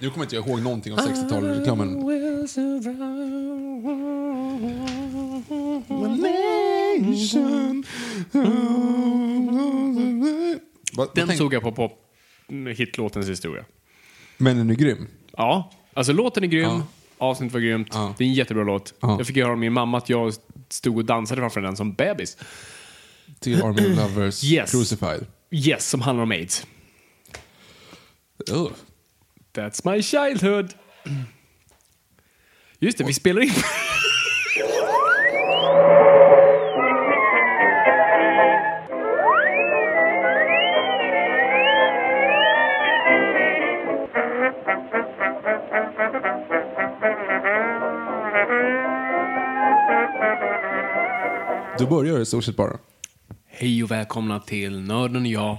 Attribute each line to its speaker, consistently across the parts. Speaker 1: Nu kommer inte jag ihåg någonting av 60-talsreklamen. Vad- vad
Speaker 2: Den
Speaker 1: tänk-
Speaker 2: såg jag på pop hitlåtens historia.
Speaker 1: Men den är grym.
Speaker 2: Ja, alltså låten är grym.
Speaker 1: Ja.
Speaker 2: Avsnittet var grymt.
Speaker 1: Ja.
Speaker 2: Det är en jättebra låt.
Speaker 1: Ja.
Speaker 2: Jag fick höra av min mamma att jag stod och dansade framför den som bebis.
Speaker 1: Till Army of Lovers
Speaker 2: Yes.
Speaker 1: Crucified.
Speaker 2: Yes, som handlar om aids.
Speaker 1: Ugh.
Speaker 2: That's my childhood. Just det, vi spelar in.
Speaker 1: Då börjar det i stort sett bara.
Speaker 2: Hej och välkomna till Nörden och jag.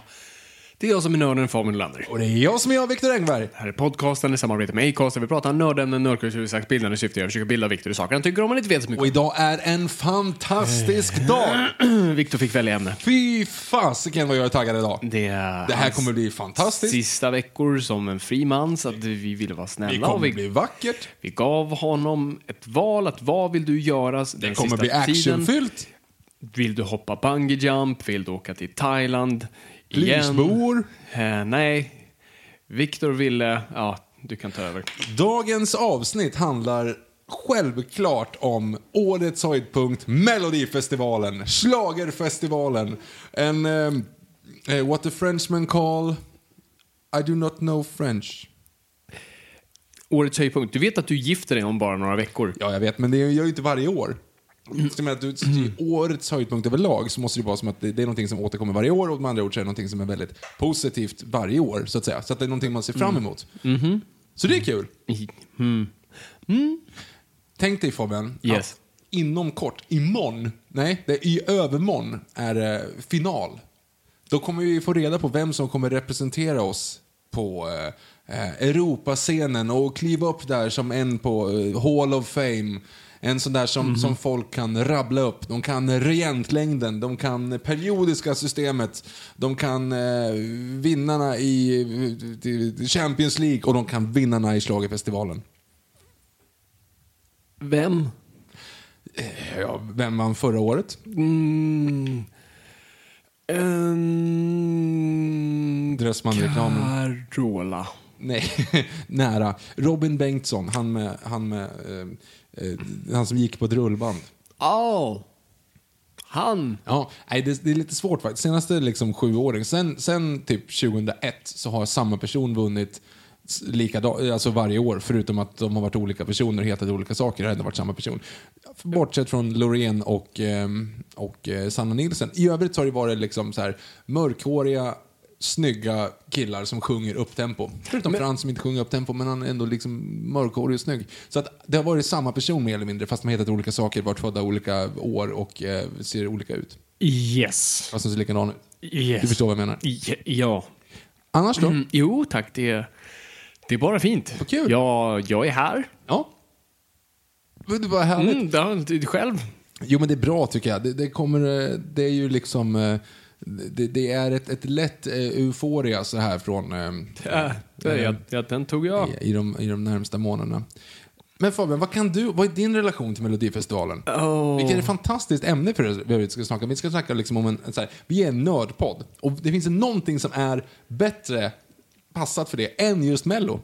Speaker 2: Det är jag som är nörden Fabian Lander.
Speaker 1: Och det är jag som är jag, Viktor Engberg.
Speaker 2: Det här är podcasten i samarbete med Acast där vi pratar om nördämnen, nördkultur, saksbildande syfte. Jag försöker bilda Viktor i saker han tycker om men inte vet så mycket
Speaker 1: Och idag är en fantastisk dag.
Speaker 2: om. Viktor fick välja ämne.
Speaker 1: Fy fasiken vad jag är taggad idag.
Speaker 2: Det, är
Speaker 1: Det här
Speaker 2: hans
Speaker 1: kommer bli fantastiskt.
Speaker 2: Sista veckor som en fri man så att vi ville vara snälla.
Speaker 1: Det
Speaker 2: och
Speaker 1: kommer
Speaker 2: vi,
Speaker 1: bli vackert.
Speaker 2: vi gav honom ett val att vad vill du göra den
Speaker 1: Det kommer
Speaker 2: sista
Speaker 1: bli
Speaker 2: tiden?
Speaker 1: actionfyllt.
Speaker 2: Vill du hoppa bungee jump? Vill du åka till Thailand? Igen?
Speaker 1: Lysbor.
Speaker 2: Eh, nej. Viktor ville... Ja, du kan ta över.
Speaker 1: Dagens avsnitt handlar självklart om årets höjdpunkt, Melodifestivalen, Schlagerfestivalen, en ehm, eh, What the Frenchman call I do not know French.
Speaker 2: Årets höjdpunkt. Du vet att du gifter dig om bara några veckor?
Speaker 1: Ja, jag vet, men det gör jag ju inte varje år. Jag menar, att du, i årets höjdpunkt överlag så måste det ju vara som att det, det är någonting som återkommer varje år och med andra ord så är det någonting som är väldigt positivt varje år, så att säga. Så att det är någonting man ser fram emot. Så det är kul. Tänk dig Fabian,
Speaker 2: Yes.
Speaker 1: att inom kort, imorgon, nej, det är i övermorgon är det final. Då kommer vi få reda på vem som kommer representera oss på eh, eh, Europascenen och kliva upp där som en på eh, Hall of Fame. En sån där som, som folk kan rabbla upp. De kan regentlängden, de kan periodiska systemet, de kan eh, vinnarna i eh, Champions League och de kan vinnarna i schlagerfestivalen.
Speaker 2: Vem?
Speaker 1: Ja, vem vann förra året?
Speaker 2: Mm. Um,
Speaker 1: Dressmann-reklamen.
Speaker 2: Carola.
Speaker 1: Nej, nära. Robin Bengtsson, han, med, han, med, eh, eh, han som gick på ett rullband.
Speaker 2: Oh. Han.
Speaker 1: Ja, nej, det, det är lite svårt faktiskt. Senaste liksom, sju åren, sen, sen typ 2001 så har samma person vunnit s- likada, alltså varje år, förutom att de har varit olika personer och hetat olika saker. Det har ändå varit samma person. Bortsett från Loreen och, ehm, och eh, Sanna Nilsson. I övrigt så har det varit liksom så här, mörkhåriga, snygga killar som sjunger upptempo. Förutom Frans som inte sjunger upptempo, men han är ändå liksom mörkhårig och snygg. Så att det har varit samma person mer eller mindre, fast de har hetat olika saker, varit födda olika år och eh, ser olika ut.
Speaker 2: Yes.
Speaker 1: Fast de ser likadana ut.
Speaker 2: yes.
Speaker 1: Du förstår vad jag menar.
Speaker 2: Ja- Ja.
Speaker 1: Annars då?
Speaker 2: Mm, jo, tack. Det är, det är bara fint.
Speaker 1: Vad kul.
Speaker 2: Ja, jag är här.
Speaker 1: Ja. Men Det var härligt.
Speaker 2: Mm, ja, du själv.
Speaker 1: Jo men det är bra tycker jag. Det, det, kommer, eh, det är ju liksom... eh, Det, det är ett, ett lätt eh, euforia så här från... eh,
Speaker 2: Ja, det, ja, ja, den tog jag.
Speaker 1: i, i, de, i de närmsta månaderna. Men Fabian, vad, kan du, vad är din relation till Melodifestivalen? Oh. Vilket är ett fantastiskt ämne för det vi ska snacka om. Vi ska snacka liksom om en, en så här, vi är en nördpodd. Och det finns någonting som är bättre passat för det än just Mello.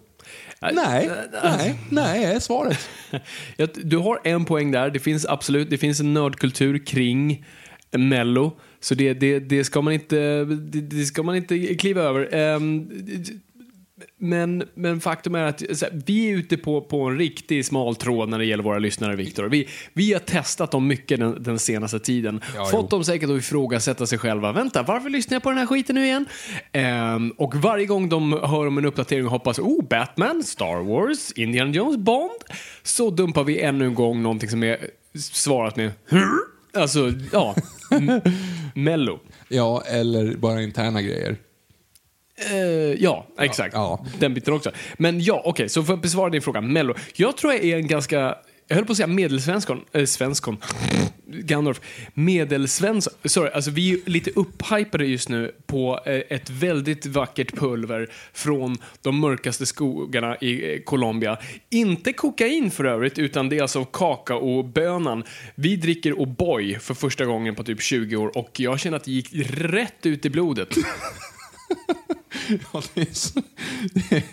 Speaker 1: Nej, nej, nej är svaret.
Speaker 2: Ja, Du har en poäng där. Det finns absolut det finns en nördkultur kring Mello. Så det, det, det, ska, man inte, det, det ska man inte kliva över. Ehm, men, men faktum är att så här, vi är ute på, på en riktig smal tråd när det gäller våra lyssnare, Viktor. Vi, vi har testat dem mycket den, den senaste tiden.
Speaker 1: Ja,
Speaker 2: Fått
Speaker 1: jo.
Speaker 2: dem säkert att ifrågasätta sig själva. Vänta, varför lyssnar jag på den här skiten nu igen? Ehm, och varje gång de hör om en uppdatering och hoppas oh, Batman, Star Wars, Indiana Jones, Bond så dumpar vi ännu en gång någonting som är svarat med "Hur?" Alltså, ja. M- Mello.
Speaker 1: Ja, eller bara interna grejer.
Speaker 2: Eh, ja, exakt.
Speaker 1: ja.
Speaker 2: Den biten också. Men ja, okej, så för att besvara din fråga, Mello. Jag tror jag är en ganska, jag höll på att säga medelsvenskon, äh, svenskon, Gandalf, medelsvensk, sorry, alltså vi är lite upphypade just nu på eh, ett väldigt vackert pulver från de mörkaste skogarna i eh, Colombia. Inte kokain för övrigt, utan det är alltså kakaobönan. Vi dricker O'boy för första gången på typ 20 år och jag känner att det gick rätt ut i blodet.
Speaker 1: Ja, det, är så, det är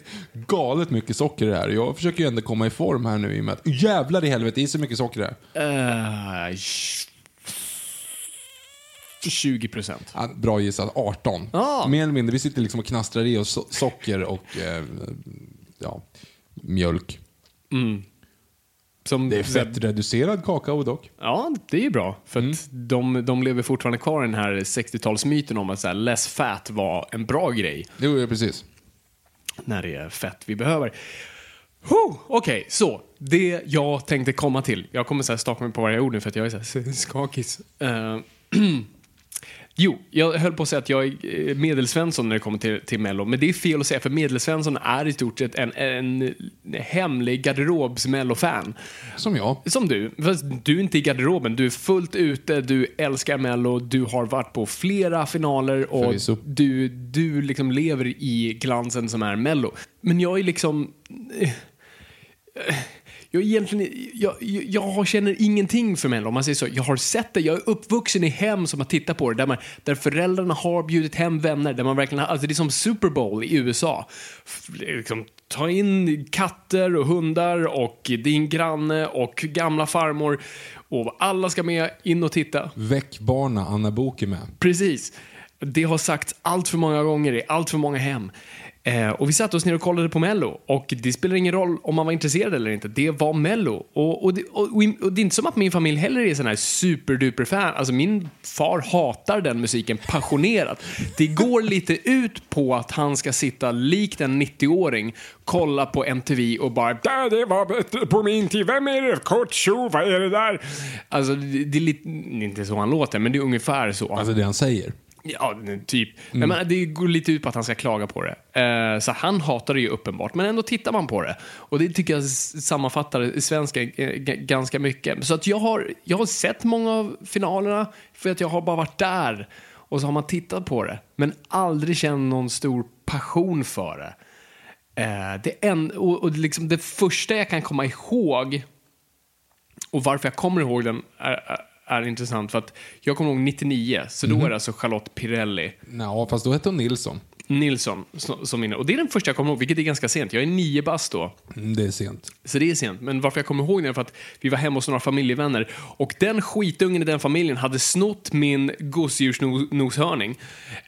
Speaker 1: galet mycket socker i det här. Jag försöker ju ändå komma i form här nu i och med att jävlar i helvete, det är så mycket socker i det här.
Speaker 2: Eh, sh- 20 procent.
Speaker 1: Ja, Bra gissat, 18.
Speaker 2: Ja.
Speaker 1: Mer eller mindre, vi sitter liksom och knastrar i oss so- socker och eh, ja, mjölk.
Speaker 2: Som,
Speaker 1: Det är fettreducerad kakao dock.
Speaker 2: Ja, det är ju bra. För att de, de lever fortfarande kvar i den här 60-talsmyten om att så här, less fat var en bra grej.
Speaker 1: Jo, ja, precis.
Speaker 2: när det är fett vi behöver. Huh, Okej, så. Det jag tänkte komma till. Jag kommer så här staka mig på varje ord nu för att jag är så här skakis. Eh, jo, jag höll på att säga att jag är eh, medelsvensson när det kommer till, till Mello. Men det är fel att säga för medelsvensson är i stort sett en, en hemlig garderobs-Mello-fan.
Speaker 1: Som jag.
Speaker 2: Som du, fast du är inte i garderoben, du är fullt ute, du älskar Mello, du har varit på flera finaler och
Speaker 1: Förvisso.
Speaker 2: du, du liksom lever i glansen som är Mello. Men jag är liksom... Jag, är egentligen, jag, jag, jag känner ingenting för Mello om man säger så. Jag har sett det, jag är uppvuxen i hem som har tittat på det, där, man, där föräldrarna har bjudit hem vänner, där man verkligen, har- alltså det är som Super Bowl i USA. F- Liksom, ta in katter och hundar och din granne och gamla farmor och alla ska med in och titta.
Speaker 1: Väck barna, Anna Book är med.
Speaker 2: Precis. Det har sagts allt för många gånger i allt för många hem. Eh, och vi satte oss ner och kollade på Mello och det spelar ingen roll om man var intresserad eller inte. Det var Mello. Och, och, det, och, och, och det är inte som att min familj heller är sån här superduper fan. Alltså min far hatar den musiken passionerat. Det går lite ut på att han ska sitta likt en 90-åring, kolla på MTV och bara "Där, det var bättre på min tid. Vem är det? Kurt Schou, vad är det där? Alltså det, det är lite, det är inte så han låter, men det är ungefär så.
Speaker 1: Alltså det han säger.
Speaker 2: Ja, typ. Nej, men det går lite ut på att han ska klaga på det. Eh, så han hatar det ju uppenbart, men ändå tittar man på det. Och det tycker jag s- sammanfattar svenska eh, g- ganska mycket. Så att jag har, jag har sett många av finalerna, för att jag har bara varit där. Och så har man tittat på det, men aldrig känt någon stor passion för det. Eh, det, en, och, och liksom det första jag kan komma ihåg och varför jag kommer ihåg den är, är, är intressant för att jag kommer ihåg 99, så då är det alltså Charlotte Pirelli
Speaker 1: Ja, fast då hette hon Nilsson.
Speaker 2: Nilsson som som vinner. Och det är den första jag kommer ihåg, vilket är ganska sent. Jag är nio bast då.
Speaker 1: Mm, det är sent.
Speaker 2: Så det är sent. Men varför jag kommer ihåg den är för att vi var hemma hos några familjevänner och den skitungen i den familjen hade snott min gosedjursnoshörning.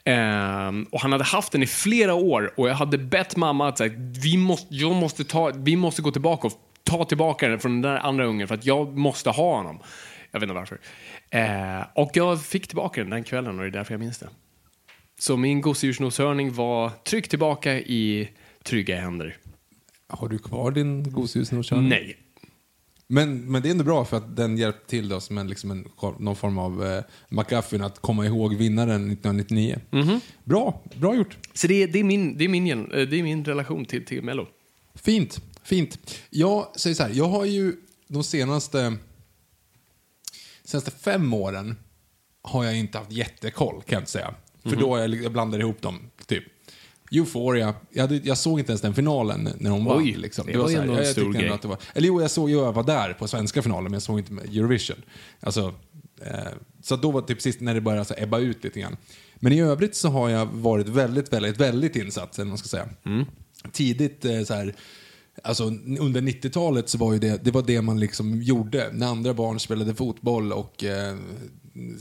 Speaker 2: Ehm, och han hade haft den i flera år och jag hade bett mamma att så här, vi, måste, jag måste ta, vi måste gå tillbaka och ta tillbaka den från den där andra ungen för att jag måste ha honom. Jag vet inte varför. Ehm, och jag fick tillbaka den den kvällen och det är därför jag minns det. Så min gosedjursnoshörning var tryckt tillbaka i trygga händer.
Speaker 1: Har du kvar din gosedjursnoshörning?
Speaker 2: Nej.
Speaker 1: Men, men det är ändå bra för att den hjälpte till då som en, liksom en, någon form av eh, McGuffin att komma ihåg vinnaren 1999.
Speaker 2: Mhm.
Speaker 1: Bra, bra gjort.
Speaker 2: Så det är, det är, min, det är, min, gen- eh, det är min relation till, till Mello.
Speaker 1: Fint, fint. Jag säger så här, jag har ju de senaste, senaste fem åren
Speaker 2: Mhm.
Speaker 1: har jag inte haft jättekoll kan jag inte säga. För då har jag, jag blandar ihop dem, typ. Euphoria, jag, hade, jag såg inte ens den finalen när hon vann.
Speaker 2: Oj,
Speaker 1: liksom.
Speaker 2: det var ju
Speaker 1: så här,
Speaker 2: ändå en
Speaker 1: jag- jag
Speaker 2: stor
Speaker 1: tyckte ändå
Speaker 2: grej.
Speaker 1: Att det var, eller jo, jag såg ju jag var där på svenska finalen, men jag såg inte med Eurovision. Alltså, eh, så att då var det typ sist när det började så här, ebba ut lite grann. Men i övrigt så har jag varit väldigt, väldigt, väldigt insatt, eller vad man ska säga. Tidigt eh, så här, Alltså, under 90-talet så var ju det, det var det man liksom gjorde. När andra barn spelade fotboll och eh,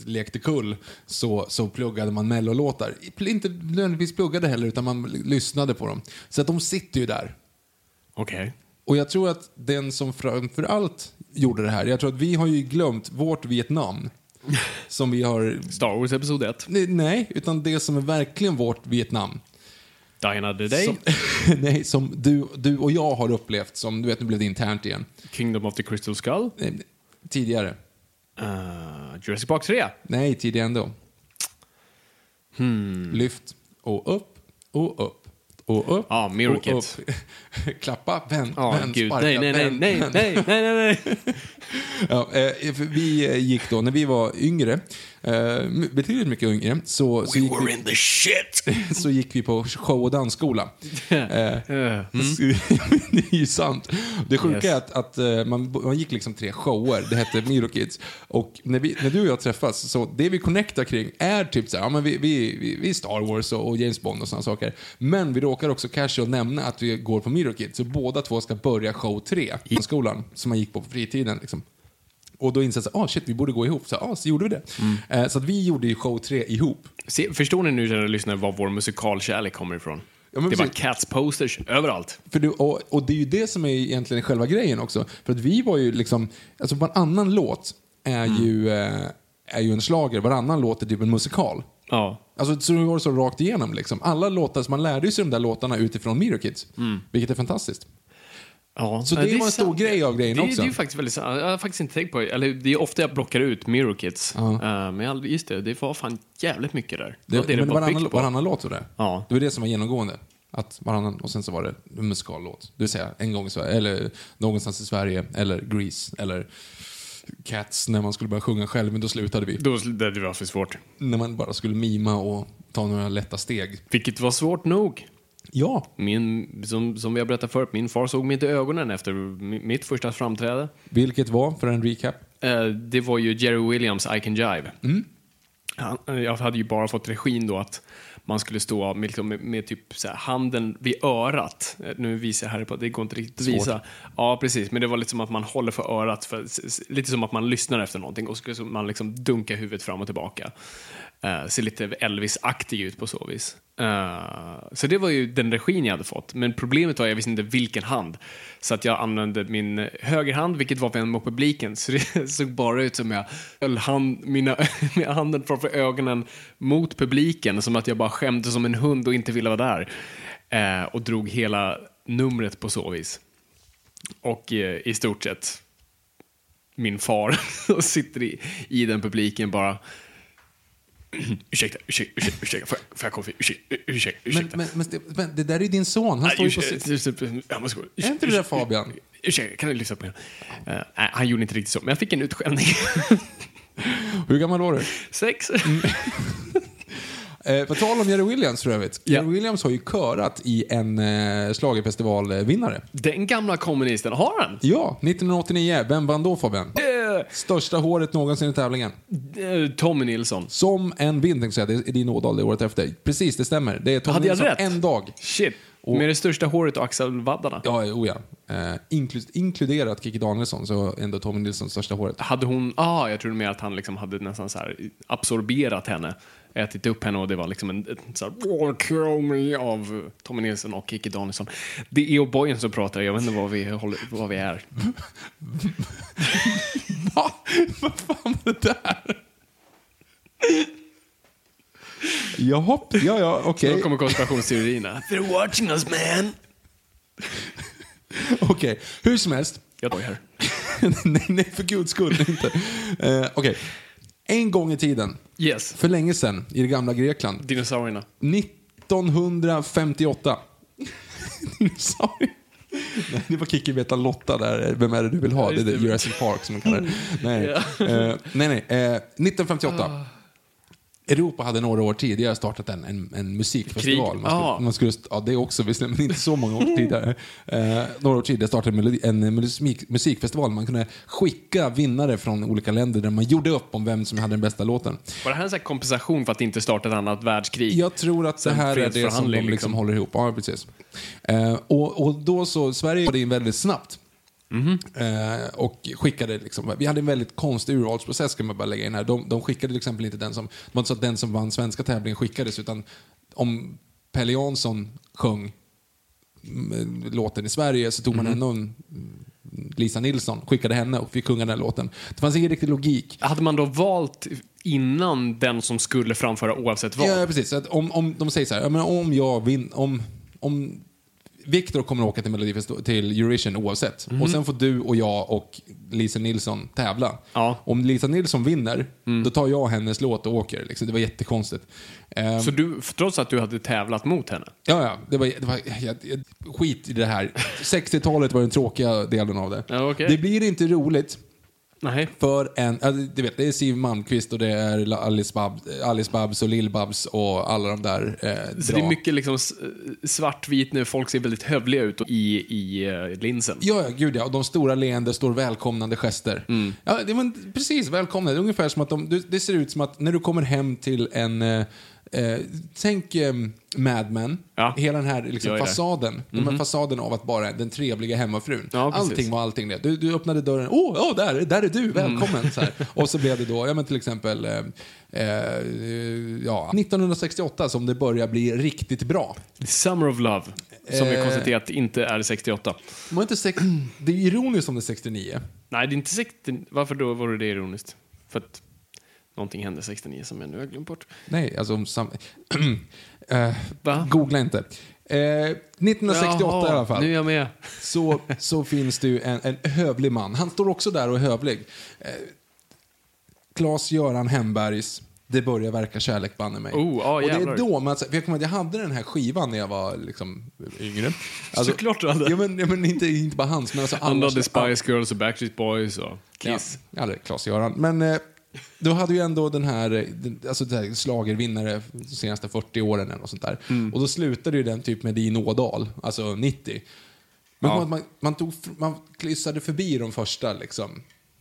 Speaker 1: lekte kull så, så pluggade man mellolåtar. Inte nödvändigtvis pluggade heller, utan man l- lyssnade på dem. Så att de sitter ju där.
Speaker 2: Okej.
Speaker 1: Och jag tror att den som framförallt gjorde det här, jag tror att vi har ju glömt vårt Vietnam. Som vi har...
Speaker 2: Star Wars Episod 1.
Speaker 1: Nej, Nej, utan det som är verkligen vårt Vietnam.
Speaker 2: Dine Another Day.
Speaker 1: Som, nej, som du, du och jag har upplevt, som du vet, nu blev det internt igen.
Speaker 2: Kingdom of the Crystal Skull.
Speaker 1: Eh, Tidigare.
Speaker 2: Eh, Jurassic Park 3.
Speaker 1: Nej, tidigare ändå.
Speaker 2: Hmm.
Speaker 1: Lyft och upp och upp och upp.
Speaker 2: Ja, Miracle
Speaker 1: och
Speaker 2: Kids.
Speaker 1: upp. Klappa, vänd,
Speaker 2: Ja,
Speaker 1: vänd,
Speaker 2: gud.
Speaker 1: sparka,
Speaker 2: Nej, nej, nej,
Speaker 1: vänd,
Speaker 2: nej,
Speaker 1: vänd.
Speaker 2: nej, nej, nej, nej.
Speaker 1: Ja, eh, för vi eh, gick då, när vi var yngre, eh, betydligt mycket yngre, så, så, gick vi,
Speaker 2: in the shit!
Speaker 1: så gick vi på show och dansskola. Eh,
Speaker 2: Eh,
Speaker 1: det är ju sant. Det sjuka
Speaker 2: Yes.
Speaker 1: är att, att eh, man, man gick liksom tre shower, det hette Miro Kids. Och när, vi, när du och jag träffas, så det vi connectar kring är typ så här, ja, men vi, vi, vi, vi är Star Wars och, och James Bond och sådana saker. Men vi råkar också casual nämna att vi går på Miro Kids, så båda två ska börja show tre i skolan, som man gick på på fritiden. Liksom. Och då insåg jag att shit, vi borde gå ihop. Så, ah, så gjorde vi det. Eh, så att vi gjorde ju show tre ihop.
Speaker 2: se, förstår ni nu, kära lyssnare, var vår musikalkärlek kommer ifrån?
Speaker 1: Ja, men
Speaker 2: det var
Speaker 1: precis.
Speaker 2: Cats posters överallt.
Speaker 1: För du, och, och det är ju det som är egentligen själva grejen också. För att vi var ju liksom, alltså varannan låt är, ju, eh, är ju en slager. varannan låt är typ en musikal.
Speaker 2: Ja.
Speaker 1: Alltså så det var så rakt igenom liksom. Alla låtar, så man lärde sig de där låtarna utifrån Miro Kids. Vilket är fantastiskt.
Speaker 2: Ja,
Speaker 1: Så
Speaker 2: ja,
Speaker 1: det
Speaker 2: är
Speaker 1: var en stor
Speaker 2: sant.
Speaker 1: grej av grejen
Speaker 2: det,
Speaker 1: också.
Speaker 2: Det är ju faktiskt väldigt sant. Jag har faktiskt inte tänkt på det. Eller det är ofta jag plockar ut Mirror Kids.
Speaker 1: Ja.
Speaker 2: Eh, men jag, aldrig- just det, det var fan jävligt mycket där. Det, var det
Speaker 1: men
Speaker 2: det var
Speaker 1: varannan,
Speaker 2: byggt på.
Speaker 1: varannan låt var det.
Speaker 2: Ja.
Speaker 1: Det var det som var genomgående. Att varannan, och sen så var det en musikallåt. Det vill säga en gång i Sverige, eller någonstans i Sverige, eller Grease, eller Cats när man skulle börja sjunga själv, men då slutade vi.
Speaker 2: Då, det det var för svårt.
Speaker 1: när man bara skulle mima och ta några lätta steg.
Speaker 2: Vilket var svårt nog.
Speaker 1: Ja.
Speaker 2: Min, som, som vi har berättat förut, min far såg mig inte i ögonen efter mi- mitt första framträde.
Speaker 1: Vilket var, för en recap,
Speaker 2: Eh, det var ju Jerry Williams I Can Jive. Han, eh, jag hade ju bara fått regin då att man skulle stå med, liksom, med, med typ så här, handen vid örat. Eh, Nu visar jag här på, det går inte riktigt att visa. Ja, precis. Men det var lite som att man håller för örat, för, s- s- lite som att man lyssnar efter någonting och skulle som man liksom dunka huvudet fram och tillbaka. Eh, ser lite Elvis-aktig ut på så vis. Eh, så det var ju den regin jag hade fått. Men problemet var att jag visste inte vilken hand. Så att jag använde min högerhand, vilket var vän mot publiken. Så det såg bara ut som jag höll hand, mina, med handen framför ögonen mot publiken. Som att jag bara skämde som en hund och inte ville vara där. Eh, och drog hela numret på så vis. Och eh, i stort sett min far och sitter i, i den publiken bara Ursäkta, ursäkta, ursäkta, ursäkta, får jag- får jag kaffe? Ursäkta, ursäkta,
Speaker 1: men,
Speaker 2: ursäkta. Ah,
Speaker 1: men, men, Ste- men det där är ju din son, han står ju på sitt... Är inte det där Fabian?
Speaker 2: Ursäkta, kan du lyssna på mig? Eh, nej, han gjorde inte riktigt så, men jag fick en utskällning.
Speaker 1: Hur gammal var du?
Speaker 2: Sex.
Speaker 1: Mm. Eh, på tal om Jerry Williams för övrigt.
Speaker 2: Ja.
Speaker 1: Jerry Williams har ju körat i en eh, schlagerfestivalvinnare.
Speaker 2: Den gamla kommunisten, har han?
Speaker 1: Ja, 1989. Vem vann då Fabian?
Speaker 2: Eh,
Speaker 1: Största håret någonsin i tävlingen.
Speaker 2: eh, Tommy Nilsson.
Speaker 1: Som en vind, tänkte jag säga. Det är din ådal det året efter. Precis, det stämmer. Det är Tom
Speaker 2: Hade jag
Speaker 1: Nilsson
Speaker 2: rätt?
Speaker 1: en dag.
Speaker 2: Shit. Med det största håret och axelvaddarna.
Speaker 1: Ja, oh ja. Eh, inklus- inkluderat Kikki Danielsson, så ändå Tommy Nilssons största håret.
Speaker 2: Hade hon, ah, jag trodde mer att han liksom hade nästan så här absorberat henne, ätit upp henne och det var liksom en, en så här, "Åh, kromig av Tommy Nilsson och Kikki Danielsson. Det är O'boyen som pratar, jag vet inte vad vi, håller, vad vi är.
Speaker 1: Va? Vad fan var det där? Jaha, ja, ja, okej.
Speaker 2: Då kommer konspirationsteorierna. They're watching us man!
Speaker 1: Okej, hur som helst.
Speaker 2: Jag tar här.
Speaker 1: nej, nej, för guds skull inte. Eh, okej. En gång i tiden,
Speaker 2: Yes,
Speaker 1: för länge sedan, i det gamla Grekland.
Speaker 2: dinosaurierna.
Speaker 1: 1958. Sorry. Nej, det var Kikki Beta Lotta där. Vem är det du vill ha? Det är
Speaker 2: Ja, just
Speaker 1: det.
Speaker 2: det.
Speaker 1: Jurassic Park som man kallar det. Nej, eh, nej. nej eh, 1958. Europa hade några år tidigare startat en, en, en musikfestival.
Speaker 2: Krig.
Speaker 1: Man skulle,
Speaker 2: Ja.
Speaker 1: man skulle, st- ja, det också visserligen, men inte så många år tidigare. Eh, några år tidigare startade en, melodi- en musik, musikfestival. Man kunde skicka vinnare från olika länder där man gjorde upp om vem som hade den bästa låten.
Speaker 2: Var det här en sån här kompensation för att inte starta ett annat världskrig?
Speaker 1: Jag tror att det
Speaker 2: Sen
Speaker 1: här är det som de
Speaker 2: fredsförhandling,
Speaker 1: liksom,
Speaker 2: liksom.
Speaker 1: håller ihop. Ja, precis. Eh, och, och då så, Sverige var in väldigt snabbt. Eh, och skickade liksom, vi hade en väldigt konstig urvalsprocess ska man bara lägga in här. De, de skickade till exempel inte den som, det var inte så att den som vann svenska tävlingen skickades utan om Pelle Jansson sjöng mm, låten i Sverige så
Speaker 2: Mm-hmm.
Speaker 1: tog man ändå en Lisa Nilsson, skickade henne och fick sjunga den här låten. Det fanns ingen riktig logik.
Speaker 2: Hade man då valt innan den som skulle framföra oavsett vad?
Speaker 1: Ja, precis. Så att om, om de säger så här, ja, men om jag vin, om, om Viktor kommer åka till, Melodifest- till Eurovision oavsett.
Speaker 2: Mhm.
Speaker 1: Och sen får du och jag och Lisa Nilsson tävla.
Speaker 2: Ja. Mm.
Speaker 1: Om Lisa Nilsson vinner, då tar jag hennes låt och åker. Liksom. Det var jättekonstigt. Ehm,
Speaker 2: Så du, trots att du hade tävlat mot henne?
Speaker 1: ja, ja, det var, det var, jag, jag, skit i det här. 60-talet var den tråkiga delen av det.
Speaker 2: Ja, okej.
Speaker 1: Det blir inte roligt.
Speaker 2: Nej.
Speaker 1: För en, ja, du vet, det är Siw Malmkvist och det är Alice Babs, Alice Babs och Lil babs och alla de där. Eh,
Speaker 2: Så det är
Speaker 1: dra-
Speaker 2: mycket liksom s- svartvit nu, folk ser väldigt hövliga ut i, i eh, linsen.
Speaker 1: Ja, ja, gud ja. Och de stora leende står välkomnande gester.
Speaker 2: Mm.
Speaker 1: Ja, det var en, precis, välkomna. Det är ungefär som att de, det- det ser ut som att när du kommer hem till en... Eh, eh, tänk eh, Mad Men.
Speaker 2: Ja.
Speaker 1: Hela den här liksom,
Speaker 2: Jag är där. Mhm.
Speaker 1: fasaden. Den här fasaden av att bara den trevliga hemmafrun.
Speaker 2: Ja, precis. Mm.
Speaker 1: allting var allting det. Du, du öppnade dörren. Åh, oh, där, där är du. Välkommen. Så här. Och så blev det då, ja men till exempel... Eh, eh, ja, 1968 som det börjar bli riktigt bra.
Speaker 2: Summer of Love, som vi
Speaker 1: Eh.
Speaker 2: konstaterat inte är 68.
Speaker 1: Det, var inte sex, det är ironiskt om det är 69.
Speaker 2: Nej, det är inte 69. Varför då var det ironiskt? För att någonting hände 69 som jag nu har glömt bort.
Speaker 1: Nej, alltså om sam... Eh,
Speaker 2: Va?
Speaker 1: googla inte. Eh, 1968 i alla fall
Speaker 2: Nu är jag med.
Speaker 1: så, så finns det ju en, en hövlig man. Han står också där och är hövlig. Eh, Claes-Göran Hembergs Det börjar verka kärlek banne mig.
Speaker 2: Oh, ja,
Speaker 1: och det är
Speaker 2: jävlar.
Speaker 1: då man, för jag kommer ihåg att jag hade den här skivan när jag var liksom yngre. Alltså,
Speaker 2: Såklart du hade.
Speaker 1: Ja men, ja, men inte, inte bara hans men alltså
Speaker 2: Andra
Speaker 1: alla-
Speaker 2: The Spice Girls och Backstreet Boys och Kiss.
Speaker 1: Ja, aldrig Klas-Göran. Men eh, du hade ju ändå den här, eh, den- alltså det här slagervinnare de senaste 40 åren eller något sånt där.
Speaker 2: Mm.
Speaker 1: Och då slutade ju den typ med din Ådal, alltså 90. Men
Speaker 2: Ja.
Speaker 1: man, man, man, tog, fr- man klissade förbi de första liksom.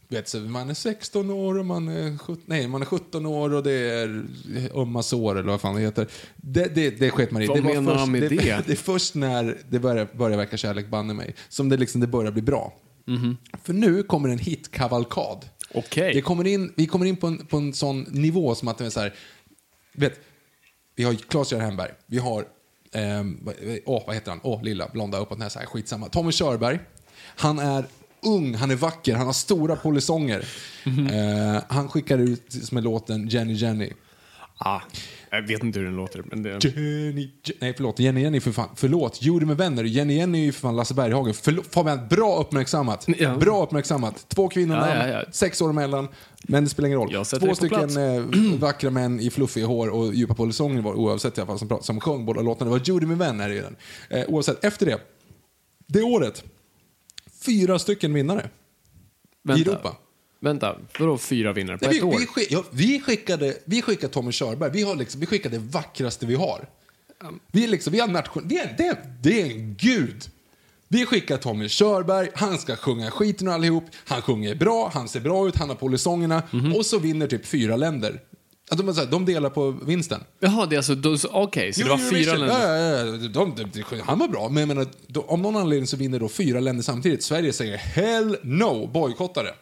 Speaker 1: Du vet, så man är 16 år och man är, 17, nej, man är 17 år och det är eh, ömma sår eller vad fan det heter. Det, det, det sket man i.
Speaker 2: Vad
Speaker 1: det var
Speaker 2: menar
Speaker 1: först,
Speaker 2: han med det?
Speaker 1: det är först när det börjar, börjar verka kärlek banne mig som det, liksom, det börjar bli bra. För nu kommer en hitkavalkad.
Speaker 2: Okej.
Speaker 1: Det kommer in, vi kommer in på en, på en sån nivå som att det är så här, vet, vi har Claes-Göran Hemberg, vi har, ehm, vad- åh, vad heter han, åh, lilla, blonda, uppåt näsa, skitsamma. Tommy Körberg, han är ung, han är vacker, han har stora polisonger. Eh, han skickar ut som en låten Jenny Jenny.
Speaker 2: Ah, jag vet inte hur den låter. Men det...
Speaker 1: Jenny, Je- nej förlåt, Jenny Jenny för fan, förlåt, Judy med vänner, Jenny Jenny är ju för fan Lasse Berghagen. Förlåt, Fabian, bra uppmärksammat.
Speaker 2: Ja.
Speaker 1: Bra uppmärksammat. Två kvinnor
Speaker 2: Ja,
Speaker 1: namn,
Speaker 2: ja, ja.
Speaker 1: sex år emellan, men det spelar ingen roll.
Speaker 2: Jag sätter
Speaker 1: Två
Speaker 2: dig på
Speaker 1: stycken eh, vackra män i fluffiga hår och djupa polisonger var oavsett i alla fall som, pra- som sjöng båda låtarna. Det var Judy med vänner i den. Eh, oavsett, efter det, det året, fyra stycken vinnare i
Speaker 2: Vänta.
Speaker 1: Europa.
Speaker 2: Vänta, vadå fyra vinnare på
Speaker 1: Nej,
Speaker 2: ett
Speaker 1: vi,
Speaker 2: år?
Speaker 1: vi, skick- ja, vi skickade, vi skickade Tommy Körberg. Vi, har liksom, vi skickade det vackraste vi har.
Speaker 2: Um.
Speaker 1: Vi är liksom, vi har nation, vi är, det, det är en gud. Vi skickar Tommy Körberg, han ska sjunga skiten och allihop. Han sjunger bra, han ser bra ut, han har polisongerna.
Speaker 2: Mhm.
Speaker 1: Och så vinner typ fyra länder. Att de, så här, de delar på vinsten.
Speaker 2: Jaha, det är alltså... då- så- Okej, så det
Speaker 1: Jo,
Speaker 2: var
Speaker 1: jo,
Speaker 2: fyra
Speaker 1: visst.
Speaker 2: länder.
Speaker 1: Ja, ja, ja. De, de, de, han var bra, men jag menar, då- om någon anledning så vinner då fyra länder samtidigt. Sverige säger hell no, bojkottar det.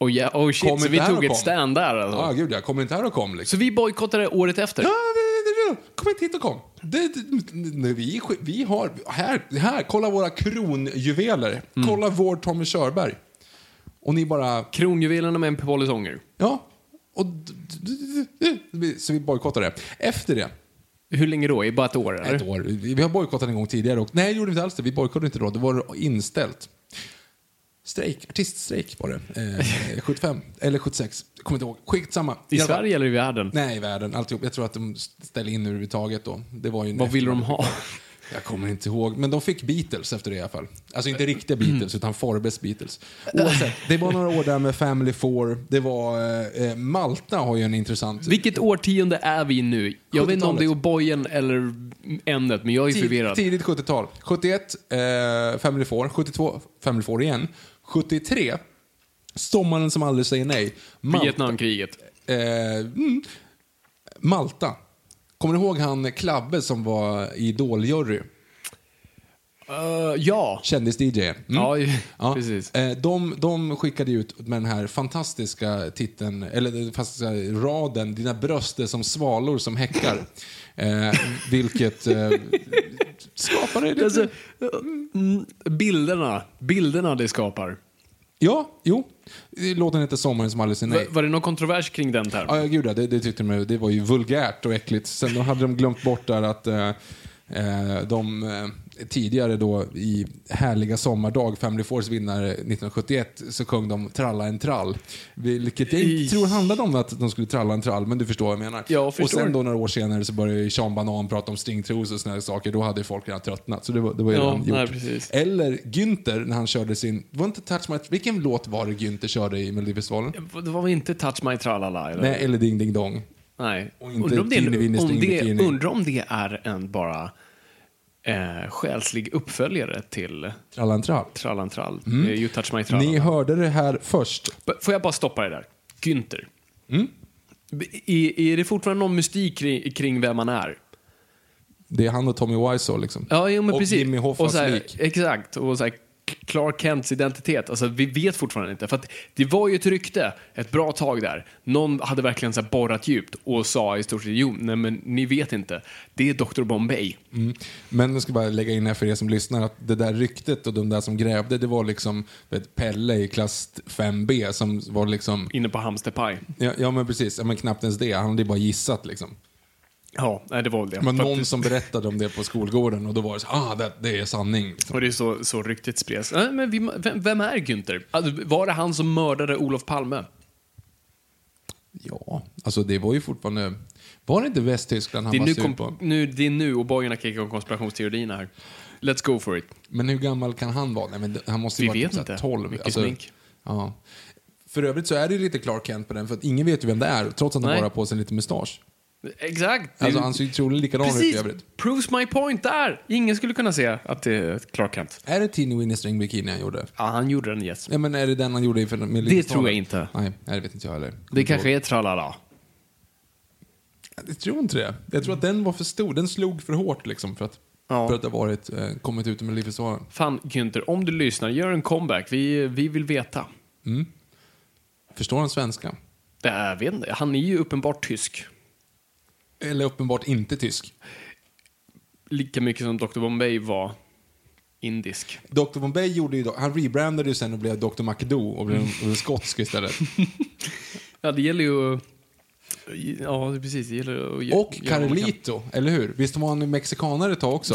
Speaker 2: Oh, ja, oh shit,
Speaker 1: Kom
Speaker 2: så
Speaker 1: inte
Speaker 2: vi
Speaker 1: här och
Speaker 2: tog
Speaker 1: kom.
Speaker 2: ett stand där alltså.
Speaker 1: Ja, ah, gud jag kommer inte här och kom liksom.
Speaker 2: Så vi bojkottade året efter?
Speaker 1: Ja, det- det- det- Kom hit och kom. Det, det, det- vi, sk- vi har, här, här, kolla våra kronjuveler.
Speaker 2: Mm.
Speaker 1: Kolla vår Tommy Körberg. Och ni bara,
Speaker 2: Kronjuvelerna med en polisonger.
Speaker 1: ja. Och, d- d- d- d- så vi bojkottar det. Efter det,
Speaker 2: Hur länge då? I bara ett år eller?
Speaker 1: ett år, vi vi har bojkottat en gång tidigare. Och, nej, det gjorde vi inte alls det. Vi bojkottade inte då. Det var inställt. Strejk, artiststrejk var det. Eh, 75, eller 76. Jag kommer inte ihåg. Skitsamma.
Speaker 2: I
Speaker 1: alla fall-
Speaker 2: Sverige eller i världen?
Speaker 1: Nej, i världen. Alltihop. Jag tror att de ställde in överhuvudtaget då. Det var ju
Speaker 2: Vad vill de ha?
Speaker 1: Jag kommer inte ihåg, men de fick Beatles efter det i alla fall. Alltså inte riktiga
Speaker 2: Mm.
Speaker 1: Beatles, utan Forbes Beatles. Oavsett, det var några år där med Family Four. Det var, eh, eh, Malta har ju en intressant...
Speaker 2: Vilket årtionde är vi nu? Jag vet inte om det är
Speaker 1: 70-talet.
Speaker 2: O'boyen eller ämnet, men jag är
Speaker 1: Tid-
Speaker 2: förvirrad.
Speaker 1: Tidigt 70-tal. 71, eh, Family Four. 72, Family Four igen. 73, Sommaren som aldrig säger nej. Malta.
Speaker 2: Vietnamkriget.
Speaker 1: Eh, mm. Malta. Kommer du ihåg han Klabbe som var i Idol-jury?
Speaker 2: Eh, ja.
Speaker 1: Kändis-DJ. Mm.
Speaker 2: Ja, ju- precis.
Speaker 1: Eh, De, de skickade ut med den här fantastiska titeln, eller den fantastiska raden, dina bröst är som svalor som häckar. eh, vilket eh, skapade lite...
Speaker 2: Alltså, mm, bilderna, bilderna det skapar.
Speaker 1: Ja, jo. Låten heter Sommaren som aldrig säger nej.
Speaker 2: Var, var det någon kontrovers kring den termen?
Speaker 1: Ja, ja, gud ja, det, det tyckte de det var ju vulgärt och äckligt. Sen då hade de glömt bort där att eh, eh, de eh, tidigare då i Härliga sommardag, Family Fours vinnare 1971, så sjöng de Tralla en trall. Vilket jag
Speaker 2: I-
Speaker 1: inte tror handlade om att de skulle tralla en trall, men du förstår vad jag menar.
Speaker 2: Ja, jag
Speaker 1: och
Speaker 2: förstår.
Speaker 1: sen då några år senare så började ju Sean Banan prata om stringtrosor och såna här saker. Då hade ju folk redan tröttnat. Så det var, det var ju
Speaker 2: Ja,
Speaker 1: redan gjort.
Speaker 2: nej, precis.
Speaker 1: Eller Günther när han körde sin, var inte Touch My... Vilken låt var det Günther körde i Melodifestivalen?
Speaker 2: Det var väl inte Touch My Tralala? Eller?
Speaker 1: Nej, eller Ding Ding Dong.
Speaker 2: Nej.
Speaker 1: Och inte
Speaker 2: undrar, om det,
Speaker 1: Teeny Weeny
Speaker 2: om
Speaker 1: String
Speaker 2: det,
Speaker 1: Bikini.
Speaker 2: undrar om det är en bara eh, själslig uppföljare till
Speaker 1: Trallan trall.
Speaker 2: Trallan Trall. Eh, You touch my trallan.
Speaker 1: Mm. Ni hörde det här först.
Speaker 2: B- Får jag bara stoppa det där? Günther.
Speaker 1: Mm.
Speaker 2: B- Är, är det fortfarande någon mystik kring, kring vem han är?
Speaker 1: Det är han och Tommy Wiseau liksom.
Speaker 2: Ja, jo, men
Speaker 1: och
Speaker 2: precis.
Speaker 1: Jimmy Hoffas
Speaker 2: och så här,
Speaker 1: lik.
Speaker 2: Exakt. Och så här, Clark Kents identitet. Alltså, vi vet fortfarande inte. För att det var ju ett rykte ett bra tag där. Någon hade verkligen så här borrat djupt och sa i stort sett jo, nej men ni vet inte. Det är Dr. Bombay.
Speaker 1: Mm. Men jag ska bara lägga in här för er som lyssnar att det där ryktet och de där som grävde det var liksom vet, Pelle i klass 5B som var liksom...
Speaker 2: Inne på Hamsterpaj.
Speaker 1: Ja, ja men precis, ja, men knappt ens det. Han hade ju bara gissat liksom.
Speaker 2: Ja, nej, det var väl det.
Speaker 1: Det var
Speaker 2: För att-
Speaker 1: någon som berättade om det på skolgården och då var det så ah det, det är sanning. Liksom.
Speaker 2: Och det är så, så ryktet spreds. Nej, men vi, vem, vem är Günther? Alltså, var det han som mördade Olof Palme?
Speaker 1: Ja, alltså det var ju fortfarande... Var det inte Västtyskland han
Speaker 2: Det är,
Speaker 1: var
Speaker 2: nu
Speaker 1: sur
Speaker 2: kom,
Speaker 1: på?
Speaker 2: nu, det är nu och bojarna kickar igång konspirationsteorierna här. Let's go for it.
Speaker 1: Men hur gammal kan han vara? Nej, men det- han måste ju
Speaker 2: Vi
Speaker 1: vara
Speaker 2: vet
Speaker 1: typ så här
Speaker 2: inte.
Speaker 1: 12.
Speaker 2: Mycket smink.
Speaker 1: Ja. För övrigt så är det ju lite Clark Kent på den, för att ingen vet ju vem det är, trots att han
Speaker 2: Nej.
Speaker 1: bara har på sig lite mustasch.
Speaker 2: Exakt.
Speaker 1: Alltså
Speaker 2: Det-
Speaker 1: han ser ju troligen likadan ut i
Speaker 2: Precis.
Speaker 1: övrigt.
Speaker 2: Proves my point där. Ingen skulle kunna säga att det är Clark Kent.
Speaker 1: Är det Teeny Winnie String Bikini han gjorde?
Speaker 2: Ja, han gjorde den, yes.
Speaker 1: Ja, men är det den han gjorde i med
Speaker 2: Det tror jag inte.
Speaker 1: Nej, nej, det vet inte jag heller.
Speaker 2: Det kanske är tralala.
Speaker 1: Jag tror inte det. Jag tror att den var för stor. Den slog för hårt liksom för att,
Speaker 2: Ja.
Speaker 1: för att det har varit, eh, kommit ut med Melodifestivalen.
Speaker 2: Fan, Günther, om du lyssnar, gör en comeback. Vi, vi vill veta.
Speaker 1: Förstår han svenska?
Speaker 2: Det är, jag vet inte, han är ju uppenbart tysk.
Speaker 1: Eller uppenbart inte tysk.
Speaker 2: Lika mycket som Dr. Bombay var indisk.
Speaker 1: Dr. Bombay gjorde ju, han rebrandade ju sen och blev Dr. McDo och blev, och blev skotsk istället.
Speaker 2: Ja, det gäller ju... att- Ja, precis. Det gäller att...
Speaker 1: Och
Speaker 2: göra vad man kan.
Speaker 1: Carlito, eller hur? Visst var han mexikanare ett tag också?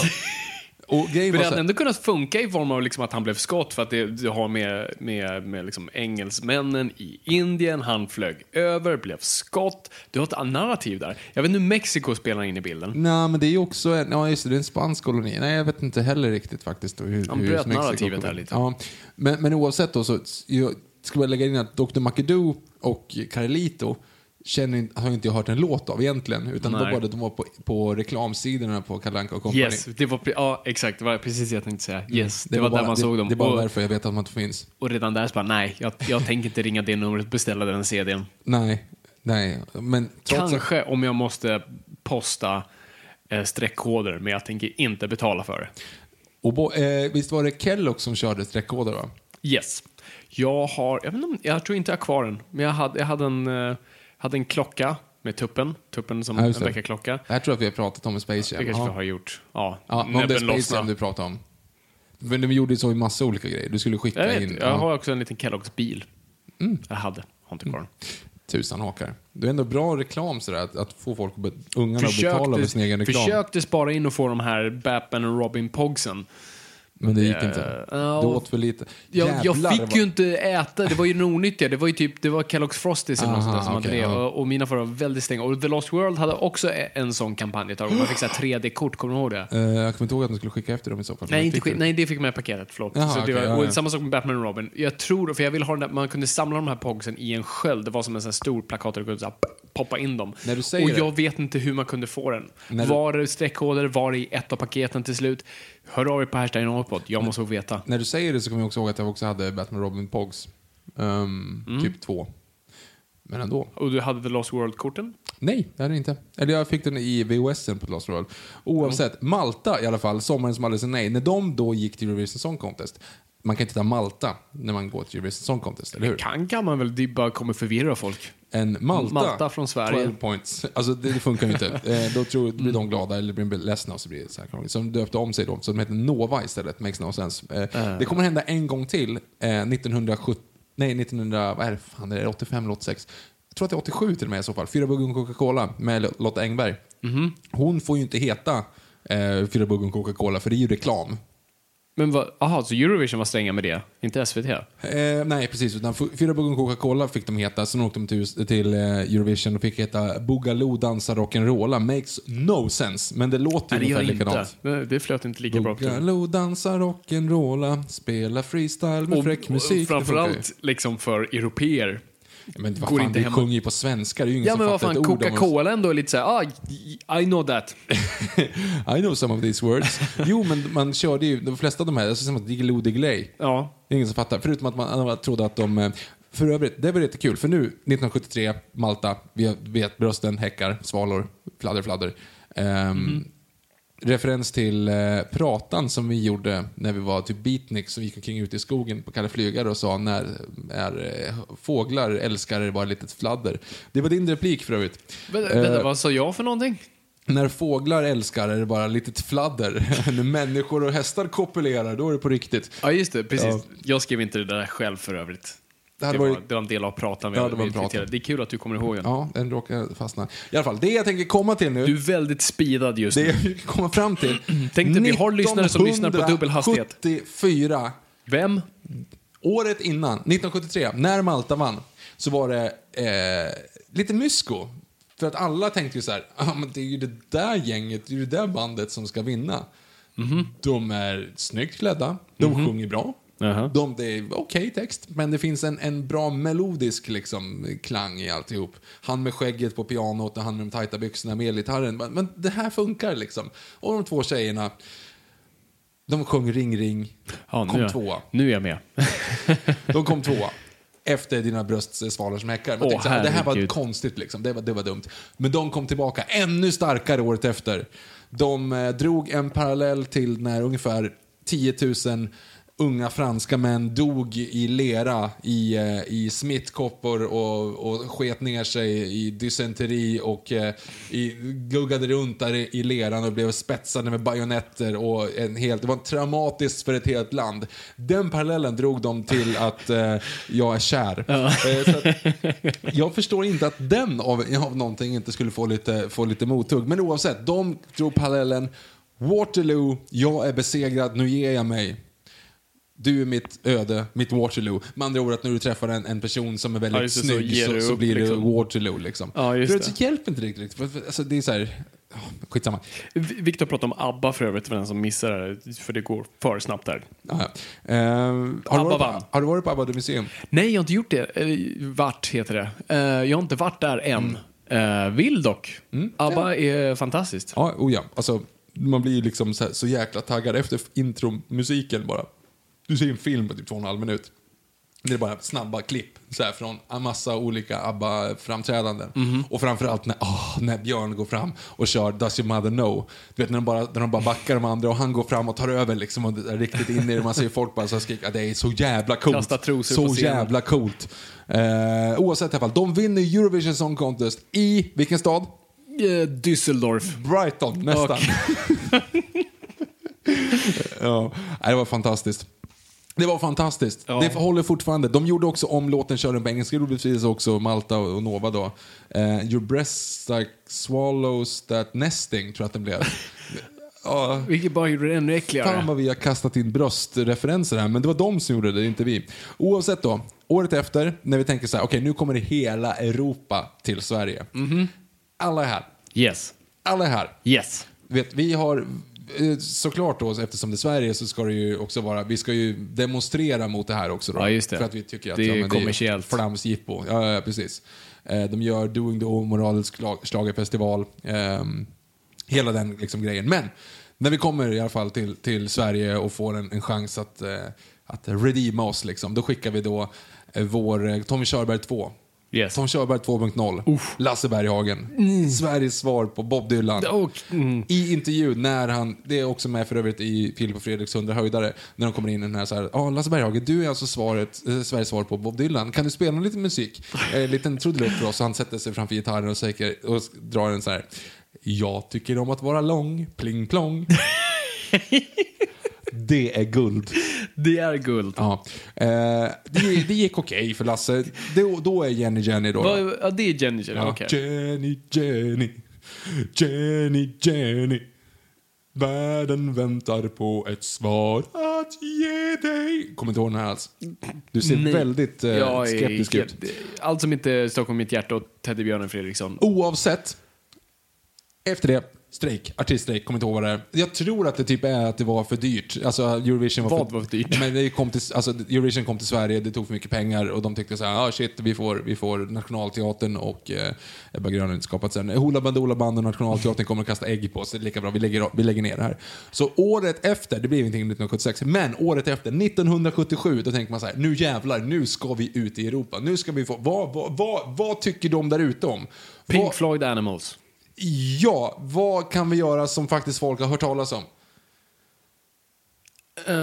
Speaker 1: Och grejen var
Speaker 2: Men det
Speaker 1: så
Speaker 2: hade
Speaker 1: här,
Speaker 2: ändå kunnat funka i form av liksom att han blev skott för att det, det har med, med, med liksom engelsmännen i Indien, han flög över, blev skott. Du har ett narrativ där. Jag vet inte hur Mexiko spelar in i bilden.
Speaker 1: Nej, men det är ju också en, ja, just det, det är en spansk koloni. Nej, jag vet inte heller riktigt faktiskt. då Hur,
Speaker 2: Han
Speaker 1: hur
Speaker 2: bröt
Speaker 1: just Mexiko
Speaker 2: narrativet
Speaker 1: kom
Speaker 2: där
Speaker 1: in.
Speaker 2: lite.
Speaker 1: Ja, men, men oavsett då så jag ska jag lägga in att Dr. McAdoo och Carlito känner, inte- har inte jag hört en låt av egentligen. Utan det var
Speaker 2: Nej.
Speaker 1: bara att de var på, på reklamsidorna på Kalle Anka och Company.
Speaker 2: Yes, det var, pre- ja, exakt, det var precis det jag tänkte säga. Yes, det, var,
Speaker 1: bara,
Speaker 2: där man
Speaker 1: Mm. det,
Speaker 2: såg dem.
Speaker 1: Det är bara
Speaker 2: och,
Speaker 1: därför jag vet att man inte finns.
Speaker 2: och redan där så bara, nej, jag, jag tänker inte ringa det numret och beställa den CDn.
Speaker 1: Nej, nej. Men trots att,
Speaker 2: Kanske om jag måste posta eh, streckkoder, men jag tänker inte betala för det.
Speaker 1: och bo, eh, visst var det Kellogg som körde streckkoder va?
Speaker 2: Yes. Jag har, jag, vet inte, om- jag tror inte jag har kvar den, men jag hade, jag hade, en, eh, hade en klocka med tuppen, tuppen som
Speaker 1: Ja,
Speaker 2: en
Speaker 1: just det.
Speaker 2: väckarklocka.
Speaker 1: Det här tror jag att vi har pratat om i Space
Speaker 2: Det
Speaker 1: Jam.
Speaker 2: kanske vi
Speaker 1: Ja,
Speaker 2: har gjort. Ja,
Speaker 1: ja men om det är
Speaker 2: näbben
Speaker 1: Space Jam
Speaker 2: lossnade.
Speaker 1: du pratar om. Men de gjorde ju så i massa olika grejer. Du skulle skicka
Speaker 2: Jag, vet,
Speaker 1: in
Speaker 2: jag
Speaker 1: ja, Mm.
Speaker 2: har också en liten Kelloggs bil. Jag hade, har inte kvar den.
Speaker 1: tusan hakar. Det är ändå bra reklam sådär, att, att få folk, att be- ungarna att betala för sin egen
Speaker 2: Försökte,
Speaker 1: reklam.
Speaker 2: försökte spara in och få de här Batman och Robin Pogsen.
Speaker 1: Men det gick inte.
Speaker 2: Eh, ja.
Speaker 1: Du åt för lite.
Speaker 2: Jag, jag
Speaker 1: Jävlar,
Speaker 2: fick
Speaker 1: vad-
Speaker 2: ju inte äta, det var ju den onyttiga. Det var ju typ, det var Kellogg's Frosties eller något
Speaker 1: Aha,
Speaker 2: sånt där som
Speaker 1: Ah, okej,
Speaker 2: hade det.
Speaker 1: ja.
Speaker 2: Och, och mina föräldrar var väldigt stränga. Och The Lost World hade också e- en sån kampanj ett tag. Man fick så här 3D-kort, kommer du ihåg det?
Speaker 1: Eh, jag kommer inte ihåg att de skulle skicka efter dem i så fall.
Speaker 2: Nej,
Speaker 1: Men
Speaker 2: inte,
Speaker 1: fick
Speaker 2: skit-
Speaker 1: du?
Speaker 2: nej, det fick man i paketet. Förlåt.
Speaker 1: typ Jaha,
Speaker 2: så det
Speaker 1: okej,
Speaker 2: var,
Speaker 1: ja,
Speaker 2: och
Speaker 1: ja.
Speaker 2: Samma sak med Batman och Robin. Jag tror, för jag vill ha den där, man kunde samla de här pogsen i en sköld. Det var som en sån här stor plakat där du kunde så här, poppa in dem.
Speaker 1: När du säger
Speaker 2: och
Speaker 1: det-
Speaker 2: jag vet inte hur man kunde få den.
Speaker 1: När du-
Speaker 2: Var det streckkoder? Var det i ett av paketen till slut? Hör av er på hashtaggen Hotpod. Jag måste få veta.
Speaker 1: När du säger det så kommer jag också ihåg att jag också hade Batman Robin Pogs. Ehm,
Speaker 2: Mm.
Speaker 1: Typ två. Men ändå.
Speaker 2: Och du hade The Lost World-korten?
Speaker 1: Nej, det hade jag inte. Eller jag fick den i VHSen på Lost World. Oavsett, Malta i alla fall, sommaren som hade sig nej, när de då gick till Eurovision Song Contest. Man kan inte ta Malta när man går till Eurovision Song Contest, eller hur?
Speaker 2: Kan kan man väl, det bara kommer förvirra folk.
Speaker 1: En Malta,
Speaker 2: Malta från Sverige. Mm.
Speaker 1: 12 points. Alltså det, det funkar ju inte. eh, då tror, blir de glada eller blir ledsna och så blir det så här krångligt. Så de döpte om sig då, så de heter Nova istället. Makes no sense. Eh, Det kommer hända en gång till, eh, 1970, nej 1900, vad är det, fan, det är 85 eller 86. Jag tror att det är 87 till och med i så fall. Fyra bugg och en Coca-Cola med Lotta Engberg.
Speaker 2: Mhm.
Speaker 1: Hon får ju inte heta eh, Fyra bugg och en Coca-Cola för det är ju reklam.
Speaker 2: Men vad, aha, så Eurovision var stränga med det? Inte SVT?
Speaker 1: Eh, nej, precis. Utan f- fyra Bugg och Coca-Cola fick de heta. Sen åkte de till, US- till eh, Eurovision och fick heta Boogaloo dansar rock'n'rolla. Makes no sense. Men det låter ju ungefär likadant.
Speaker 2: Nej, Det flöt inte lika bra. på tungan.
Speaker 1: Boogaloo dansar rock'n'rolla, spela freestyle med fräck musik. Det funkar ju.
Speaker 2: framförallt liksom för europeer.
Speaker 1: Men vad
Speaker 2: går
Speaker 1: fan,
Speaker 2: inte
Speaker 1: vi
Speaker 2: hemma.
Speaker 1: sjunger ju på svenska. Det är ju ingen
Speaker 2: Ja
Speaker 1: som
Speaker 2: men vad
Speaker 1: fattar ett
Speaker 2: fan,
Speaker 1: ord om oss.
Speaker 2: Coca-Cola ändå är lite såhär, ah, y- I know that.
Speaker 1: I know some of these words. jo, men man körde ju de flesta av de här, alltså som att Diggiloo Diggiley.
Speaker 2: Ja.
Speaker 1: Det är ingen som fattar. Förutom att man alla trodde att de... eh, För övrigt, det var lite kul. För nu, 1973, Malta, vi vet brösten, häckar, svalor, fladder, fladder. Ehm,
Speaker 2: Mhm.
Speaker 1: Referens till eh, pratan som vi gjorde när vi var typ beatniks och gick omkring ute i skogen på Kalle Flygare och sa när är, eh, fåglar älskar bara litet fladder. Det var din replik för övrigt.
Speaker 2: Vänta,
Speaker 1: Eh,
Speaker 2: vänta, vad sa jag för någonting?
Speaker 1: när fåglar älskar är det bara litet fladder. när människor och hästar kopulerar, då är det på riktigt.
Speaker 2: Ja just det, precis.
Speaker 1: Ja.
Speaker 2: Jag skrev inte det där själv för övrigt.
Speaker 1: Det
Speaker 2: Det,
Speaker 1: hade
Speaker 2: var,
Speaker 1: varit-
Speaker 2: det var en del av pratan vi,
Speaker 1: Ja, det
Speaker 2: det,
Speaker 1: var en prata.
Speaker 2: det är kul att du kommer ihåg den.
Speaker 1: Ja, den råkar fastna. I alla fall, det jag tänker komma till nu,
Speaker 2: Du är väldigt speedad just
Speaker 1: det
Speaker 2: nu.
Speaker 1: jag försöker komma fram till.
Speaker 2: Tänk dig, vi har lyssnare som lyssnar på dubbel hastighet.
Speaker 1: 1974,
Speaker 2: Vem?
Speaker 1: året innan, 1973, när Malta vann, så var det eh, lite mysko. För att alla tänkte ju så här, ah, men det är ju det där gänget, det är ju det där bandet som ska vinna.
Speaker 2: Mhm.
Speaker 1: De är snyggt klädda, de sjunger bra.
Speaker 2: Jaha.
Speaker 1: De, det är okej text, men det finns en, en bra melodisk liksom, klang i alltihop. Han med skägget på pianot och han med de tajta byxorna med elgitarren. Men, men det här funkar liksom. Och de två tjejerna, de sjöng Ring Ring,
Speaker 2: Ja,
Speaker 1: kom
Speaker 2: nu,
Speaker 1: tvåa.
Speaker 2: nu är jag med.
Speaker 1: De kom tvåa. Efter Dina bröst svalor som häckar. Man
Speaker 2: Åh,
Speaker 1: tänkte så här, det här var
Speaker 2: herregud.
Speaker 1: konstigt, liksom. det, var, det var dumt. Men de kom tillbaka ännu starkare året efter. De eh, drog en parallell till när ungefär 10 000 unga franska män dog i lera i, eh, i smittkoppor och, och sket ner sig i dysenteri och eh, i, guggade runt där i, i leran och blev spetsade med bajonetter och en helt, det var traumatiskt för ett helt land. Den parallellen drog de till att eh, jag är kär. Eh, så att, jag förstår inte att den av, av någonting inte skulle få lite, få lite mothugg. Men oavsett, de drog parallellen Waterloo, jag är besegrad, nu ger jag mig. Du är mitt öde, mitt Waterloo. Med andra ord att när du träffar en, en person som är väldigt
Speaker 2: Ja, just det, så
Speaker 1: snygg
Speaker 2: ger
Speaker 1: så,
Speaker 2: du
Speaker 1: så,
Speaker 2: upp,
Speaker 1: blir
Speaker 2: liksom.
Speaker 1: det Waterloo liksom.
Speaker 2: Ja, just
Speaker 1: För att
Speaker 2: det.
Speaker 1: så hjälper inte riktigt. riktigt. För- för- Alltså, det är så här, ja, skitsamma.
Speaker 2: Vi- Viktor pratade om ABBA för övrigt, för den som missar det här, för det går för snabbt där.
Speaker 1: Ja, ja. Ehm, har, du
Speaker 2: Abba
Speaker 1: varit på,
Speaker 2: vann.
Speaker 1: har du varit på Abba Museum?
Speaker 2: Nej, jag har inte gjort det. Eller, vart heter det. Eh, jag har inte varit där än. Eh, vill dock. ABBA är fantastiskt.
Speaker 1: Ja, oh ja. Alltså, man blir ju liksom så, här, så jäkla taggad efter intromusiken bara. Du ser en film på typ två och en halv minut. Det är bara snabba klipp så här, från en massa olika ABBA-framträdanden.
Speaker 2: Mhm.
Speaker 1: Och framförallt när, ah, när Björn går fram och kör Does your mother know? Du vet när de bara, när de bara backar de andra och han går fram och tar över liksom och det är riktigt in i det. Man ser folk bara så här skrika det är så jävla coolt.
Speaker 2: Kasta trosor
Speaker 1: så
Speaker 2: på scenen.
Speaker 1: jävla coolt. Eh, oavsett i alla fall, de vinner Eurovision Song Contest i vilken stad?
Speaker 2: Eh, Düsseldorf.
Speaker 1: Brighton, nästan. ja, nej, det var fantastiskt. Det var fantastiskt.
Speaker 2: Ja.
Speaker 1: Det håller fortfarande. De gjorde också om låten Kör den på engelska. Det gjorde precis också Malta och Nova då. Eh, Your breasts like swallows that nesting, tror jag att den blev. Ja.
Speaker 2: Vilket bara gjorde det ännu
Speaker 1: Fan
Speaker 2: äckligare.
Speaker 1: vad vi har kastat in bröstreferenser här, men det var de som gjorde det, inte vi. Oavsett då, året efter, när vi tänker så här, okej nu kommer det hela Europa till Sverige. Alla är här.
Speaker 2: Yes.
Speaker 1: Alla är här.
Speaker 2: Yes.
Speaker 1: Vet, vi har eh, såklart då, eftersom det är Sverige så ska det ju också vara, vi ska ju demonstrera mot det här också då.
Speaker 2: Ja, just det.
Speaker 1: För att vi tycker att
Speaker 2: Det är
Speaker 1: ja,
Speaker 2: ju
Speaker 1: men
Speaker 2: kommersiellt.
Speaker 1: Det är flamsjippo. Ja, ja, precis. Eh, De gör Doing the Omoralets schlagerfestival. ehm, Hela den liksom grejen. Men när vi kommer i alla fall till, till Sverige och får en, en chans att, eh, att redeema oss, liksom, då skickar vi då eh, vår eh, Tommy Körberg 2.
Speaker 2: Yes.
Speaker 1: Tom Körberg 2.0. Lasse Berghagen. Sveriges svar på Bob Dylan.
Speaker 2: Och- mm.
Speaker 1: I intervju när han, det är också med för övrigt i Filip och Fredriks 100 höjdare, när de kommer in i den här så här, ja Lasse Berghagen, du är alltså svaret, eh, Sveriges svar på Bob Dylan. Kan du spela lite musik? Eh, liten trudelutt för oss. Och Han sätter sig framför gitarren och, säker, och s- drar en så här, jag tycker om att vara lång, pling plong. det är guld.
Speaker 2: Det är guld.
Speaker 1: Ja. Eh, det, det gick okej för Lasse. Det, då är Jenny Jenny då. då.
Speaker 2: Vad- Ja, det är Jenny Jenny.
Speaker 1: Ja.
Speaker 2: okej.
Speaker 1: Jenny, Jenny, Jenny, Jenny. Världen väntar på ett svar att ge dig. Kommer inte ihåg den här alls. Du ser
Speaker 2: Nej.
Speaker 1: väldigt eh,
Speaker 2: Jag är-
Speaker 1: skeptisk ut.
Speaker 2: Allt som inte Stockholm mitt hjärta och Teddybjörnen Fredriksson.
Speaker 1: Oavsett. Efter det, strejk. Artiststrejk, kommer inte ihåg vad det är. Jag tror att det typ är att det var för dyrt. Alltså Eurovision var
Speaker 2: Vad var för dyrt?
Speaker 1: Men det kom till, alltså, Eurovision kom till Sverige, det tog för mycket pengar och de tyckte så här, ah, shit, vi får, vi får Nationalteatern och eh, Ebba Grönlund skapat sen. Hoola Bandoola Band och Nationalteatern kommer att kasta ägg på oss, det är lika bra, vi lägger, vi lägger ner det här. Så året efter, det blev ingenting 1976, men året efter, 1977, då tänker man så här, nu jävlar, nu ska vi ut i Europa. Nu ska vi få, vad, vad, vad, vad tycker de där ute om?
Speaker 2: Pink
Speaker 1: Vad-
Speaker 2: Floyd Animals.
Speaker 1: Ja, vad kan vi göra som faktiskt folk har hört talas om?
Speaker 2: Eh,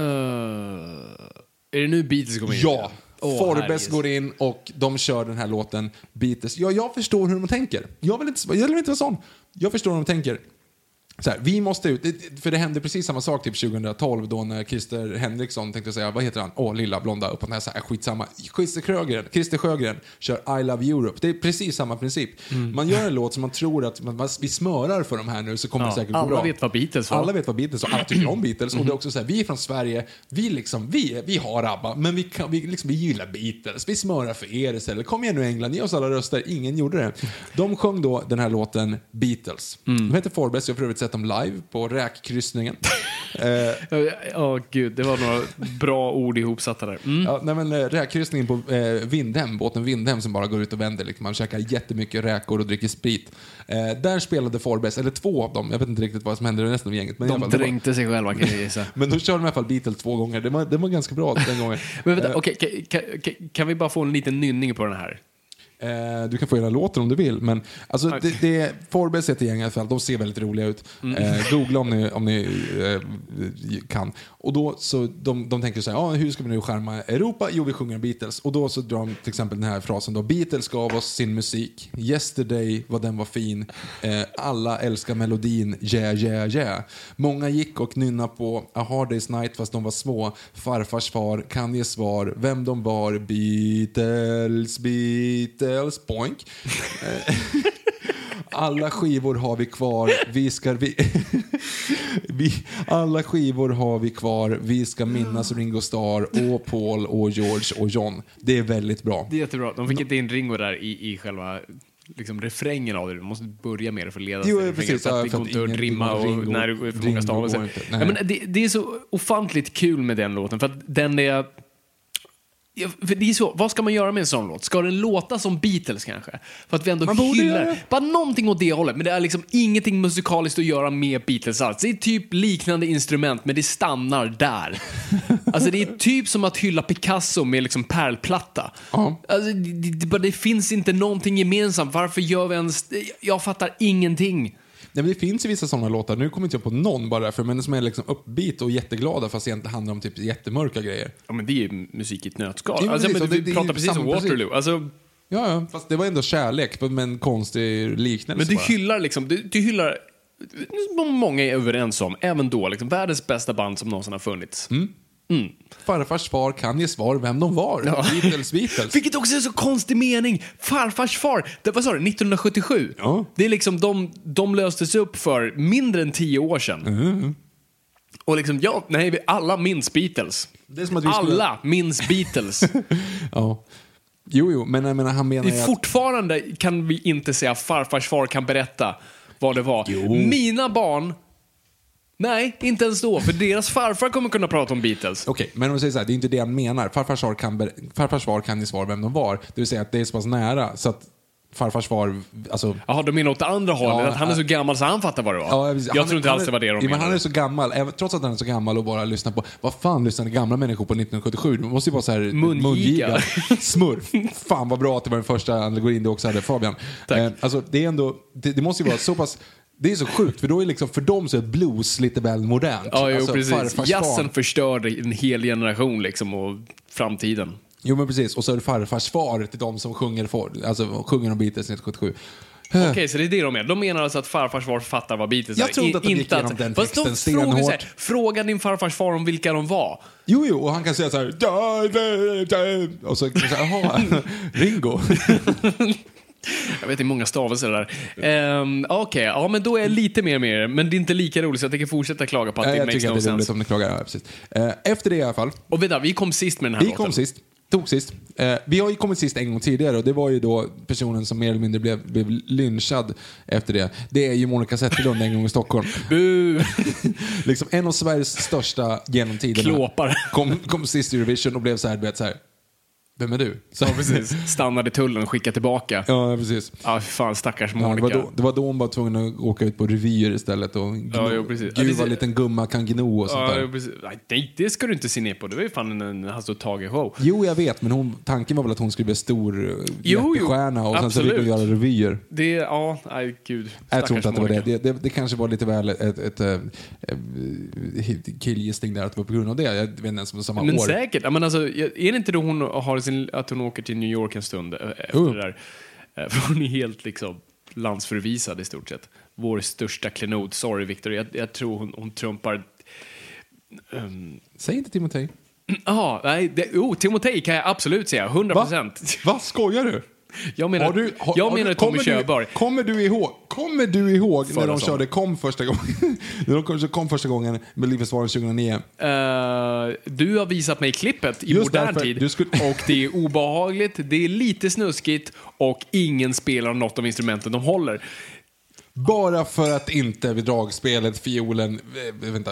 Speaker 2: är det nu Beatles kommer in?
Speaker 1: Ja,
Speaker 2: Åh,
Speaker 1: Forbes
Speaker 2: herregud.
Speaker 1: går in och de kör den här låten Beatles. Ja, jag förstår hur de tänker. Jag vill inte, jag vill inte vara sån. Jag förstår hur de tänker. Så här, vi måste ut, det- för det hände precis samma sak typ 2012 då när Christer Henriksson tänkte säga, vad heter han? Åh, lilla blonda upp på näsan, äh, skitsamma. Christer Sjögren, Christer Sjögren kör I Love Europe. Det är precis samma princip.
Speaker 2: Mm.
Speaker 1: Man gör en låt som man tror att man, man, vi smörar för de här nu så kommer det
Speaker 2: Ja,
Speaker 1: säkert gå
Speaker 2: alla
Speaker 1: bra.
Speaker 2: vet vad Beatles var.
Speaker 1: Alla vet vad Beatles var, alla tycker
Speaker 2: Mm.
Speaker 1: om Beatles.
Speaker 2: Mm-hmm.
Speaker 1: Och det är också så här, vi är från Sverige, vi, liksom, vi, vi har ABBA, men vi, kan, vi, liksom, vi gillar Beatles. Vi smörar för er istället. Kom igen nu England, ge oss alla röster. Ingen gjorde det. De sjöng då den här låten Beatles.
Speaker 2: Mm.
Speaker 1: De heter Forbes, jag har för övrigt sett dem live på räkkryssningen.
Speaker 2: Ja, ja, gud, det var några bra ord ihopsatta där. Mm.
Speaker 1: Ja, nej, men, eh, räkkryssningen på eh, Vindhem, båten Vindhem som bara går ut och vänder. Liksom. Man käkar jättemycket räkor och dricker sprit. Eh, där spelade Forbes, eller två av dem, jag vet inte riktigt vad som hände med resten av gänget. Men i alla
Speaker 2: De
Speaker 1: fall, det var-
Speaker 2: dränkte sig själva kan jag gissa.
Speaker 1: Men då körde de i alla fall Beatles två gånger. Det var, det var ganska bra den gången.
Speaker 2: Men vänta, okej, kan, kan, kan vi bara få en liten nynning på den här?
Speaker 1: Eh, du kan få hela låten om du vill. Men alltså, det, det, Forbes heter gänget i alla fall. De ser väldigt roliga ut. Eh, googla om ni, om ni eh, kan. Och då så de, de tänker så här, ah, hur ska vi nu skärma Europa? Jo, vi sjunger Beatles. Och då så drar de till exempel den här frasen då. Beatles gav oss sin musik. Yesterday, vad den var fin. Eh, alla älskar melodin. Yeah, yeah, yeah. Många gick och nynna på A Hard Day's Night fast de var små. Farfars far kan ge svar. Vem de var. Beatles, Beatles, boink. Eh, Alla skivor har vi kvar. Vi ska... Vi, vi, alla skivor har vi kvar. Vi ska minnas Ringo Starr och Paul och George och John. Det är väldigt bra.
Speaker 2: Det är jättebra. De fick inte in Ringo där i, i själva liksom, refrängen av det. Du måste börja med det för att leda
Speaker 1: Jo,
Speaker 2: sig till refrängen,
Speaker 1: precis.
Speaker 2: så att
Speaker 1: Ja,
Speaker 2: det
Speaker 1: för
Speaker 2: går
Speaker 1: att
Speaker 2: inte att
Speaker 1: ingen-
Speaker 2: rimma och
Speaker 1: Ringo-
Speaker 2: när det är för
Speaker 1: Ringo
Speaker 2: många stavelser.
Speaker 1: går inte.
Speaker 2: Ja,
Speaker 1: Nej.
Speaker 2: men det, det är så ofantligt kul med den låten, för att den är... Ja, För det är så, vad ska man göra med en sån låt? Ska den låta som Beatles kanske? För att vi ändå
Speaker 1: Man borde
Speaker 2: hyllar...
Speaker 1: göra det.
Speaker 2: Bara någonting åt det hållet, men det är liksom ingenting musikaliskt att göra med Beatles alls. Det är typ liknande instrument, men det stannar där. Alltså det är typ som att hylla Picasso med liksom pärlplatta.
Speaker 1: Ja.
Speaker 2: Alltså, det, det, det, bara- det finns inte någonting gemensamt. Varför gör vi ens... Jag fattar ingenting.
Speaker 1: Nej, men det finns ju vissa sådana låtar, nu kommer inte jag på någon bara därför, men som är liksom uppbeat och jätteglada fast egentligen handlar om typ jättemörka grejer.
Speaker 2: Ja, men det är ju musik i ett nötskal.
Speaker 1: Ja, men
Speaker 2: alltså,
Speaker 1: precis,
Speaker 2: men
Speaker 1: och
Speaker 2: du
Speaker 1: det- det är
Speaker 2: pratar
Speaker 1: ju
Speaker 2: precis om
Speaker 1: samma princip.
Speaker 2: Waterloo. Alltså,
Speaker 1: Ja, ja, fast det var ändå kärlek men en konstig liknelse
Speaker 2: men du
Speaker 1: bara.
Speaker 2: hyllar liksom... Du, du hyllar... Som många är överens om, även då, liksom, världens bästa band som någonsin har funnits.
Speaker 1: Farfars far kan ge svar vem de var. Beatles, Beatles.
Speaker 2: Vilket också är en så konstig mening. Farfars far, det, vad sa du, 1977?
Speaker 1: Ja.
Speaker 2: Det är liksom, de, de löstes upp för mindre än tio år sedan.
Speaker 1: Mm,
Speaker 2: Och liksom, ja, nej, vi alla minns Beatles.
Speaker 1: Det är som att vi skulle-
Speaker 2: alla minns Beatles.
Speaker 1: Ja. Jo, jo, men jag menar, han menar
Speaker 2: Det
Speaker 1: ju
Speaker 2: är
Speaker 1: att...
Speaker 2: fortfarande kan vi inte säga farfars far kan berätta vad det var.
Speaker 1: Jo.
Speaker 2: Mina barn, nej, inte ens då. För deras farfar kommer kunna prata om Beatles.
Speaker 1: Okej, men om vi säger så här, det är inte det han menar. Farfars far kan, ber- farfars far kan ge svar vem de var. Det vill säga att det är så pass nära så att farfars far, alltså...
Speaker 2: Jaha, de menar åt det andra hållet,
Speaker 1: Ja,
Speaker 2: att han är så gammal så han fattar vad det var.
Speaker 1: Ja,
Speaker 2: jag
Speaker 1: precis.
Speaker 2: tror inte
Speaker 1: han
Speaker 2: alls
Speaker 1: är-
Speaker 2: det var det de
Speaker 1: jo, men Han är
Speaker 2: menade.
Speaker 1: så gammal, även- trots att han är så gammal och bara lyssnar på, vad fan lyssnade gamla människor på 1977? Det måste ju vara så här
Speaker 2: Mungiga.
Speaker 1: Smurf. Fan vad bra att det var den första allegorin du också hade Fabian.
Speaker 2: Tack.
Speaker 1: alltså, det är ändå, det, det måste ju vara så pass, det är så sjukt för då är liksom, för dem så är blues lite väl modernt.
Speaker 2: Ja, jo,
Speaker 1: Alltså, farfars
Speaker 2: precis. Jazzen
Speaker 1: barn.
Speaker 2: förstörde en hel generation liksom och framtiden.
Speaker 1: Jo men precis, och så är det farfars far till de som sjunger, för, alltså, sjunger om Beatles 1977.
Speaker 2: Okej, så det är det de menar. De menar alltså att farfars far fattar vad Beatles
Speaker 1: Jag
Speaker 2: är.
Speaker 1: tror inte att de
Speaker 2: I-
Speaker 1: gick igenom den
Speaker 2: Fast de
Speaker 1: texten
Speaker 2: frågar ju så
Speaker 1: stenhårt.
Speaker 2: här, Fråga din farfars far om vilka de var.
Speaker 1: Jo, jo, och han kan säga så här... "Da, da, da", Och så kan man säga, jaha, Ringo.
Speaker 2: Jag vet, det är många stavelser där. Ehm, Okej, ja men då är jag lite mer med er. Men det är inte lika roligt så jag tänker fortsätta klaga på att
Speaker 1: Ja,
Speaker 2: det
Speaker 1: jag
Speaker 2: makes
Speaker 1: tycker
Speaker 2: no
Speaker 1: att det är roligt
Speaker 2: sense.
Speaker 1: om ni klagar. Ja, precis. Eh, efter det i alla fall.
Speaker 2: Och vänta, vi kom sist med den här
Speaker 1: Vi
Speaker 2: låten.
Speaker 1: kom sist. Tog sist. Eh, vi har ju kommit sist en gång tidigare och det var ju då personen som mer eller mindre blev, blev lynchad efter det. Det är ju Monica Zetterlund en gång i Stockholm.
Speaker 2: Bu!
Speaker 1: liksom en av Sveriges största genom tiderna.
Speaker 2: Klåpare.
Speaker 1: Kom, kom sist i Eurovision och blev så här, du vet, så här. Vem är du? Så,
Speaker 2: Ja, precis. Stannade tullen och skickade tillbaka. Ja,
Speaker 1: ja, precis.
Speaker 2: ah, fan stackars
Speaker 1: Ja, det,
Speaker 2: Monica.
Speaker 1: var då, det var då hon var tvungen att åka ut på revyer istället och gno,
Speaker 2: Ja, jo, precis. Ja,
Speaker 1: gud
Speaker 2: det-
Speaker 1: vad liten gumma kan gno och sånt
Speaker 2: Ja,
Speaker 1: där.
Speaker 2: precis. Nej, det- det ska du inte se ner på. Det var ju fan en Hasse och Tage-show.
Speaker 1: Jo, jag vet, men hon, tanken var väl att hon skulle bli stor eh,
Speaker 2: jo,
Speaker 1: jättestjärna och sen så
Speaker 2: absolut.
Speaker 1: fick hon göra revyer.
Speaker 2: Det, ja, nej gud.
Speaker 1: Jag tror inte att det var det.
Speaker 2: Stackars Monica.
Speaker 1: Det, det. det kanske var lite väl ett, ett, ett, eh, eh, killgissning där att det var på grund av det. Jag vet inte ens om det var samma
Speaker 2: Men
Speaker 1: år.
Speaker 2: säkert. Ja, men alltså, är det inte då hon har sin, att hon åker till New York en stund eh, efter
Speaker 1: Jo.
Speaker 2: det där? Eh, För hon är helt liksom landsförvisad i stort sett. Vår största klenod. Sorry Victor, jag, jag tror hon, hon trumpar... ehm,
Speaker 1: Säg inte Timotej.
Speaker 2: Jaha, nej, det, oh, Timotej kan jag absolut säga. 100
Speaker 1: Va?
Speaker 2: procent.
Speaker 1: Va? Skojar du?
Speaker 2: Jag menar,
Speaker 1: Har du- har-
Speaker 2: jag
Speaker 1: har
Speaker 2: menar
Speaker 1: du-
Speaker 2: Tommy
Speaker 1: kommer du-
Speaker 2: Körberg.
Speaker 1: Kommer du ihåg, kommer du ihåg när
Speaker 2: Förra
Speaker 1: de
Speaker 2: sommaren.
Speaker 1: körde kom första gången? när de kom, kom första gången med Livsvaren 2009?
Speaker 2: Eh, du har visat mig klippet i
Speaker 1: Just
Speaker 2: modern
Speaker 1: därför,
Speaker 2: tid
Speaker 1: du skulle-
Speaker 2: och det är obehagligt, det är lite snuskigt och ingen spelar något av instrumenten de håller.
Speaker 1: Bara för att inte vid dragspelet, fiolen, eh, vänta,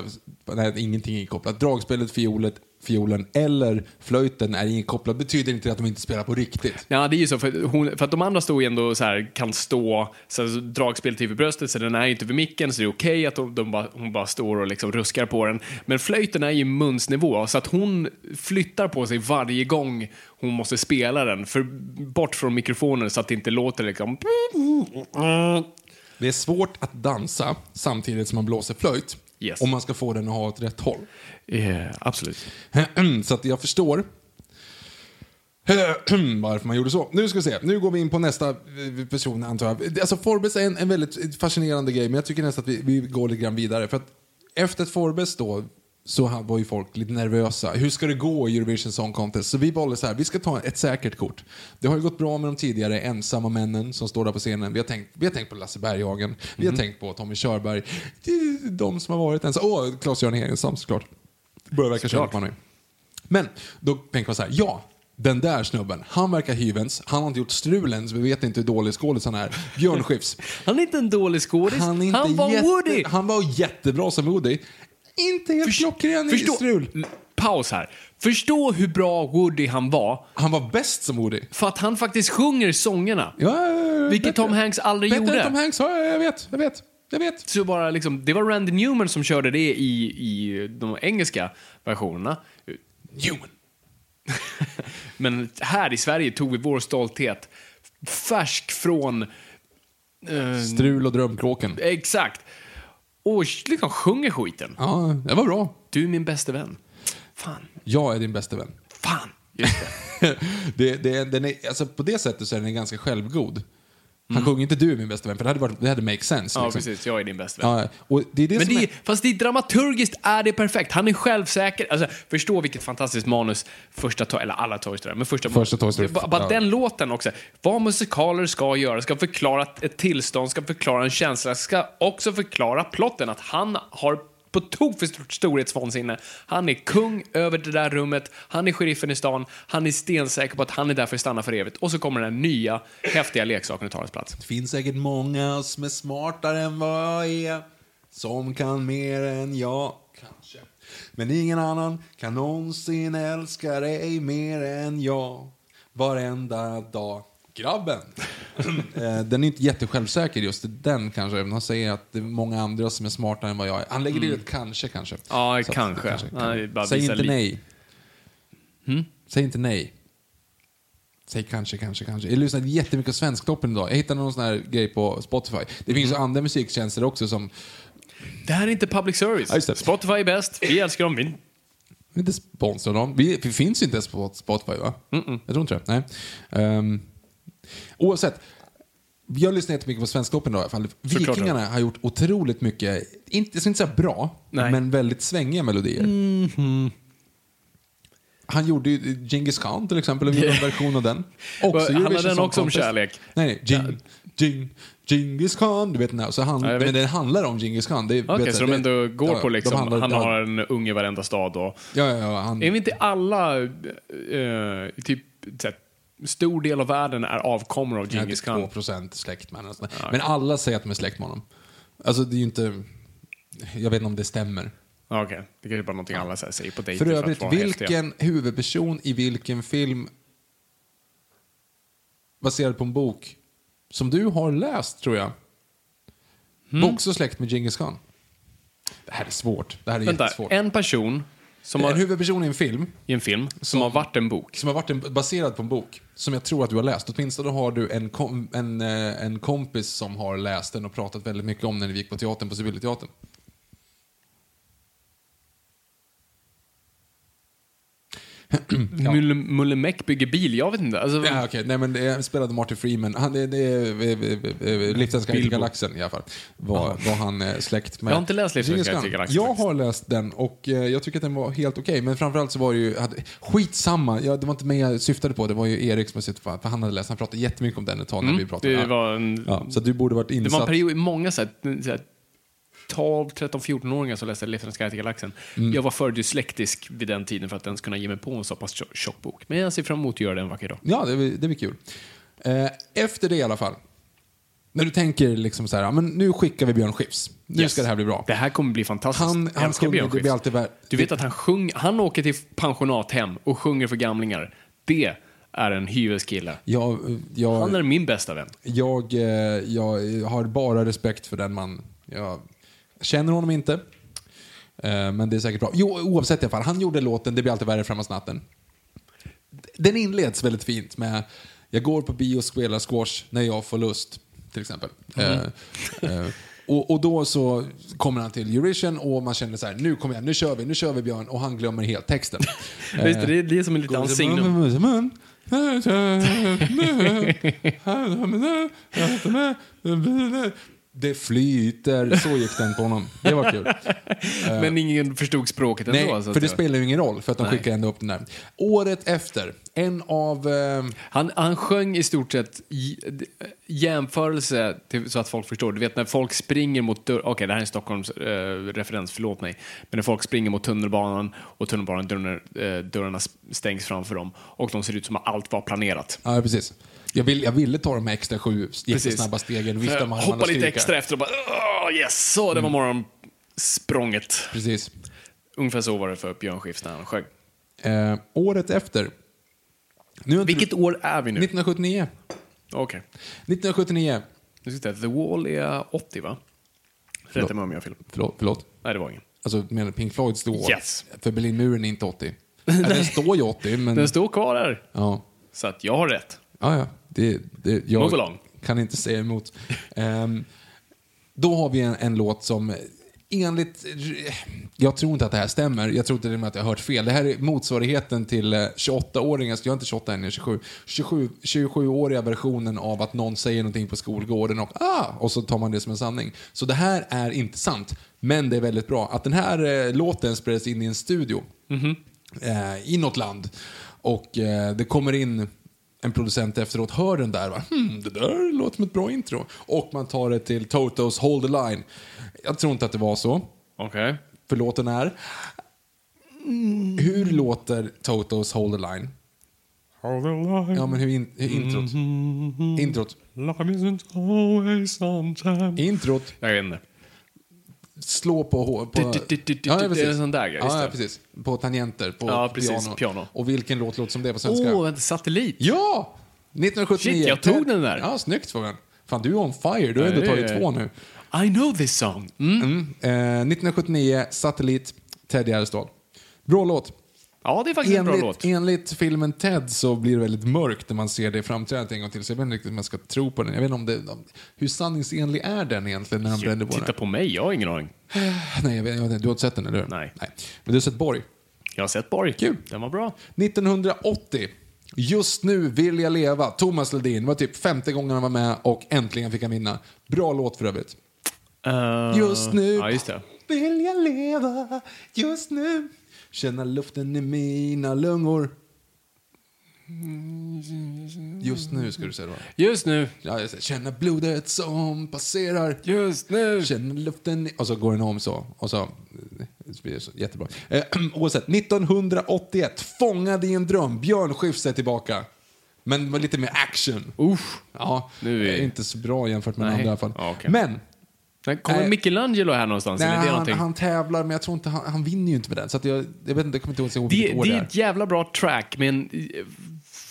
Speaker 1: nej, ingenting är inkopplat. Dragspelet, fiolet, fiolen eller flöjten är inkopplad betyder inte att de inte spelar på riktigt.
Speaker 2: Ja, det är ju så, för, hon, för att de andra står ju ändå så här, kan stå, så här, så dragspel till vid bröstet, så den är ju inte vid micken, så det är okej att de, de bara, hon bara står och liksom ruskar på den. Men flöjten är ju munsnivå, så att hon flyttar på sig varje gång hon måste spela den, för, bort från mikrofonen så att det inte låter liksom...
Speaker 1: Det är svårt att dansa samtidigt som man blåser flöjt.
Speaker 2: Yes.
Speaker 1: Om man ska få den att ha åt rätt håll.
Speaker 2: Yeah, absolut.
Speaker 1: Så att jag förstår Eh, varför man gjorde så. Nu ska vi se, nu går vi in på nästa eh, person antar jag. Alltså Forbes är en, en väldigt fascinerande grej men jag tycker nästan att vi, vi går lite grann vidare. För att efter Forbes då så ha- var ju folk lite nervösa. Hur ska det gå i Eurovision Song Contest? Så vi valde så här, vi ska ta ett säkert kort. Det har ju gått bra med de tidigare ensamma männen som står där på scenen. Vi har tänkt, vi har tänkt på Lasse Berghagen, vi har tänkt på Tommy Körberg. Det är De som har varit ensamma. Åh, Claes-Göran Hedenstam såklart. Det börjar verka
Speaker 2: Såklart.
Speaker 1: känt man nu. Men då tänker man så här, ja, den där snubben, han verkar hyvens, han har inte gjort strulen så vi vet inte hur dålig skådis han är. Björn Skifs.
Speaker 2: Han är inte en dålig skådis, han,
Speaker 1: är inte
Speaker 2: var
Speaker 1: jätte-
Speaker 2: Woody!
Speaker 1: Han var jättebra som Woody. Inte helt klockren i
Speaker 2: Förstå,
Speaker 1: strul.
Speaker 2: L- Paus här. Förstå hur bra Woody han var,
Speaker 1: Han var bäst som Woody.
Speaker 2: för att han faktiskt sjunger sångerna.
Speaker 1: Ja,
Speaker 2: Vilket Tom Hanks aldrig
Speaker 1: bättre
Speaker 2: gjorde.
Speaker 1: Än Tom Hanks, ja, jag vet, jag vet, jag vet.
Speaker 2: Så bara liksom, det var Randy Newman som körde det i, i de engelska versionerna.
Speaker 1: Newman.
Speaker 2: Men här i Sverige tog vi vår stolthet färsk från... eh,
Speaker 1: Strul och drömkråken.
Speaker 2: exakt. Och liksom sjunger skiten.
Speaker 1: Ja, det var bra.
Speaker 2: Du är min bästa vän. Fan.
Speaker 1: Jag är din bästa vän.
Speaker 2: Fan. Just det.
Speaker 1: det, det, den är, alltså på det sättet så är den ganska självgod. Han sjunger inte du är min bästa vän, för det hade, varit, det hade make sense.
Speaker 2: Mm. Ja,
Speaker 1: liksom.
Speaker 2: precis. Jag är din bästa vän.
Speaker 1: Ja, och det är det
Speaker 2: Men
Speaker 1: som
Speaker 2: det,
Speaker 1: är...
Speaker 2: är- fast det är dramaturgiskt är det perfekt. Han är självsäker. Alltså, förstå vilket fantastiskt manus första, To- eller alla Toy Story, men första,
Speaker 1: Första Toy Story,
Speaker 2: Bara, bara
Speaker 1: ja.
Speaker 2: den låten också. Vad musikaler ska göra, ska förklara ett tillstånd, ska förklara en känsla, ska också förklara plotten. Att han har på tok för stort storhetsvansinne. Han är kung över det där rummet, han är sheriffen i stan, han är stensäker på att han är där för att stanna för evigt. Och så kommer den här nya, häftiga leksaken och tar hans plats.
Speaker 1: Det finns säkert många som är smartare än vad jag är. Som kan mer än jag, kanske. Men ingen annan kan någonsin älska dig mer än jag. Varenda dag. Grabben! Eh, den är inte jättesjälvsäker just den kanske. även om Han säger att det är många andra som är smartare än vad jag är. Han lägger till ett kanske kanske.
Speaker 2: Ja,
Speaker 1: Så att-
Speaker 2: kanske. Ja, det är bara Hmm?
Speaker 1: Säg
Speaker 2: visa
Speaker 1: inte
Speaker 2: lite-
Speaker 1: nej. Säg inte nej. Säg kanske, kanske, kanske. Jag lyssnade jättemycket på Svensktoppen idag. Jag hittade någon sån här grej på Spotify. Det finns ju andra musiktjänster också som...
Speaker 2: Det här är inte public service.
Speaker 1: Ja, just det.
Speaker 2: Spotify är bäst, vi älskar dem, vi
Speaker 1: Vi är inte sponsrade av dem. Vi, vi finns ju inte ens på Spotify va? Jag tror inte det. Nej. Ehm, oavsett. Jag lyssnar jättemycket på Svensktoppen idag i alla fall.
Speaker 2: Såklart.
Speaker 1: Vikingarna har gjort otroligt mycket, inte, jag ska inte säga bra,
Speaker 2: Nej. Mm-hmm.
Speaker 1: men väldigt svängiga melodier. Han gjorde ju Genghis Khan till exempel, och gjorde en version av den.
Speaker 2: Vad-
Speaker 1: Också
Speaker 2: handlar
Speaker 1: Eurovision
Speaker 2: den
Speaker 1: Song
Speaker 2: också om
Speaker 1: Contest.
Speaker 2: kärlek?
Speaker 1: Nej, nej. Jing, Jing, Genghis Khan, du vet den här. Så han,
Speaker 2: Ja, jag vet.
Speaker 1: men den handlar om Genghis Khan. Okej,
Speaker 2: Okej, så de ändå går på liksom, han har en unge i varenda stad och...
Speaker 1: Ja, ja, ja, han,
Speaker 2: Är vi inte alla, eh, typ, så här, stor del av världen är avkommor av Djingis
Speaker 1: Ja, det är
Speaker 2: Khan?
Speaker 1: 2% släkt med honom. Men alla säger att de är släkt med honom. Alltså det är ju inte... Jag vet inte om det stämmer.
Speaker 2: Ja, Okej, det kanske bara är någonting alla så här, säger på dejter
Speaker 1: För
Speaker 2: för,
Speaker 1: övrigt,
Speaker 2: att vara häftiga.
Speaker 1: vilken huvudperson i vilken film baserad på en bok som du har läst, tror jag,
Speaker 2: Hmm?
Speaker 1: var också släkt med Genghis Khan? Det här är svårt. Det här är
Speaker 2: Vänta,
Speaker 1: jättesvårt. Eh, En,
Speaker 2: en person som har,
Speaker 1: huvudperson i en film
Speaker 2: i en film som har varit en bok.
Speaker 1: som har varit en, baserad på en bok som jag tror att du har läst. Åtminstone har du en, kom, en, eh, en kompis som har läst den och pratat väldigt mycket om den när vi gick på teatern på Sibylleteatern.
Speaker 2: Mulle, Mulle Meck bygger bil, jag vet inte. Alltså,
Speaker 1: Ja, okej. Nej, men det spelade Martin Freeman. Han, det, det är Livsens guide till
Speaker 2: Bilbo.
Speaker 1: galaxen i alla fall. Var, var han eh, släkt med.
Speaker 2: Jag har inte läst Livsens
Speaker 1: Genghis
Speaker 2: guide
Speaker 1: Khan.
Speaker 2: till galaxen
Speaker 1: Jag
Speaker 2: faktiskt.
Speaker 1: har läst den och eh, jag tycker att den var helt okej. Men framförallt så var det ju, hade, skitsamma, ja, det var inte mig jag syftade på. Det var ju Erik som jag syftade på. För han hade läst, han pratade jättemycket om den ett tag när vi pratade.
Speaker 2: Mm. det
Speaker 1: Ja.
Speaker 2: var en-
Speaker 1: ja, så du borde varit
Speaker 2: Det
Speaker 1: insatt.
Speaker 2: var en period, många så här, så här, 12, 13, 14-åringar som läste Leftens Guide till Galaxen.
Speaker 1: Mm.
Speaker 2: Jag var för dyslektisk vid den tiden för att ens kunna ge mig på en så pass tjo- tjock bok. Men jag ser fram emot att göra det en vacker dag.
Speaker 1: Ja, det, det blir kul. Eh, efter det i alla fall. När du tänker liksom så här, ja, men nu skickar vi Björn Skifs. Nu
Speaker 2: Yes.
Speaker 1: ska det här bli bra.
Speaker 2: Det här kommer bli fantastiskt.
Speaker 1: Han- han
Speaker 2: Älskar
Speaker 1: sjunger,
Speaker 2: Björn
Speaker 1: det
Speaker 2: Skifs.
Speaker 1: blir alltid värt-
Speaker 2: Du vet att han sjung, han åker till pensionathem och sjunger för gamlingar. Det är en hyveskille.
Speaker 1: Jag, jag,
Speaker 2: Han är min bästa vän.
Speaker 1: jag, eh, jag har bara respekt för den man. Jag känner honom inte. Eh, Men det är säkert bra. Jo, oavsett i alla fall. Han gjorde låten Det blir alltid värre framåt natten. Den inleds väldigt fint med Jag går på bio och spelar squash när jag får lust. Till exempel.
Speaker 2: Mm.
Speaker 1: Eh, eh, och, och då så kommer han till Eurovision och man känner så här, nu kommer jag, nu kör vi, nu kör vi Björn. Och han glömmer helt texten.
Speaker 2: Visst, det är det är som en liten signum.
Speaker 1: Det flyter. Så gick den på honom. Det var kul.
Speaker 2: Men ingen förstod språket ändå.
Speaker 1: Nej,
Speaker 2: så att
Speaker 1: för det
Speaker 2: säga.
Speaker 1: spelar ju ingen roll för att de
Speaker 2: Nej.
Speaker 1: skickar ändå upp den där. Året efter, en av... Eh,
Speaker 2: Han, han sjöng i stort sett i, d- jämförelse till, så att folk förstår. Du vet när folk springer mot dörren, okej det här är en Stockholms eh, referens, förlåt mig. Men när folk springer mot tunnelbanan och tunnelbanan dörren, eh, dörrarna s- stängs framför dem och de ser ut som att allt var planerat.
Speaker 1: ja, precis. Jag, vill, jag ville ta de här extra sju jättesnabba stegen, vifta med armarna
Speaker 2: Eh, Hoppa
Speaker 1: och Mm.
Speaker 2: lite
Speaker 1: skrika.
Speaker 2: extra efter och bara "Åh, yes, så det var morgonsprånget.
Speaker 1: Precis.
Speaker 2: Ungefär så var det för Björn Skifs när han sjöng.
Speaker 1: Eh, året efter. Nu är inte-
Speaker 2: Vilket år är vi nu?
Speaker 1: 1979.
Speaker 2: Okej.
Speaker 1: 1979.
Speaker 2: Nu ska vi titta. The Wall är 80 va? Rätta mig om jag har fel.
Speaker 1: Förlåt, förlåt.
Speaker 2: Nej det var ingen.
Speaker 1: Alltså menar du Pink Floyds då?
Speaker 2: Yes.
Speaker 1: För Berlinmuren är inte 80. Eller, den står ju 80, men...
Speaker 2: Den står kvar där.
Speaker 1: Ja.
Speaker 2: Så att jag har rätt.
Speaker 1: Ja, ja. Det, det, jag
Speaker 2: Move along.
Speaker 1: kan inte säga emot. Ehm, då har vi en, en låt som enligt... Jag tror inte att det här stämmer. Jag tror till och med att jag har hört fel. Det här är motsvarigheten till eh, 28-åringar. Jag är inte 28 än, jag är 27. 27 27-åriga versionen av att någon säger någonting på skolgården och ah! Och så tar man det som en sanning. Så det här är inte sant. Men det är väldigt bra. Att den här eh, låten spelades in i en studio eh, i något land. Och eh, det kommer in en producent efteråt, hör den där, va? Hmm, det där låter som ett bra intro. Och man tar det till Totos Hold the Line. Jag tror inte att det var så,
Speaker 2: Okej.
Speaker 1: för låten är... Hur låter Totos Hold the Line?
Speaker 2: Hold the line.
Speaker 1: Ja, men hur, in, hur introt? Introt.
Speaker 2: Love isn't always sometimes.
Speaker 1: Introt.
Speaker 2: Jag vet inte.
Speaker 1: Slå på... hå- på
Speaker 2: Du, du, du, du, du,
Speaker 1: Ja,
Speaker 2: det
Speaker 1: ja,
Speaker 2: är
Speaker 1: precis.
Speaker 2: en sån där grej, just
Speaker 1: Ja, ja,
Speaker 2: det.
Speaker 1: precis. På tangenter, på
Speaker 2: Ja, precis,
Speaker 1: piano.
Speaker 2: piano.
Speaker 1: Och vilken låt låter som det på
Speaker 2: Åh,
Speaker 1: svenska?
Speaker 2: vänta, satellit.
Speaker 1: Ja! 1979.
Speaker 2: Shit, jag tog den där.
Speaker 1: Ja, snyggt Fabian. Fan, du är on fire. Du har
Speaker 2: Ja,
Speaker 1: ändå
Speaker 2: det
Speaker 1: tagit
Speaker 2: är-
Speaker 1: två nu.
Speaker 2: I know this song. Mm.
Speaker 1: Mm. Eh, 1979, Satellit, Ted Gärdestad. Bra låt.
Speaker 2: Ja, det är faktiskt en bra låt.
Speaker 1: Enligt, enligt filmen Ted så blir det väldigt mörkt när man ser det framträdandet en gång till. Så jag vet inte riktigt om jag ska tro på den. Jag vet inte om det, om, hur sanningsenlig är den egentligen när han brände på
Speaker 2: Titta
Speaker 1: den?
Speaker 2: på mig, jag har ingen aning.
Speaker 1: Nej, jag vet, jag vet, inte. du har inte sett den, eller hur?
Speaker 2: Nej.
Speaker 1: Nej. Men du har sett Borg?
Speaker 2: Jag har sett Borg.
Speaker 1: Kul.
Speaker 2: Den var bra.
Speaker 1: 1980. Just nu vill jag leva. Thomas Ledin. Det var typ femte gången han var med och äntligen fick han vinna. Bra låt för övrigt.
Speaker 2: Eh,
Speaker 1: Uh, Just nu
Speaker 2: Ja, just det.
Speaker 1: vill jag leva. Just nu känna luften i mina lungor. Just nu ska du säga det va?
Speaker 2: Just nu.
Speaker 1: Ja, jag säger, Känna blodet som passerar.
Speaker 2: Just nu.
Speaker 1: Känner luften i- Och så går den om så. Och så det blir så jättebra. Eh, oavsett, 1981. Fångad i en dröm. Björn Skifs är tillbaka. Men med lite mer action.
Speaker 2: Usch.
Speaker 1: Ja,
Speaker 2: Nu är-
Speaker 1: inte så bra jämfört med
Speaker 2: Nej.
Speaker 1: andra i alla fall.
Speaker 2: Ja, okej.
Speaker 1: Men
Speaker 2: Men Kommer
Speaker 1: Nej.
Speaker 2: Michelangelo här någonstans?
Speaker 1: Nej,
Speaker 2: eller är Alltså, det
Speaker 1: han,
Speaker 2: någonting?
Speaker 1: han tävlar, men jag tror inte han, han vinner ju inte med den. Så att jag, jag vet inte, jag kommer inte ihåg så
Speaker 2: det,
Speaker 1: vilket år
Speaker 2: det
Speaker 1: det
Speaker 2: är
Speaker 1: är.
Speaker 2: ett jävla bra track med en eh,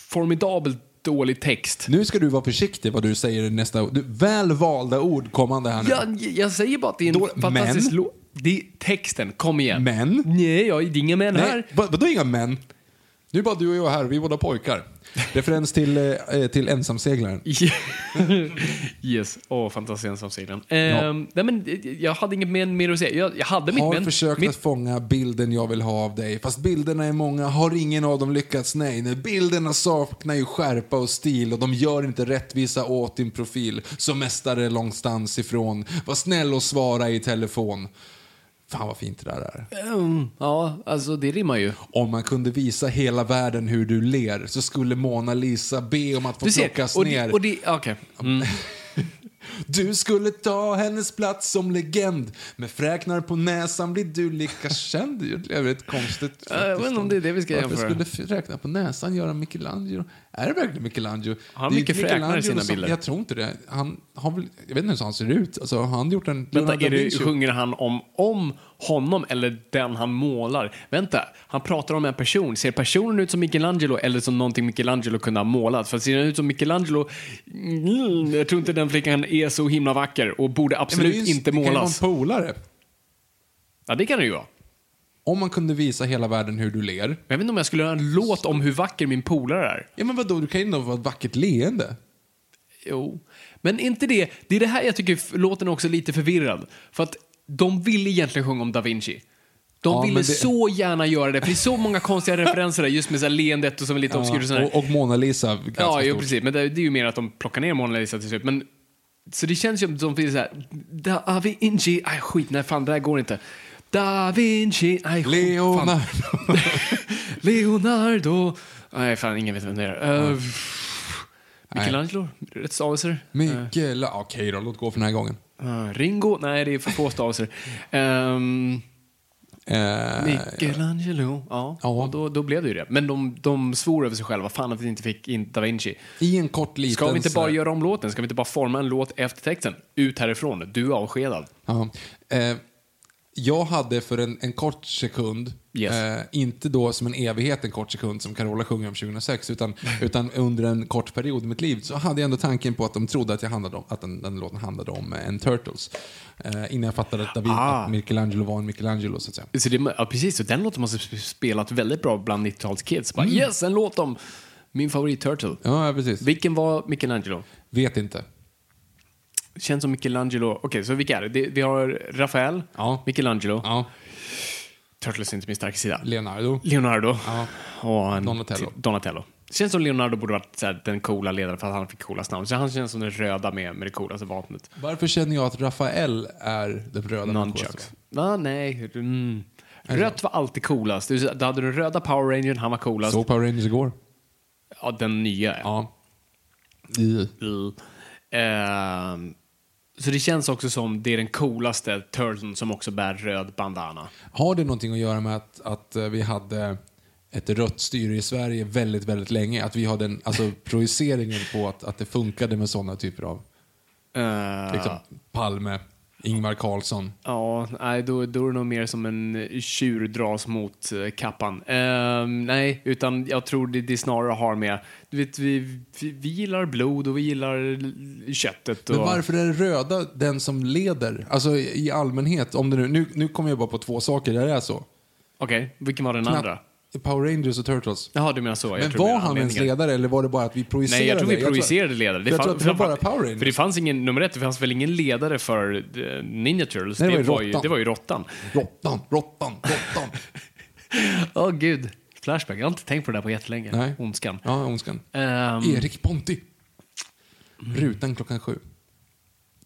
Speaker 2: formidabelt dålig text.
Speaker 1: Nu ska du vara försiktig vad du säger i nästa ord. Du, väl valda ord kommande här nu.
Speaker 2: Jag, jag säger bara att det är en
Speaker 1: Då-
Speaker 2: fantastisk
Speaker 1: men-
Speaker 2: låt. Det är texten, kom igen.
Speaker 1: Men?
Speaker 2: Nej, jag, det är inga män
Speaker 1: Nej,
Speaker 2: här.
Speaker 1: vad- vadå inga män? Nu är bara du och jag här, vi är båda pojkar. Referens till, eh, till ensamseglaren.
Speaker 2: yes, åh fantastiskt ensamsidan.
Speaker 1: Ja.
Speaker 2: Ehm, nej, men eh, jag hade inget mer, mer att säga. Jag, jag hade mitt,
Speaker 1: Har
Speaker 2: men,
Speaker 1: försökt
Speaker 2: mitt
Speaker 1: att fånga bilden jag vill ha av dig. Fast bilderna är många, har ingen av dem lyckats. Nej, nej bilderna saknar ju skärpa och stil och de gör inte rättvisa åt din profil. Som mästare långstans ifrån. Var snäll och svara i telefon. Fan vad fint det där är.
Speaker 2: Mm, ja, alltså det rimmar ju.
Speaker 1: Om man kunde visa hela världen hur du ler så skulle Mona Lisa be om att få
Speaker 2: Du ser,
Speaker 1: plockas
Speaker 2: och
Speaker 1: ner.
Speaker 2: det, och det, okej. Mm.
Speaker 1: Du skulle ta hennes plats som legend. Med fräknar på näsan blir du lika känd. Det är väldigt konstigt.
Speaker 2: jag vet inte om det är det vi ska
Speaker 1: Varför
Speaker 2: jämföra.
Speaker 1: skulle fräknar på näsan göra Michelangelo? Är det verkligen Michelangelo?
Speaker 2: Har han
Speaker 1: Det är
Speaker 2: mycket fräknar i
Speaker 1: Michelangelo
Speaker 2: sina
Speaker 1: som-
Speaker 2: bilder?
Speaker 1: Jag tror inte det. Han har väl, jag vet inte hur han ser ut. Alltså, har han gjort en...
Speaker 2: Vänta,
Speaker 1: Leonardo
Speaker 2: är
Speaker 1: da
Speaker 2: det,
Speaker 1: Vinci?
Speaker 2: sjunger han om, om honom eller den han målar? Vänta, han pratar om en person. Ser personen ut som Michelangelo eller som någonting Michelangelo kunde ha målat? För ser den ut som Michelangelo, mm, jag tror inte den flickan är så himla vacker och borde
Speaker 1: Nej, men det är
Speaker 2: absolut
Speaker 1: ju en-
Speaker 2: inte
Speaker 1: Det kan ju vara
Speaker 2: målas.
Speaker 1: en polare.
Speaker 2: Ja, det kan det ju vara.
Speaker 1: Om man kunde visa hela världen hur du ler.
Speaker 2: Men jag vet inte om jag skulle göra en låt om hur vacker min polare är.
Speaker 1: Ja men vadå, du kan ju ändå vara ett vackert leende.
Speaker 2: Jo. Men inte det. Det är det här jag tycker f- låten är också lite förvirrad. För att de ville egentligen sjunga om Da Vinci. De
Speaker 1: Ja,
Speaker 2: ville
Speaker 1: men det-
Speaker 2: så gärna göra det, för det är så många konstiga referenser där, just med så här leendet och som är lite obskyrt och sådär.
Speaker 1: och, och Mona Lisa, ganska
Speaker 2: ja, jo,
Speaker 1: stort.
Speaker 2: precis. Men det, det är ju mer att de plockar ner Mona Lisa till slut. Men, så det känns ju som att de vill såhär, Da Vinci, aj skit, nej fan det här går inte. Da Vinci, aj skit, fan.
Speaker 1: Leonardo.
Speaker 2: Leonardo. Nej, fan ingen vet vem det är. Uh, Michelangelo, rätt stavelser.
Speaker 1: Mikael, okej då, låt gå för den här gången.
Speaker 2: Ah, Ringo? Nej, det är för få stavelser. Ehm,
Speaker 1: Eh,
Speaker 2: Michelangelo. Ja,
Speaker 1: Ja.
Speaker 2: Och då, då blev det ju det. Men de, de svor över sig själva. Fan att vi inte fick in Da Vinci.
Speaker 1: I en kort liten...
Speaker 2: Ska vi inte
Speaker 1: så här-
Speaker 2: bara göra om låten? Ska vi inte bara forma en låt efter texten? Ut härifrån. Du är avskedad.
Speaker 1: Ja. Eh, jag hade för en, en kort sekund,
Speaker 2: Yes.
Speaker 1: eh, inte då som en evighet en kort sekund som Carola sjunger om 2006, utan,
Speaker 2: Mm.
Speaker 1: utan under en kort period i mitt liv så hade jag ändå tanken på att de trodde att, jag handlade om, att den, den låten handlade om eh, en Turtles. Eh, innan jag fattade att, David,
Speaker 2: Ah.
Speaker 1: att Michelangelo var en Michelangelo så att säga.
Speaker 2: Så det, ja, precis. Så den låten måste sp- spelat väldigt bra bland 90-talskids.
Speaker 1: Mm.
Speaker 2: Bara, Yes, en låt om min favorit Turtle.
Speaker 1: Ja, ja, precis.
Speaker 2: Vilken var Michelangelo?
Speaker 1: Vet inte.
Speaker 2: Känns som Michelangelo. Okej, så vilka är det? det? Vi har Rafael,
Speaker 1: Ja.
Speaker 2: Michelangelo,
Speaker 1: Ja,
Speaker 2: Turtles är inte min starka sida.
Speaker 1: Leonardo.
Speaker 2: Leonardo
Speaker 1: Ja.
Speaker 2: och en-
Speaker 1: Donatello.
Speaker 2: Donatello. Det känns som Leonardo borde varit så här, den coola ledaren för att han fick coolast namn. Så han känns som den röda med, med det coolaste vapnet.
Speaker 1: Varför känner jag att Rafael är den röda
Speaker 2: Nunchucks. Ah, nej. Mm. Rött var alltid coolast. Du du hade den röda Power Rangern, han var coolast.
Speaker 1: Såg Power Rangers igår.
Speaker 2: Ja, den nya.
Speaker 1: Ja. I.
Speaker 2: Mm. Ehm, så det känns också som det är den coolaste Turtlen som också bär röd bandana.
Speaker 1: Har det någonting att göra med att, att eh, vi hade ett rött styre i Sverige väldigt, väldigt länge? Att vi hade en, alltså projiceringen på att, att det funkade med sådana typer av,
Speaker 2: Ehm,
Speaker 1: liksom, Palme, Ingvar Carlsson.
Speaker 2: Ja, nej, då, då är det nog mer som en eh, tjur dras mot eh, kappan. Ehm, nej, utan jag tror det, det snarare har med... Du vet, vi, vi, vi gillar blod och vi gillar l- köttet. Och,
Speaker 1: Men varför är röda den som leder? Alltså i i allmänhet, om det nu, nu, nu kommer jag bara på två saker där det är så.
Speaker 2: Okej, vilken var den andra?
Speaker 1: Knapp- Power Rangers och Turtles.
Speaker 2: Jaha, du menar så. Jag
Speaker 1: Men
Speaker 2: tror det
Speaker 1: var
Speaker 2: är
Speaker 1: han ens
Speaker 2: anledningen.
Speaker 1: ledare eller var det bara att vi projicerade?
Speaker 2: Nej, jag tror vi
Speaker 1: tror-
Speaker 2: projicerade ledare.
Speaker 1: jag
Speaker 2: fan-
Speaker 1: tror att det var bara
Speaker 2: fan-
Speaker 1: Power Rangers.
Speaker 2: För det fanns ingen, nummer ett, det fanns väl ingen ledare för eh, Ninja Turtles?
Speaker 1: Nej, det var ju
Speaker 2: ju,
Speaker 1: råttan.
Speaker 2: det var ju råttan.
Speaker 1: Råttan, råttan, råttan.
Speaker 2: Åh gud, flashback. Jag har inte tänkt på det där på jättelänge.
Speaker 1: Nej.
Speaker 2: Ondskan.
Speaker 1: Ja, ondskan.
Speaker 2: Ehm,
Speaker 1: Erik Ponti. Rutan klockan sju.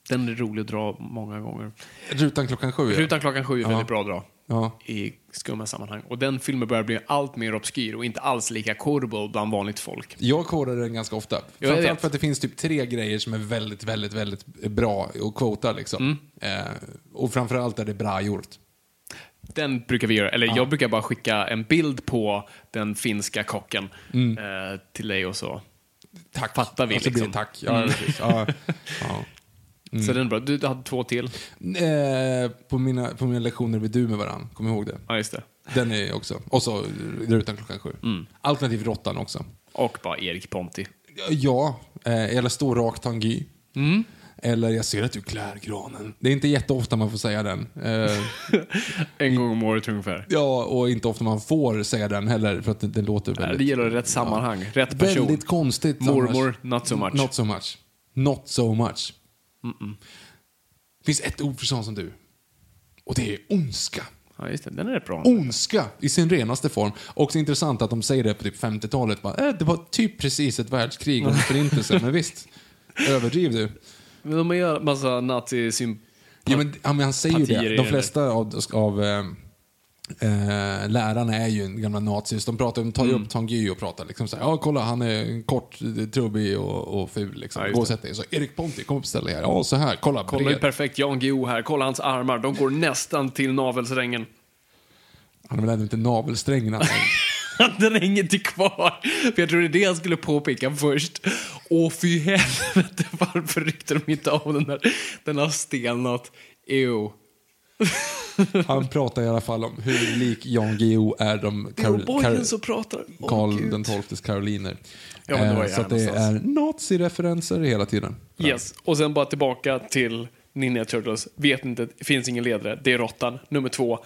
Speaker 2: den är rolig att dra många gånger.
Speaker 1: Rutan klockan sju, ja.
Speaker 2: Rutan klockan sju är
Speaker 1: Ja.
Speaker 2: väldigt bra att dra.
Speaker 1: Ja.
Speaker 2: I skumma sammanhang. Och den filmen börjar bli allt mer obskyr och inte alls lika korbo bland vanligt folk.
Speaker 1: Jag kårar den ganska ofta.
Speaker 2: jag
Speaker 1: Framförallt
Speaker 2: vet.
Speaker 1: för att det finns typ tre grejer som är väldigt, väldigt, väldigt bra och quotar liksom.
Speaker 2: Mm.
Speaker 1: Eh, och framförallt är det bra gjort.
Speaker 2: Den brukar vi göra, eller jag brukar bara skicka en bild på den finska kocken
Speaker 1: Mm.
Speaker 2: eh, till dig och så.
Speaker 1: Tack.
Speaker 2: Fattar vi,
Speaker 1: Och så blir det
Speaker 2: liksom.
Speaker 1: Tack. Ja, precis. Ja, ja. Mm.
Speaker 2: Så den är bra. Du, du hade två till.
Speaker 1: Eh, på, mina, på mina lektioner blir du med varann. Kom ihåg det.
Speaker 2: Ja, just det.
Speaker 1: Den är också. Och så Rutan klockan sju.
Speaker 2: Mm.
Speaker 1: Alternativt Råttan också.
Speaker 2: Och bara Erik Ponti.
Speaker 1: Ja, eh, eller stå rakt tangy.
Speaker 2: Mm.
Speaker 1: Eller jag ser att du klär granen. Det är inte jätteofta man får säga den. Eh,
Speaker 2: En gång om året ungefär.
Speaker 1: ja, och inte ofta man får säga den heller för att det, det låter
Speaker 2: Nej, Det
Speaker 1: väldigt...
Speaker 2: gäller rätt sammanhang, rätt person.
Speaker 1: Väldigt konstigt.
Speaker 2: Mormor,
Speaker 1: annars.
Speaker 2: not so much.
Speaker 1: Not so much. Not so much. finns ett ord för sån som du. Och det är ondska.
Speaker 2: Ja, just det. Den är rätt bra.
Speaker 1: Oh. Ondska i sin renaste form. Också intressant att de säger det på typ 50-talet. Bara, eh, det var typ precis ett världskrig och en förintelse, men visst. Överdriv du.
Speaker 2: Men de gör massa nazi
Speaker 1: Ja, men, ja, men han säger ju
Speaker 2: partier i
Speaker 1: det. De
Speaker 2: det.
Speaker 1: flesta av, av eh, eh, lärarna är ju gamla nazis. De, pratar, de tar
Speaker 2: Mm.
Speaker 1: ju upp Tanguy och pratar liksom så här, ja kolla han är kort, trubbig och, och ful liksom.
Speaker 2: Ja, just
Speaker 1: Gå och
Speaker 2: det.
Speaker 1: sätt dig. Så Erik Ponti, kom upp och ställ dig här. Ja, så här, kolla.
Speaker 2: Kolla hur
Speaker 1: bred.
Speaker 2: perfekt Jan Guillou här. Kolla hans armar. De går nästan till navelsträngen.
Speaker 1: Han har väl ändå inte navelsträngen alltså.
Speaker 2: Den är inget till kvar. För jag tror det är det jag skulle påpeka först. Åh fy helvete, varför ryckte de inte av den där? Den har stelnat. Ew.
Speaker 1: Han pratar i alla fall om hur lik Jan Guillou är de
Speaker 2: Det är
Speaker 1: Karol-
Speaker 2: O'boyen
Speaker 1: Karol-
Speaker 2: som pratar. Åh,
Speaker 1: Karl
Speaker 2: Gud.
Speaker 1: den XIIs karoliner.
Speaker 2: Ja, men det var
Speaker 1: Eh,
Speaker 2: ju
Speaker 1: så
Speaker 2: här
Speaker 1: att det är
Speaker 2: någonstans.
Speaker 1: nazireferenser hela tiden.
Speaker 2: Yes, och sen bara tillbaka till Ninja Turtles. Vet inte, finns ingen ledare. Det är råttan. Nummer två,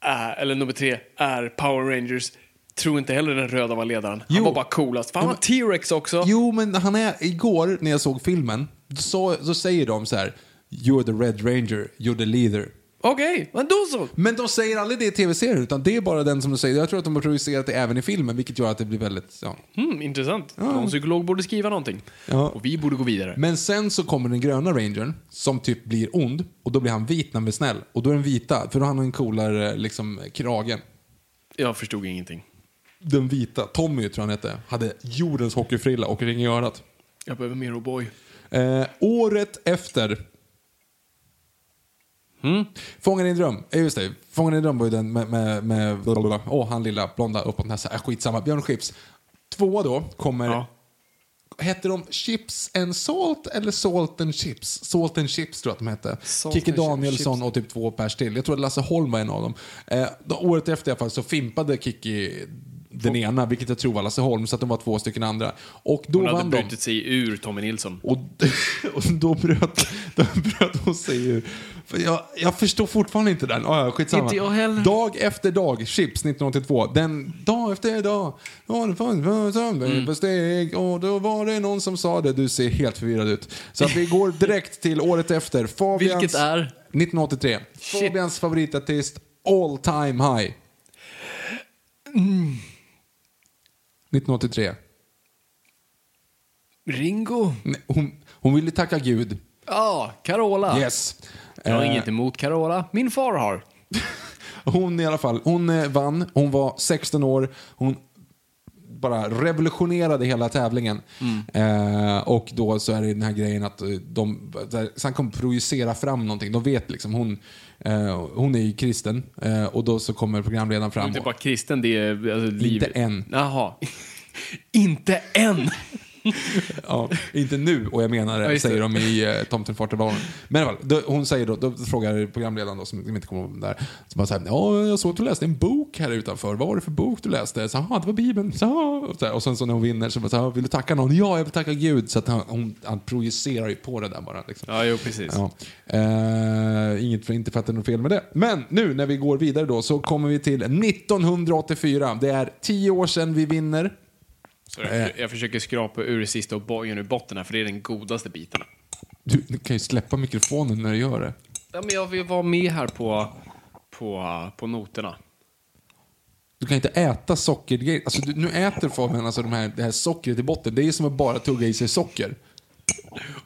Speaker 2: är, eller nummer tre, är Power Rangers. Tror inte heller den röda var ledaren. Han
Speaker 1: Jo.
Speaker 2: var bara coolast. För han
Speaker 1: Ja,
Speaker 2: var
Speaker 1: men-
Speaker 2: T-Rex också.
Speaker 1: Jo, men han är, igår när jag såg filmen, så, så säger de så här, you're the red ranger, you're the leader.
Speaker 2: Okej, men då så.
Speaker 1: Men de säger aldrig det i tv-serien, utan det är bara den som de säger. Jag tror att de har projicerat det även i filmen, vilket gör att det blir väldigt, ja.
Speaker 2: Hmm, intressant. Någon psykolog borde skriva någonting.
Speaker 1: Ja.
Speaker 2: Och vi borde gå vidare.
Speaker 1: Men sen så kommer den gröna rangern, som typ blir ond, och då blir han vit när han blir snäll. Och då är den vita, för då har han en coolare liksom, kragen.
Speaker 2: Jag förstod ingenting.
Speaker 1: Den vita, Tommy tror jag han hette, hade jordens hockeyfrilla och ring i örat.
Speaker 2: Jag behöver mer oh O'boy.
Speaker 1: Eh, året efter. Mm. Fångar i en dröm. Eh, Just det, Fångar i en dröm var ju den med... med, med blablabla. Åh, han lilla blonda uppåt näsa. Äh, skitsamma, Björn Skifs. Tvåa då kommer...
Speaker 2: Ja.
Speaker 1: Hette de Chips and Salt eller Salt and Chips? Salt and Chips tror jag att de hette.
Speaker 2: Salt
Speaker 1: Kikki
Speaker 2: and Chips.
Speaker 1: Danielsson och typ två pers till. Jag tror att Lasse Holm var en av dem. Eh, då, året efter i alla fall så fimpade Kikki den ena, vilket jag tror var Lasse Holm, så att de var två stycken andra. Och då
Speaker 2: Hon hade
Speaker 1: vann de.
Speaker 2: brutit sig ur Tommy Nilsson.
Speaker 1: Och, och då bröt, då bröt hon sig ur. För jag, jag förstår fortfarande inte den. Ah, ja, skitsamma.
Speaker 2: Inte jag heller.
Speaker 1: Dag efter dag, Chips 1982. Den dag efter dag. Ja, det fanns- fanns- fanns-
Speaker 2: Mm.
Speaker 1: på steg. Och då var det någon som sa det. Du ser helt förvirrad ut. Så att vi går direkt till året efter. Fabians,
Speaker 2: Vilket är?
Speaker 1: 1983.
Speaker 2: Shit.
Speaker 1: Fabians favoritartist all time high.
Speaker 2: Mm.
Speaker 1: 1983.
Speaker 2: Ringo?
Speaker 1: Nej, Hon, hon ville tacka Gud.
Speaker 2: Ja, Carola.
Speaker 1: Yes.
Speaker 2: Jag har
Speaker 1: Eh,
Speaker 2: inget emot Carola. Min far har.
Speaker 1: Hon i alla fall, hon eh, vann, hon var 16 år, hon bara revolutionerade hela tävlingen.
Speaker 2: Mm.
Speaker 1: Eh, och då så är det den här grejen att eh, de där- så han kommer projicera fram någonting. De vet liksom, hon, eh, hon är ju kristen eh, och då så kommer programledaren
Speaker 2: Du är
Speaker 1: fram.
Speaker 2: inte
Speaker 1: Och,
Speaker 2: bara kristen, det är alltså, liv.
Speaker 1: än.
Speaker 2: Jaha. inte än!
Speaker 1: ja, inte nu och jag menar
Speaker 2: Ja,
Speaker 1: det,
Speaker 2: just det.
Speaker 1: säger de i eh, Tomten far till barnen. Men i alla fall, då, hon säger då, då frågar programledaren då, som inte kommer ihåg vem det är, så bara så här, ja, jag såg att du läste en bok här utanför. Vad var det för bok du läste? Så "Ah, det var Bibeln. Så, "Ah." och, så här, och sen så när hon vinner så bara så här, "Ah, vill du tacka någon? Ja, jag vill tacka Gud. Så att han, hon, han projicerar ju på det där bara. Liksom.
Speaker 2: Ja, jo, precis.
Speaker 1: Ja. Eh, inget för, inte för att det är något fel med det. Men nu när vi går vidare då så kommer vi till 1984. Det är tio år sedan vi vinner.
Speaker 2: Så jag, jag försöker skrapa ur sista och bojen ur botten här, för det är den godaste biten.
Speaker 1: Du, du kan ju släppa mikrofonen när du gör det.
Speaker 2: Ja, men jag vill vara med här på, på, på noterna.
Speaker 1: Du kan inte äta sockergrejer. Alltså, du, nu äter Fabian alltså de här, det här sockret i botten. Det är ju som att bara tugga i sig socker.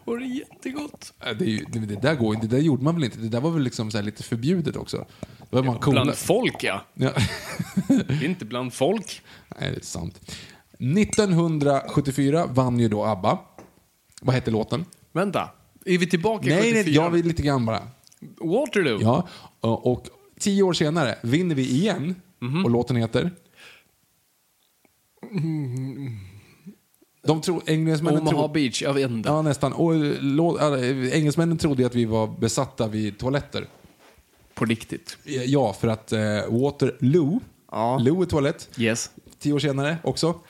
Speaker 2: Och det är jättegott.
Speaker 1: Äh, Det, är ju, det, det där går inte. Det där gjorde man väl inte? Det där var väl liksom så här lite förbjudet också? Då är man cool.
Speaker 2: Bland folk, ja.
Speaker 1: Ja.
Speaker 2: Det är inte bland folk.
Speaker 1: Nej, det är sant. 1974 vann ju då ABBA. Vad hette låten?
Speaker 2: Vänta, är vi tillbaka
Speaker 1: Nej,
Speaker 2: 74?
Speaker 1: nej, jag vill lite grann bara.
Speaker 2: Waterloo?
Speaker 1: Ja, och och tio år senare vinner vi igen. Och låten heter? De tror, engelsmännen
Speaker 2: Omaha
Speaker 1: tror...
Speaker 2: Beach? Jag vet inte.
Speaker 1: Ja, nästan. Och, eh, lå- äh, engelsmännen trodde ju att vi var besatta vid toaletter.
Speaker 2: På riktigt.
Speaker 1: Ja, för att eh, Waterloo,
Speaker 2: Ja.
Speaker 1: Loo är toalett,
Speaker 2: Yes.
Speaker 1: tio år senare också.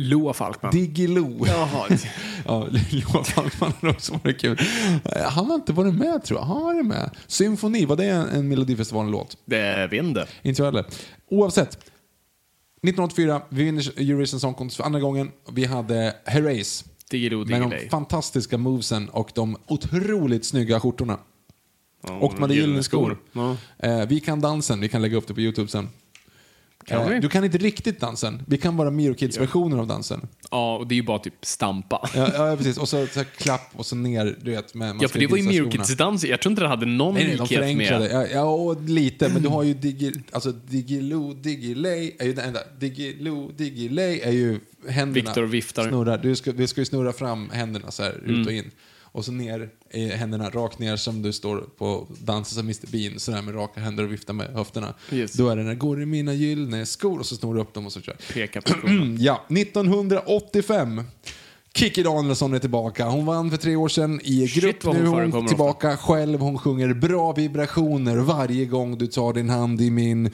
Speaker 2: Loa Falkman.
Speaker 1: Diggiloo.
Speaker 2: Jaha.
Speaker 1: ja, Johan Falkman har också varit kul. Eh, Han har inte varit med tror jag. Han var med. Symfoni, var det en, en Melodifestivalen-låt?
Speaker 2: Det vet inte.
Speaker 1: Inte jag heller. Oavsett. 1984, vi vinner Eurovision Song Contest för andra gången. Vi hade Herreys.
Speaker 2: Diggiloo,
Speaker 1: Med de
Speaker 2: diggiley.
Speaker 1: fantastiska movesen och de otroligt snygga skjortorna. och de hade gyllene skor. Eh, vi kan dansen, vi kan lägga upp det på YouTube sen. Eh,
Speaker 2: Kan vi?
Speaker 1: Du kan inte riktigt dansen. Vi kan bara Miro Kids-versioner av dansen.
Speaker 2: Ja, och det är ju bara typ stampa. Ja,
Speaker 1: Ja, ja precis. Och så, så här, klapp och så ner, du vet. Med, man ska
Speaker 2: för det var ju
Speaker 1: visa
Speaker 2: Mirror
Speaker 1: skorna.
Speaker 2: Kids dans. Jag tror inte det hade någon
Speaker 1: Nej, nej, de
Speaker 2: likhet
Speaker 1: förenklade.
Speaker 2: med...
Speaker 1: Ja, ja och lite. Men du har ju Digi, alltså Digiloo, Digilay. Är ju, nej, vänta. Digiloo, Digilay är ju händerna.
Speaker 2: Viktor viftar. Mm.
Speaker 1: Snurrar. Du ska, vi ska ju snurra fram händerna så här, ut och in. Och så ner i händerna, rakt ner som du står på dansen som Mr Bean, sådär med raka händer och viftar med höfterna.
Speaker 2: Yes.
Speaker 1: Då är det när går i mina gyllene skor och så snor du upp dem och så kör.
Speaker 2: Peka på skorna.
Speaker 1: Ja, 1985. Kikki Danielsson är tillbaka. Hon vann för tre år sedan i
Speaker 2: Shit,
Speaker 1: grupp.
Speaker 2: vad hon
Speaker 1: nu är
Speaker 2: förekommer
Speaker 1: hon
Speaker 2: ofta.
Speaker 1: tillbaka själv. Hon sjunger bra vibrationer varje gång du tar din hand i min.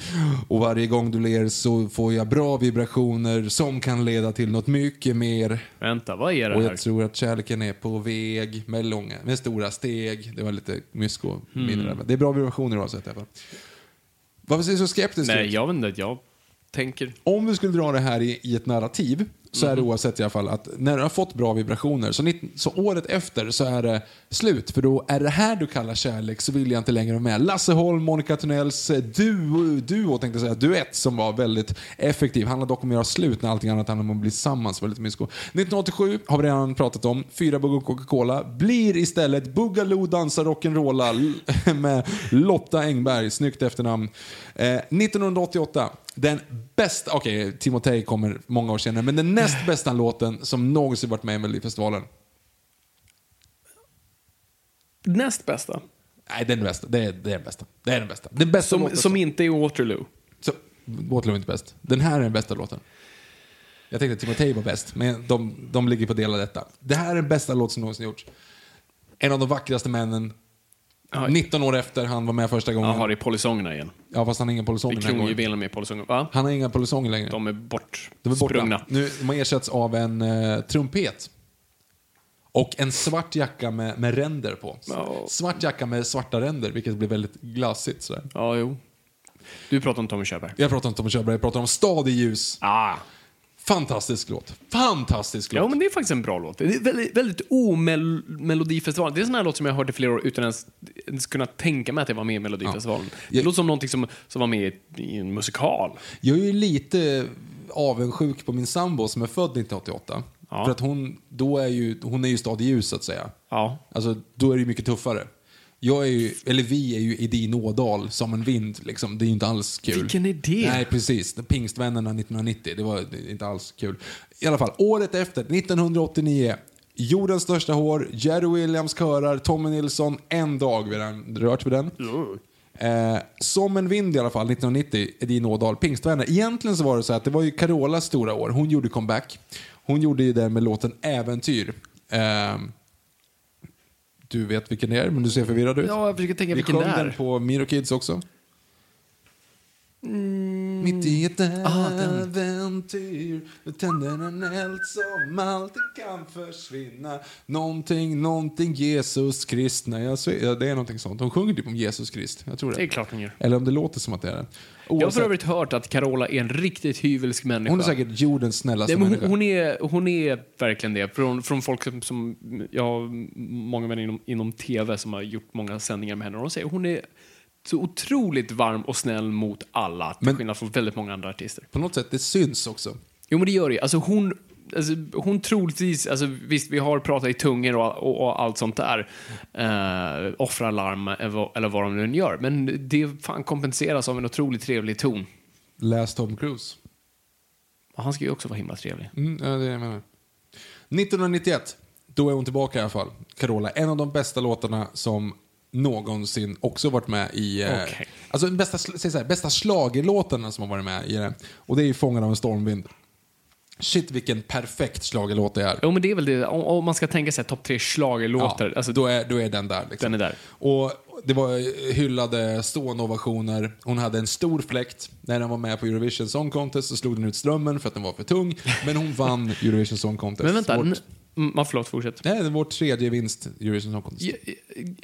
Speaker 1: Och varje gång du ler så får jag bra vibrationer som kan leda till något mycket mer.
Speaker 2: Vänta, vad är det
Speaker 1: Och
Speaker 2: här?
Speaker 1: jag tror att kärleken är på väg med, långa, med stora steg. Det var lite mysko. Mm.
Speaker 2: Hmm.
Speaker 1: Det är bra vibrationer oavsett. i alla fall. Varför ser du så skeptisk ut?
Speaker 2: Nej, jag vet inte. Jag tänker...
Speaker 1: Om vi skulle dra det här i, i ett narrativ så är det oavsett i alla fall att när du har fått bra vibrationer så, nitt- så året efter så är det slut för då är det här du kallar kärlek så vill jag inte längre vara med. Lasse Holm, Monica Tunnels eh, duo, duo tänkte jag säga, duett som var väldigt effektiv. Handlar dock om att göra slut när allting annat handlar om att bli tillsammans. Väldigt mysko. 1987 har vi redan pratat om. Fyra Bugg och Coca-Cola blir istället Boogaloo dansar rock'n'rolla l- med Lotta Engberg. Snyggt efternamn. Eh, 1988 den bästa, okej, Timotej kommer många år senare, men den näst bästa låten som någonsin varit med i Melodifestivalen.
Speaker 2: Näst bästa.
Speaker 1: Nej, det är den bästa. Det är, det är den bästa. Det är den bästa. Den bästa
Speaker 2: Som,
Speaker 1: låten
Speaker 2: som inte är Waterloo.
Speaker 1: Så, Waterloo är inte bäst. Den här är den bästa låten. Jag tänkte att Timotej var bäst, men de, de ligger på del av detta. Det här är den bästa låt som någonsin gjorts. En av de vackraste männen.
Speaker 2: Ja.
Speaker 1: 19 år efter han var med första gången.
Speaker 2: Jaha, det är polisongerna igen.
Speaker 1: Ja, fast han har inga polisonger
Speaker 2: Det är
Speaker 1: den här gången.
Speaker 2: kronjuvelerna med polisonger. Va?
Speaker 1: Han har inga polisonger längre.
Speaker 2: De är bort.
Speaker 1: De är borta.
Speaker 2: Sprungna.
Speaker 1: Nu, de har ersatts av en eh, trumpet. Och en svart jacka med, med ränder på.
Speaker 2: Ja.
Speaker 1: Svart jacka med svarta ränder, vilket blir väldigt glassigt. Sådär.
Speaker 2: Ja, jo. Du pratar om Tommy Körberg.
Speaker 1: Jag pratar inte om Körberg, jag pratar om Stad i ljus.
Speaker 2: Ah.
Speaker 1: Fantastisk låt. Fantastisk låt.
Speaker 2: Ja, men det är faktiskt en bra låt. Det är väldigt, väldigt omelodifestival. Det är en sån här låt som jag har hört i flera år utan ens, ens kunna tänka mig att det var med i Melodifestivalen. Det
Speaker 1: Jag-
Speaker 2: låter som någonting som, som var med i, ett- i en musikal.
Speaker 1: Jag är ju lite avundsjuk på min sambo som är född 1988.
Speaker 2: Ja.
Speaker 1: För att hon, då är ju, hon är ju stad i ljus så att säga.
Speaker 2: Ja.
Speaker 1: Alltså, då är det ju mycket tuffare. Jag är ju, eller vi är ju i din ådal som en vind liksom. Det är ju inte alls kul.
Speaker 2: Vilken idé.
Speaker 1: Nej, precis. Pingstvännerna 1990. Det var inte alls kul. I alla fall, året efter, 1989. Jordens största hår, Jerry Williams körar, Tommy Nilsson, en dag vid den, rört vid den. Eh, som en vind i alla fall, 1990, Edin Ådahl, Pingstvänner. Egentligen så var det så att det var ju Carolas stora år. Hon gjorde comeback. Hon gjorde ju det med låten Äventyr. Eh, du vet vilken det är, men du ser förvirrad ut.
Speaker 2: Ja, jag försöker tänka
Speaker 1: Vi
Speaker 2: vilken
Speaker 1: sjöng
Speaker 2: det är.
Speaker 1: den på Miro Kids också. Mitt i ett
Speaker 2: Mm. Ah,
Speaker 1: äventyr Då tänder en eld som alltid kan försvinna Någonting, någonting Jesus Krist Nej, jag ser, ja, Det är någonting sånt. De sjunger typ om Jesus Krist. Jag tror det.
Speaker 2: Det är klart hon gör.
Speaker 1: Eller om det låter som att det är det.
Speaker 2: Jag har
Speaker 1: Oavsett,
Speaker 2: för övrigt hört att Carola är en riktigt hyvelsk människa.
Speaker 1: hon är säkert jordens
Speaker 2: Nej,
Speaker 1: snällaste
Speaker 2: men
Speaker 1: människa.
Speaker 2: hon, hon, är, hon är verkligen det. Från, från folk som, som... Jag har många vänner inom, inom tv som har gjort många sändningar med henne. Och de säger hon är så otroligt varm och snäll mot alla. Till
Speaker 1: Men-
Speaker 2: skillnad från väldigt många andra artister.
Speaker 1: På något sätt, det syns också.
Speaker 2: Jo, men det gör det ju. Alltså hon... Alltså, hon troligtvis, alltså, visst vi har pratat i tungor och, och, och allt sånt där, eh, offrar larm eller vad- eller vad de nu än gör, men det fan kompenseras av en otroligt trevlig ton.
Speaker 1: Läs Tom Cruise.
Speaker 2: Och han ska ju också vara himla trevlig.
Speaker 1: Mm, ja, det är det jag menar. 1991, då är hon tillbaka i alla fall. Carola, en av de bästa låtarna som någonsin också varit med i... eh,
Speaker 2: Okej.
Speaker 1: Alltså den bästa, sl- säg så här, bästa schlagerlåtarna som har varit med i det. Och det är ju Fångad av en stormvind. Shit vilken perfekt schlagerlåt det är.
Speaker 2: Jo, men det är väl det, om, om man ska tänka sig topp tre schlagerlåtar, alltså
Speaker 1: då, är, då är den där. Liksom.
Speaker 2: Den är där.
Speaker 1: Och det var hyllade stående ovationer. Hon hade en stor fläkt. När den var med på Eurovision Song Contest så slog den ut strömmen för att den var för tung. Men hon vann Eurovision Song Contest.
Speaker 2: Men vänta,
Speaker 1: Vårt-
Speaker 2: n- mm, ja, förlåt, fortsätt.
Speaker 1: Nej, det är vår tredje vinst i Eurovision Song Contest.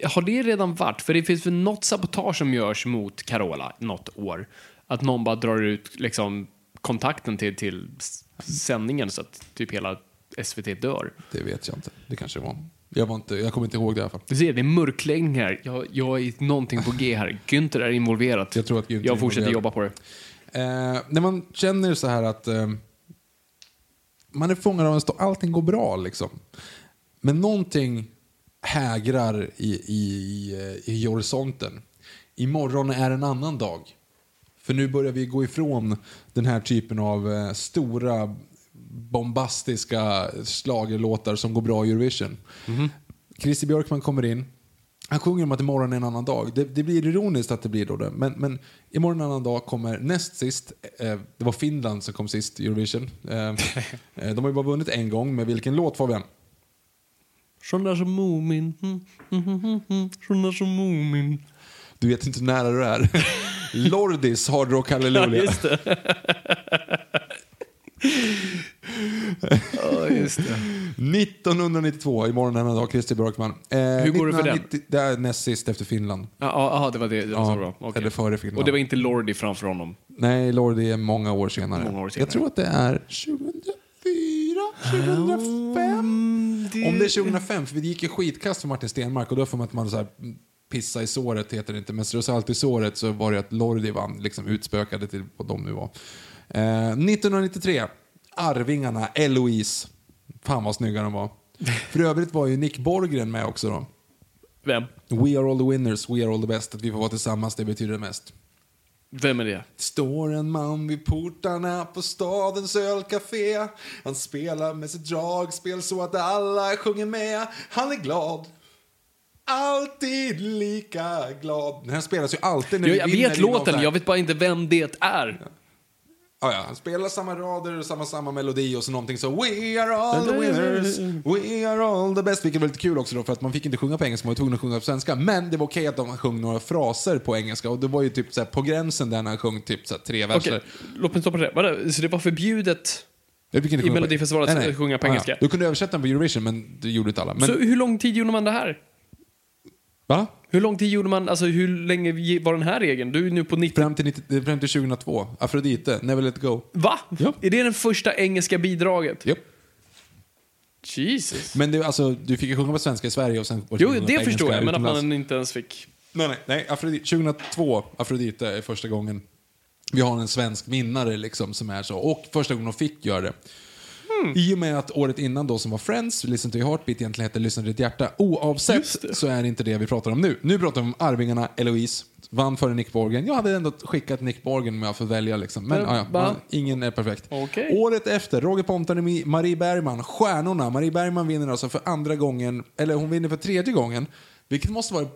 Speaker 2: Har det redan varit? För det finns väl något sabotage som görs mot Carola något år? Att någon bara drar ut liksom, kontakten till, till s- sändningen så att typ hela SVT dör.
Speaker 1: Det vet jag inte. Det kanske det var. Jag, var inte, jag kommer inte ihåg det i alla fall.
Speaker 2: Du ser, det är mörkläggning här. Jag, jag är någonting på G här. Günther är involverat.
Speaker 1: Jag tror att Günther är
Speaker 2: Jag fortsätter
Speaker 1: involverad.
Speaker 2: jobba på det.
Speaker 1: Eh, när man känner så här att eh, man är fångad av en stå, allting går bra liksom. Men någonting hägrar i, i, i, i horisonten. Imorgon är en annan dag. För nu börjar vi gå ifrån den här typen av eh, stora bombastiska schlagerlåtar som går bra i Eurovision. Christer Björkman kommer in. Han sjunger om att imorgon är en annan dag. Det, det blir ironiskt att det blir då det. Men, men imorgon är en annan dag kommer näst sist. Eh, det var Finland som kom sist i Eurovision. Eh, eh, de har ju bara vunnit en gång. Med vilken låt Fabian?
Speaker 2: Sån där som Moomin. Mm, mm, mm, mm, mm. Sån där som Moomin.
Speaker 1: Du vet inte hur nära du är. Lordis Hard Rock Hallelujah.
Speaker 2: Just det. Ja, just det.
Speaker 1: 1992, imorgon är en annan dag, Christer Björkman. Eh,
Speaker 2: Hur går det för den?
Speaker 1: Det är näst sist efter Finland.
Speaker 2: Ja, ja, ja, det var det. Det var så bra. Okej.
Speaker 1: eller före Finland.
Speaker 2: Och det var inte Lordi framför honom.
Speaker 1: Nej, Lordi är många år senare.
Speaker 2: Många år senare.
Speaker 1: Jag tror att det är 2004, 2005.
Speaker 2: Mm,
Speaker 1: Om det är 2005, för det gick ju skitkast för Martin Stenmark och då får man att man så här mm, pissa i såret heter det inte, men strö salt i såret så var det att Lordi vann, liksom utspökade till vad de nu var. Eh, 1993, Arvingarna, Eloise. Fan vad snygga de var. För övrigt var ju Nick Borgren med också då.
Speaker 2: Vem?
Speaker 1: We are all the winners, we are all the best. Att vi får vara tillsammans, det betyder det mest.
Speaker 2: Vem är det?
Speaker 1: Står en man vid portarna på stadens ölcafé Han spelar med sitt dragspel så att alla sjunger med Han är glad Alltid lika glad Den här spelas ju alltid när
Speaker 2: Jag,
Speaker 1: vi
Speaker 2: jag
Speaker 1: vinner
Speaker 2: vet
Speaker 1: i någon
Speaker 2: låten,
Speaker 1: sån här-
Speaker 2: jag vet bara inte vem det är.
Speaker 1: Ja, ja, han spelar samma rader och samma, samma melodi och så någonting så We are all the winners, we are all the best. Vilket var lite kul också då för att man fick inte sjunga på engelska, man var tvungen att sjunga på svenska. Men det var okej att de sjöng några fraser på engelska och det var ju typ så här, på gränsen där när han sjöng typ så här, tre verser.
Speaker 2: Okej, låt mig stoppa det. Vadå, så det var förbjudet?
Speaker 1: Jag fick inte
Speaker 2: I
Speaker 1: sjunga på-
Speaker 2: Melodifestivalen
Speaker 1: Nej,
Speaker 2: att
Speaker 1: nej.
Speaker 2: sjunga på
Speaker 1: Ja, ja.
Speaker 2: engelska.
Speaker 1: Du kunde översätta den på Eurovision men det gjorde inte alla. Men,
Speaker 2: Så hur lång tid gjorde man det här?
Speaker 1: va?
Speaker 2: Hur lång tid gjorde man, alltså hur länge ge- var den här regeln? Du är nu på 90...
Speaker 1: Fram till, 90, fram till 2002, Afrodite, Never Let Go.
Speaker 2: Va?
Speaker 1: Ja.
Speaker 2: Är det det första engelska bidraget?
Speaker 1: Japp.
Speaker 2: Jesus.
Speaker 1: Men det, alltså, du fick ju sjunga på svenska i Sverige och sen... och
Speaker 2: Jo,
Speaker 1: sjunga på
Speaker 2: det
Speaker 1: engelska
Speaker 2: förstår jag, men att
Speaker 1: utomlands.
Speaker 2: man inte ens fick...
Speaker 1: Nej, nej, nej. Afrodite, 2002, Afrodite, är första gången vi har en svensk vinnare liksom som är så. Och första gången de fick göra det. I och med att året innan då som var Friends, Listen to your heartbeat egentligen hette Lyssna till ditt hjärta. Oavsett så är det inte det vi pratar om nu. Nu pratar vi om Arvingarna, Eloise, vann före Nick Borgen. Jag hade ändå skickat Nick Borgen om jag får välja liksom. Men
Speaker 2: Men,
Speaker 1: ja, ja,
Speaker 2: va?
Speaker 1: man- ingen är perfekt.
Speaker 2: Okej.
Speaker 1: Året efter, Roger Pontare, Marie Bergman, Stjärnorna. Marie Bergman vinner alltså för andra gången, eller hon vinner för tredje gången. Vilket måste vara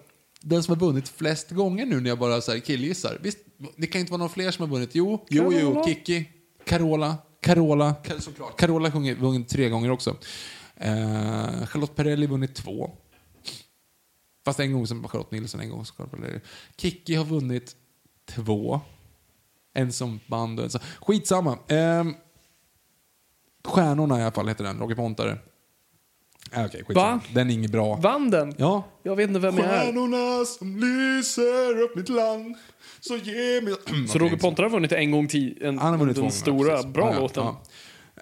Speaker 1: den som har vunnit flest gånger nu när jag bara så här killgissar. Visst, det kan inte vara någon fler som har vunnit? Jo, jo, jo,
Speaker 2: Carola.
Speaker 1: Kiki, Carola, Carola, såklart. Carola har vunnit tre gånger också. Eh, Charlotte Perrelli vunnit två. Fast en gång som var Charlotte Nilsson, en gång som Charlotte Perrelli. Kiki har vunnit två. En som band och en som... Skitsamma. Ehm, Stjärnorna i alla fall heter den, Roger Pontare. Äh, Okej, skitsamma.
Speaker 2: Va?
Speaker 1: Den är inget bra.
Speaker 2: Vann den?
Speaker 1: Ja.
Speaker 2: Jag vet inte vem jag är.
Speaker 1: Stjärnorna som lyser upp mitt land, så ge mig...
Speaker 2: Så Roger Pontare har vunnit en gång till, en,
Speaker 1: Han har vunnit två
Speaker 2: den
Speaker 1: gånger,
Speaker 2: stora,
Speaker 1: precis.
Speaker 2: bra
Speaker 1: Ja, ja,
Speaker 2: låten.
Speaker 1: ja.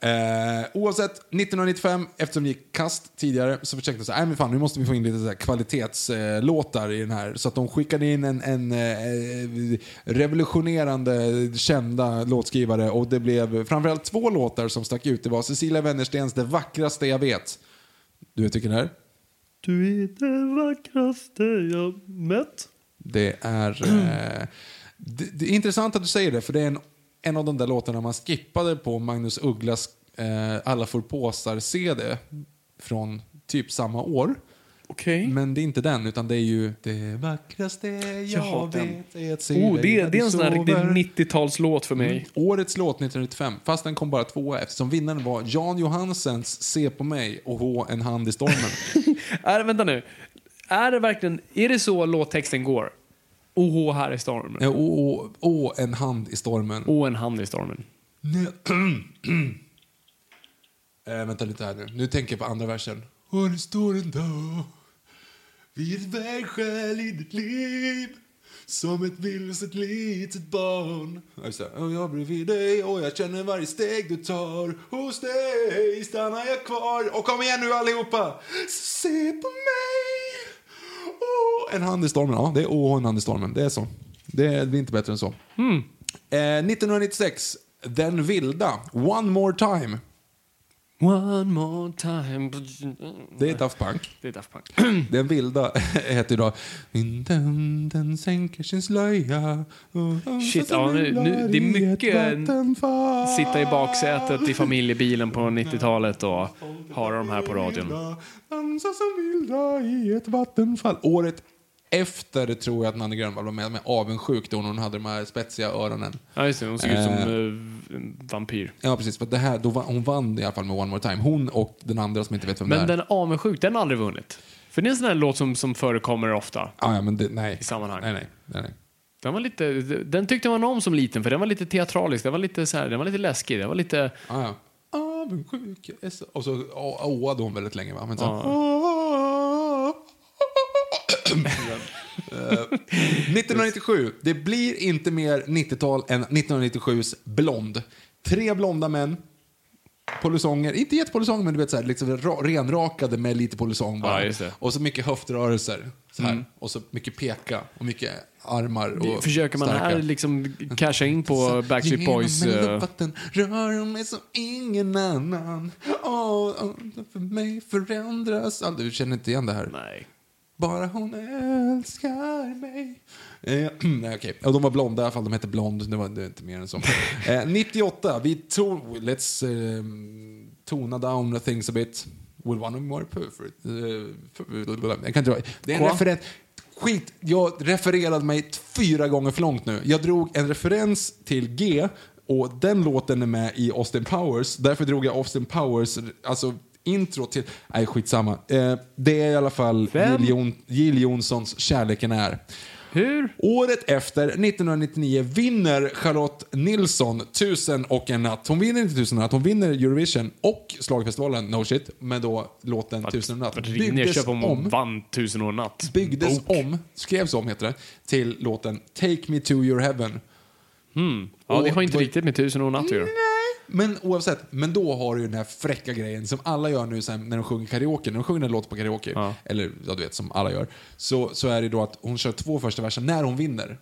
Speaker 1: Eh, oavsett, 1995, eftersom det gick kast tidigare, så försökte de så här, "Nej, men fan, nu måste vi få in lite så här kvalitetslåtar i den här. Så att de skickade in en, en eh, revolutionerande kända låtskrivare och det blev framförallt två låtar som stack ut. Det var Cecilia Wennerstens Det vackraste jag vet. Du vet vilken det är?
Speaker 2: Du är det vackraste jag mött.
Speaker 1: Det är, eh, det, det är intressant att du säger det, för det är en, en av de där låtarna man skippade på Magnus Ugglas eh, Alla får påsar-CD från typ samma år.
Speaker 2: Okej.
Speaker 1: Men det är inte den, utan det är ju Det vackraste jag
Speaker 2: Jaha,
Speaker 1: vet
Speaker 2: den.
Speaker 1: är att se
Speaker 2: Oh,
Speaker 1: dig
Speaker 2: det,
Speaker 1: när
Speaker 2: är- det är
Speaker 1: du
Speaker 2: en sån här riktig
Speaker 1: sover. Mm.
Speaker 2: 90-talslåt för mig.
Speaker 1: Årets låt 1995, fast den kom bara tvåa eftersom vinnaren var Jan Johansens Se på mig och H en hand i stormen.
Speaker 2: Är, vänta nu. Är det verkligen, är det så låttexten går? Åh, här är stormen.
Speaker 1: Eh, och, och, och en hand i stormen.
Speaker 2: Åh, en hand i stormen.
Speaker 1: Eh, vänta lite här nu. Nu tänker jag på andra versen. Och nu står den då vid ett vägskäl i ditt liv som ett vilset litet barn. Ja, just det. Och jag bredvid dig och jag känner varje steg du tar. Hos dig stannar jag kvar. Och kom igen nu allihopa! Se på mig! Åh, en hand i stormen. Ja, det är åh, en hand i stormen. Det är så. Det är, det är inte bättre än så. Eh, 1996, Den vilda, One more time.
Speaker 2: One more time.
Speaker 1: Det är Daft Punk.
Speaker 2: Det är Daft Punk.
Speaker 1: Den vilda heter idag Vinden den sänker sin slöja och
Speaker 2: Shit, ja, nu- nu- det är
Speaker 1: i ett
Speaker 2: mycket
Speaker 1: vattenfall.
Speaker 2: Sitta i baksätet i familjebilen på 90-talet och ha de här på radion.
Speaker 1: Dansa som vilda i ett vattenfall. Året efter tror jag att Nanne Grönvall var med med Avundsjuk då när hon hade de här spetsiga öronen.
Speaker 2: Ja, just det. Hon såg ut som eh, en vampyr.
Speaker 1: Ja precis, för det här, då, va- hon vann i alla fall med One More Time. Hon och den andra som inte vet vem det
Speaker 2: Men
Speaker 1: är.
Speaker 2: den avundsjuk, den har aldrig vunnit. För det är en sån här låt som, som förekommer ofta.
Speaker 1: Ah, ja, men det, nej.
Speaker 2: I sammanhang.
Speaker 1: Nej, nej, nej, nej.
Speaker 2: Den, var lite, den tyckte man om som liten för den var lite teatralisk, den var lite, så här, den var lite läskig, den var lite...
Speaker 1: Ah, ja. Avundsjuk. jag är så- Och så å- åade hon väldigt länge va? Men sen,
Speaker 2: Ja.
Speaker 1: Eh, 1997. Det blir inte mer 90-tal än 1997s Blond. Tre blonda män. Polisonger, inte jättepolisonger men du vet så här, liksom ra- renrakade med lite polisong bara.
Speaker 2: Ja, just det. Mm.
Speaker 1: och så mycket höftrörelser. Så här. Och så mycket peka och mycket armar. Och
Speaker 2: Försöker man
Speaker 1: starka.
Speaker 2: här liksom casha in på Backstreet Boys...
Speaker 1: Genom
Speaker 2: eh,
Speaker 1: luftvatten rör hon mig som ingen annan. Åh, åh, för mig förändras allt. Du känner inte igen det här?
Speaker 2: Nej.
Speaker 1: Bara hon älskar mig. Eh, nej, okej. Ja, de var blonda i alla fall. De hette Blond. Det var, det var inte mer än så. Eh, 98. Vi tog... Let's eh, tona down things a bit. Will one more perfect... eh, för- Jag kan inte... dra- Det är en
Speaker 2: Qua?
Speaker 1: referens... Skit! Jag refererade mig t- fyra gånger för långt nu. Jag drog en referens till G Och den låten är med i Austin Powers. Därför drog jag Austin Powers, alltså intro till... Nej, skitsamma. Eh, det är i alla fall
Speaker 2: Vem?
Speaker 1: Jill, Jon, Jill Johnsons Kärleken är.
Speaker 2: Hur?
Speaker 1: Året efter, 1999, vinner Charlotte Nilsson Tusen och en natt. Hon vinner inte Tusen och en natt, hon vinner Eurovision och slagfestivalen No Shit med då låten Tusen och en natt.
Speaker 2: Vart ringer jag
Speaker 1: Byggdes
Speaker 2: köpa om hon vann tusen år och natt?
Speaker 1: byggdes
Speaker 2: Bok.
Speaker 1: om, skrevs om heter det, till låten Take Me To Your Heaven.
Speaker 2: Ja, det har inte
Speaker 1: Och- Mm,
Speaker 2: riktigt med tusen år och natt att göra.
Speaker 1: Men oavsett, men då har du ju den här fräcka grejen som alla gör nu sen när de sjunger karaoke. När de sjunger en låt på karaoke,
Speaker 2: Ja.
Speaker 1: eller ja, du vet som alla gör, så, så är det då att hon kör två första verser när hon vinner.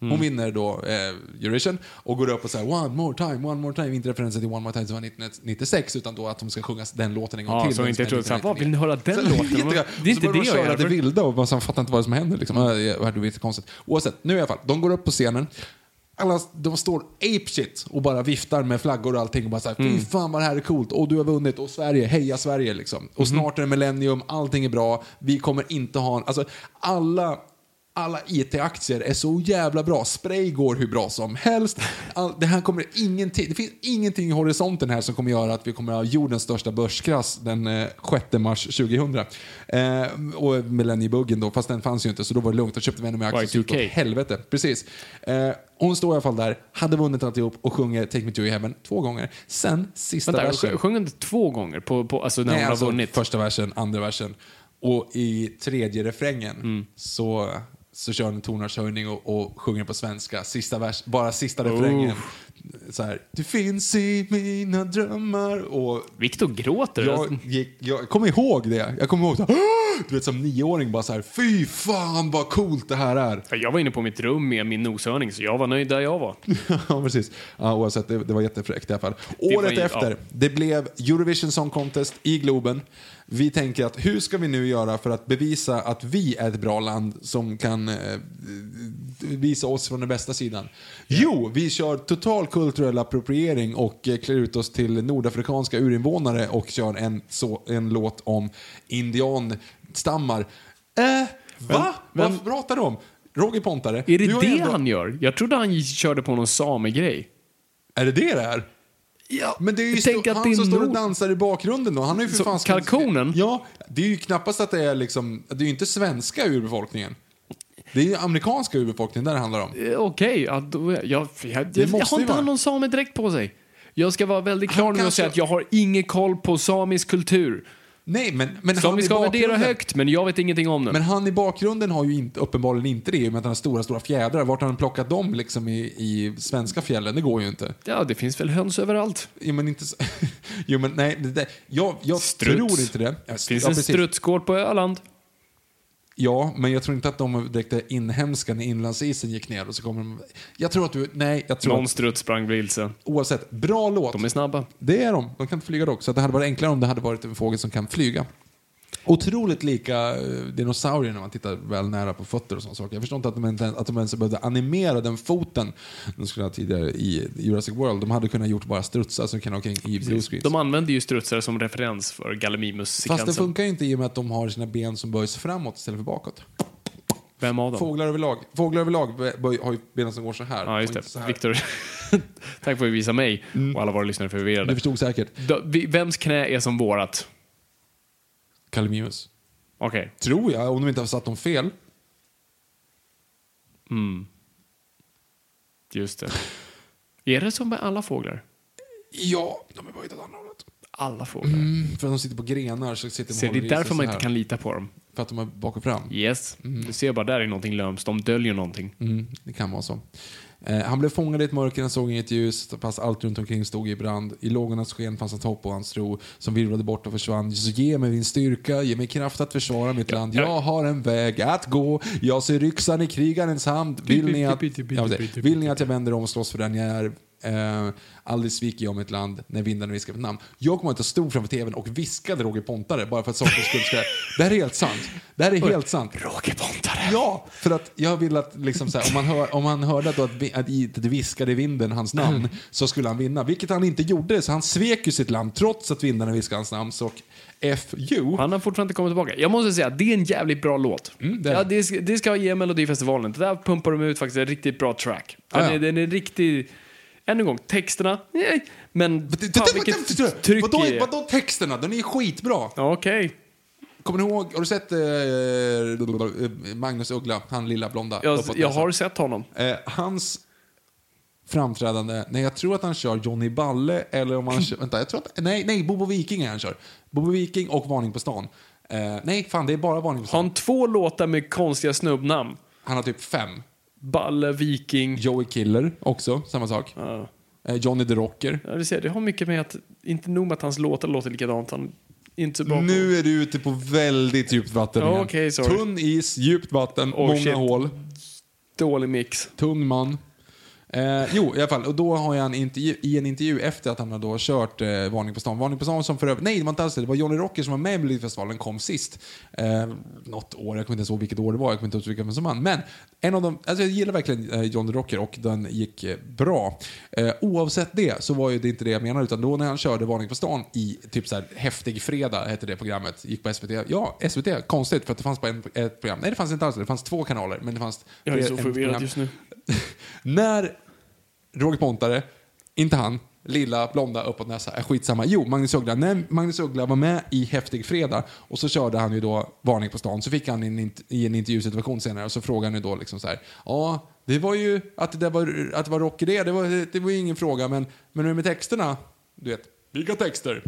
Speaker 1: Hon
Speaker 2: Mm.
Speaker 1: vinner då eh, Eurovision och går upp och säger one more time, one more time. Inte referensen till one more time som var 1996 utan då att de ska sjunga den låten en gång
Speaker 2: Ja,
Speaker 1: till.
Speaker 2: så hon
Speaker 1: den
Speaker 2: inte
Speaker 1: som är
Speaker 2: tror att, vad vill
Speaker 1: 1999.
Speaker 2: ni höra den låten?
Speaker 1: Jättebra.
Speaker 2: Det är
Speaker 1: Och så
Speaker 2: inte det
Speaker 1: börjar de
Speaker 2: jag
Speaker 1: köra
Speaker 2: gör.
Speaker 1: det
Speaker 2: för-
Speaker 1: vilda och man så fattar inte vad som händer. Liksom. Ja, Det var lite konstigt. Oavsett, nu i alla fall. De går upp på scenen. Alla, de står apeshit och bara viftar med flaggor och allting. Och bara så här, Fy fan vad det här är coolt. Och du har vunnit. Och Sverige, heja Sverige. Liksom. Och snart är det millennium, allting är bra. Vi kommer inte ha... en- Alltså, alla alla IT-aktier är så jävla bra. Spray går hur bra som helst. All, det här kommer ingenting. Det finns ingenting i horisonten här som kommer göra att vi kommer ha jordens största börskrasch den eh, 6 mars 2000. Eh, och millenniebuggen då, fast den fanns ju inte så då var det lugnt. Då köpte vi ännu mer aktier. så gick det åt
Speaker 2: Y2K.
Speaker 1: Helvete, precis. Eh, hon står i alla fall där, hade vunnit alltihop och sjunger Take Me To Your Heaven två gånger. Sen, sista
Speaker 2: Vänta,
Speaker 1: versen.
Speaker 2: sj- sjöng hon inte två gånger på, på, alltså när
Speaker 1: Nej,
Speaker 2: hon
Speaker 1: alltså,
Speaker 2: har vunnit?
Speaker 1: första versen, andra versen. Och i tredje refrängen
Speaker 2: Mm.
Speaker 1: så, så kör den tonartshöjning och, och sjunger på svenska. Sista vers, bara sista refrängen. Så här, du finns i mina drömmar. Och
Speaker 2: Viktor gråter.
Speaker 1: jag, gick, jag kommer ihåg det. Jag kommer ihåg så här, "Åh!" du vet som nioåring bara så här, fy fan vad coolt det här är.
Speaker 2: För Jag var inne på mitt rum med min noshörning, så jag var nöjd där jag var.
Speaker 1: ja, precis. Ja, oavsett, det, det var jättefräckt i alla fall.
Speaker 2: var
Speaker 1: Året
Speaker 2: ju- ja.
Speaker 1: efter, det blev Eurovision Song Contest i Globen. Vi tänker att hur ska vi nu göra för att bevisa att vi är ett bra land som kan eh, visa oss från den bästa sidan? Jo, vi kör total kulturell appropriering och eh, klär ut oss till nordafrikanska urinvånare och kör en, så, en låt om indianstammar. Eh, va?
Speaker 2: vem-
Speaker 1: Vad pratar du om? Roger Pontare.
Speaker 2: Är det
Speaker 1: du har ju
Speaker 2: det
Speaker 1: ändå-
Speaker 2: han gör? Jag trodde han körde på någon samegrej.
Speaker 1: Är det det det är?
Speaker 2: Ja,
Speaker 1: Men det är ju
Speaker 2: Tänk
Speaker 1: stå-
Speaker 2: att
Speaker 1: han
Speaker 2: det är
Speaker 1: som står och
Speaker 2: nog-
Speaker 1: dansar i bakgrunden då. Han är ju för
Speaker 2: Så,
Speaker 1: fan svensk-
Speaker 2: kalkonen?
Speaker 1: Ja, det är ju knappast att det är liksom, det är ju inte svenska urbefolkningen. Det är ju amerikanska urbefolkningen där det handlar om.
Speaker 2: Eh, Okej, ja, då- jag, jag, jag, jag
Speaker 1: måste
Speaker 2: har
Speaker 1: ju
Speaker 2: inte
Speaker 1: vara.
Speaker 2: han någon samedräkt på sig. Jag ska vara väldigt klar nu och
Speaker 1: kanske-
Speaker 2: säga att jag har ingen koll på samisk kultur.
Speaker 1: Nej, men, men
Speaker 2: Som
Speaker 1: han
Speaker 2: vi
Speaker 1: i
Speaker 2: ska värdera
Speaker 1: bakgrunden-
Speaker 2: högt, men jag vet ingenting om den.
Speaker 1: Men han i bakgrunden har ju inte, uppenbarligen inte det i och med att han har stora, stora fjädrar. Vart har han plockat dem liksom i, i svenska fjällen? Det går ju inte.
Speaker 2: Ja, det finns väl höns överallt.
Speaker 1: Jo, men inte så- Jo, men nej. Det, det, jag jag
Speaker 2: Struts.
Speaker 1: tror inte det. Ja, st-
Speaker 2: Finns
Speaker 1: ja,
Speaker 2: en
Speaker 1: precis.
Speaker 2: strutsgård på Öland.
Speaker 1: Ja, men jag tror inte att de direkt är inhemska när inlandsisen gick ner. Och så kommer de... Jag tror att du... Nej, jag tror
Speaker 2: Någon
Speaker 1: att,
Speaker 2: struts sprang vilse.
Speaker 1: Oavsett, bra låt.
Speaker 2: De är snabba.
Speaker 1: Det är de. De kan inte flyga dock. Så att det hade varit enklare om det hade varit en fågel som kan flyga. Otroligt lika eh, dinosaurier när man tittar väl nära på fötter och sådana saker. Jag förstår inte att de, inte, att de ens behövde animera den foten de skulle ha tidigare i Jurassic World. De hade kunnat gjort bara strutsar som kan åka in i bluescreens.
Speaker 2: De använder ju strutsar som referens för
Speaker 1: Fast det
Speaker 2: Gallimimus-sekvensen.
Speaker 1: funkar ju inte i och med att de har sina ben som böjs framåt istället för bakåt.
Speaker 2: Vem av dem?
Speaker 1: Fåglar överlag, Fåglar överlag bö- böj- har ju benen som går så här.
Speaker 2: Ja, just
Speaker 1: och inte så
Speaker 2: det.
Speaker 1: här.
Speaker 2: Viktor, tack för att du visade mig och alla våra lyssnare
Speaker 1: Du
Speaker 2: förvirrade.
Speaker 1: förstod säkert.
Speaker 2: Då, vi- vems knä är som vårat?
Speaker 1: Kalimius.
Speaker 2: Okej.
Speaker 1: Tror jag, om de inte har satt dem fel.
Speaker 2: mm. Just det. Är det som med alla fåglar?
Speaker 1: Ja, de är böjda åt andra hållet.
Speaker 2: Alla fåglar.
Speaker 1: Mm, För att de sitter på grenar så sitter de
Speaker 2: Så det
Speaker 1: håller i
Speaker 2: är
Speaker 1: sig
Speaker 2: därför man
Speaker 1: så
Speaker 2: inte
Speaker 1: här. Mm.
Speaker 2: kan lita på dem.
Speaker 1: För att de är bak och fram.
Speaker 2: Yes. Du ser bara, där är någonting lömskt. De döljer någonting.
Speaker 1: Mm, det kan vara så. Eh, han blev fångad i ett mörker, han såg inget ljus, fast allt runt omkring stod i brand. I lågornas sken fanns ett hopp och hans tro som virvlade bort och försvann. Så ge mig din styrka, ge mig kraft att försvara mitt land. Jag har en väg att gå, jag ser yxan i krigarens hand. Vill ni att, jag vill säga, vill ni att jag vänder om och slåss för den jag är? Eh, aldrig sviker jag mitt land när vindarna viskar mitt namn. Jag kommer inte att stå framför tvn och viskade Roger Pontare bara för att sakens skull ska... Det här är helt sant. Det här är helt sant.
Speaker 2: Roger Pontare!
Speaker 1: Ja, för att jag vill att liksom så här, om, man hör, om han hörde då att, vi, att i- det viskade i vinden hans namn så skulle han vinna. Vilket han inte gjorde, så han svek ju sitt land trots att vindarna viskade hans namn. Så FU.
Speaker 2: Han har fortfarande inte kommit tillbaka. Jag måste säga, det är en jävligt bra låt.
Speaker 1: Mm, det är
Speaker 2: ja,
Speaker 1: det.
Speaker 2: det, ska, det ska jag ge Melodifestivalen. Det där pumpar de ut faktiskt en riktigt bra track. Den,
Speaker 1: Ah, ja.
Speaker 2: är, den är riktig... Än en gång, texterna, nej. Men fan vilket tryck
Speaker 1: Vadå,
Speaker 2: i...
Speaker 1: vadå texterna? Den är ju skitbra.
Speaker 2: Okej.
Speaker 1: Kommer ni ihåg, har du sett eh, Magnus Uggla, han lilla blonda?
Speaker 2: Jag,
Speaker 1: uppåt
Speaker 2: jag
Speaker 1: näsan?
Speaker 2: har sett honom.
Speaker 1: Eh, hans framträdande, nej jag tror att han kör Johnny Balle eller om han kör, vänta, jag tror att, nej, nej, Bobo Viking är han kör. Bobo Viking och Varning på stan. Eh, nej, fan det är bara Varning på
Speaker 2: Har
Speaker 1: stan.
Speaker 2: han två låtar med konstiga snubbnamn?
Speaker 1: Han har typ fem.
Speaker 2: Balle, Viking.
Speaker 1: Joey Killer också, samma sak.
Speaker 2: Ja.
Speaker 1: Eh, Johnny the Rocker.
Speaker 2: Ja, du ser, det har mycket med att, inte nog med att hans låtar låter likadant, han är inte så bra på...
Speaker 1: Nu är du ute på väldigt djupt vatten
Speaker 2: Ja,
Speaker 1: igen.
Speaker 2: okej, sorry.
Speaker 1: Tunn is, djupt vatten,
Speaker 2: Oh,
Speaker 1: många
Speaker 2: shit.
Speaker 1: hål.
Speaker 2: Dålig mix.
Speaker 1: Tung man. Eh, jo, i alla fall. Och då har jag en intervju, i en intervju efter att han har då kört eh, Varning på stan. Varning på stan som för övrigt, nej det var inte alls det. Det var Johnny Rocker som var med i Melodifestivalen kom sist. Eh, något år, jag kommer inte ens ihåg vilket år det var. Jag kommer inte ens ihåg vem som vann. Men en av de, alltså jag gillar verkligen eh, Johnny Rocker och den gick eh, bra. Eh, oavsett det så var ju det inte det jag menar. Utan då när han körde Varning på stan i typ så här Häftig fredag hette det programmet. Gick på SVT. Ja, SVT. Konstigt för att det fanns bara en, ett program. Nej det fanns inte alls det. Det fanns två kanaler. Men det fanns
Speaker 2: Jag är
Speaker 1: fler-
Speaker 2: så
Speaker 1: en
Speaker 2: förvirrad
Speaker 1: program.
Speaker 2: just nu.
Speaker 1: När Roger Pontare, inte han, lilla, blonda, uppåt näsa, är skitsamma. Jo, Magnus Uggla. När Magnus Uggla var med i Häftig fredag och så körde han ju då Varning på stan. Så fick han en int- i en intervjusituation senare och så frågade han ju då liksom så här. Ja, det var ju att det, där var, att det var rock i det, det var, det var ju ingen fråga. Men, men hur är det med texterna? Du vet, vilka texter?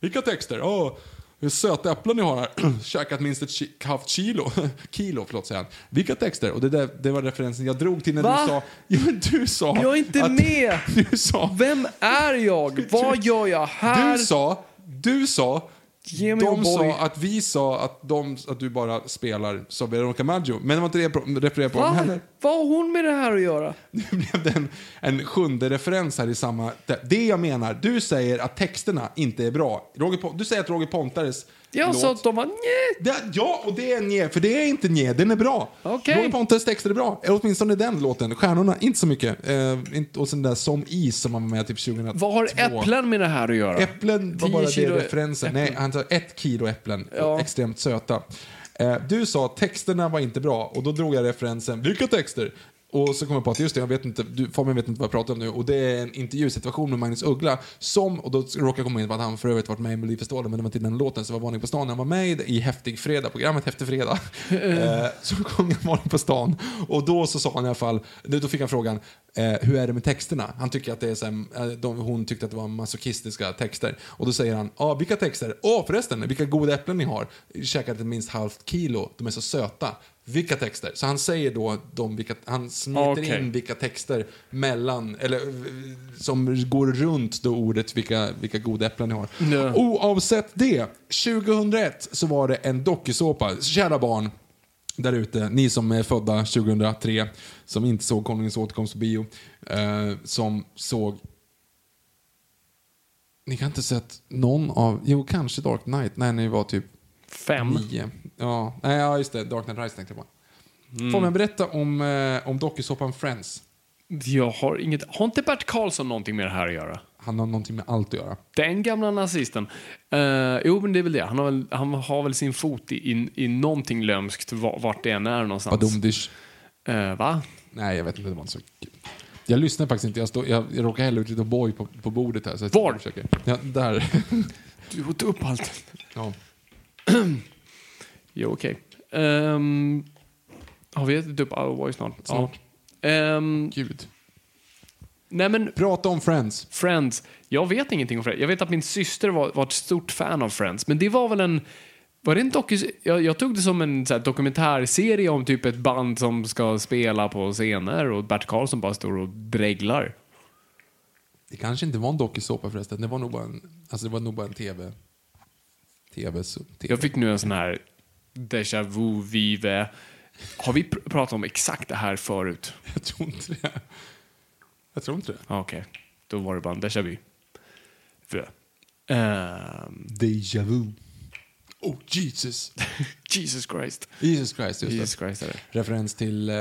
Speaker 1: Vilka texter? Åh, hur söta äpplen ni har här. Käkat minst ett ki- halvt kilo. kilo förlåt, säger han. Vilka texter? Och det, där, det var referensen jag drog till när
Speaker 2: Va?
Speaker 1: du sa... Jo, men du sa...
Speaker 2: Jag är inte
Speaker 1: att-
Speaker 2: med!
Speaker 1: Du sa...
Speaker 2: Vem är jag? Vad gör jag här?
Speaker 1: Du sa... Du sa...
Speaker 2: Ge mig oh
Speaker 1: de
Speaker 2: O'boy.
Speaker 1: sa att vi sa att, de, att du bara spelar som Veronica Maggio. Men det var inte det jag refererade på
Speaker 2: Va?
Speaker 1: heller.
Speaker 2: Vad har hon med det här att göra?
Speaker 1: Nu blev det en, en sjunde referens här i samma... Det jag menar, du säger att texterna inte är bra. Roger, Pon- du säger att Roger Pontares
Speaker 2: Jag
Speaker 1: låt
Speaker 2: sa att de var nej.
Speaker 1: Det, ja, och det är en nje, för det är inte nje, den är bra.
Speaker 2: Okej.
Speaker 1: Roger Pontes texter är bra, Eh, åtminstone den låten. Stjärnorna, inte så mycket. Eh, inte, och sen där Som is som han var med typ 2002.
Speaker 2: Vad har äpplen med det här att göra?
Speaker 1: Äpplen var
Speaker 2: 10
Speaker 1: bara det
Speaker 2: kilo
Speaker 1: referensen. Nej, han sa ett kilo äpplen.
Speaker 2: Ja.
Speaker 1: Extremt söta. Eh, du sa att texterna var inte bra och då drog jag referensen, vilka texter? Och så kom jag på att just det, jag vet inte, du, Fabian vet inte vad jag pratar om nu och det är en intervjusituation med Magnus Uggla som, och då råkar jag komma in på att han för övrigt varit med i Melodifestivalen men det var inte i den låten så var Varning på stan, han var med i, det- i Häftig fredag, programmet Häftig fredag. eh, så kom jag Varning på stan och då så sa han i alla fall, då fick han frågan, eh, hur är det med texterna? Han tycker att det är så här, eh, de, hon tyckte att det var masochistiska texter. Och då säger han, ja vilka texter? Åh förresten, vilka goda äpplen ni har. Käkade minst halvt kilo, de är så söta. Vilka texter? Så han säger då, de, vilka, han smiter
Speaker 2: Okej.
Speaker 1: in vilka texter mellan, eller eh, som går runt då ordet vilka, vilka goda äpplen ni har.
Speaker 2: Ja.
Speaker 1: Oavsett det, 2001 så var det en dokusåpa, kära barn där ute, ni som är födda 2003, som inte såg Konungens återkomst på bio, eh, som såg... Ni kan inte ha sett någon av... Jo, kanske Dark Knight, när ni var typ
Speaker 2: Fem.
Speaker 1: nio. Ja, nej, ja just det, Dark Knight Rises tänkte jag på. Får man berätta om, eh, om dokusåpan Friends?
Speaker 2: Jag har inget... Har inte Bert Karlsson någonting med det här att göra?
Speaker 1: Han har någonting med allt att göra.
Speaker 2: Den gamla nazisten. Eh, jo, men det är väl det. Han har väl, han har väl sin fot i, i, i någonting lömskt va- vart det än är någonstans.
Speaker 1: Badumdish.
Speaker 2: Eh, va?
Speaker 1: Nej, jag vet inte, det var inte så kul. Jag lyssnar faktiskt inte, jag, står, jag, jag råkar hälla ut lite O'boy på, på bordet här. Så jag
Speaker 2: Var?
Speaker 1: försöker. Ja, där.
Speaker 2: Du åt upp allt.
Speaker 1: ja.
Speaker 2: Jo, okej. Ehm, har vi ätit upp Alvoy snart? Snart. Ehm,
Speaker 1: Gud.
Speaker 2: nej, men
Speaker 1: Prata om Friends.
Speaker 2: Friends. Jag vet ingenting om Friends. Jag vet att min syster var, var ett stort fan av Friends, men det var väl en... Var det en dokus... jag, jag tog det som en så här, dokumentärserie om typ ett band som ska spela på scener och Bert Karlsson bara står och dreglar.
Speaker 1: Det kanske inte var en dokusåpa förresten. Det var nog bara en, alltså det var nog bara en tv... TV, så- TV.
Speaker 2: Jag fick nu en sån här déjà vu vive. Har vi pr- pratat om exakt det här förut?
Speaker 1: Jag tror inte det. Jag tror inte det.
Speaker 2: Ja, Okej, då var det bara en déjà vu. Vö. Ehm,
Speaker 1: Deja vu. Oh Jesus.
Speaker 2: Jesus Christ.
Speaker 1: Jesus Christ, just
Speaker 2: Jesus
Speaker 1: det.
Speaker 2: Christ är det.
Speaker 1: Referens till eh,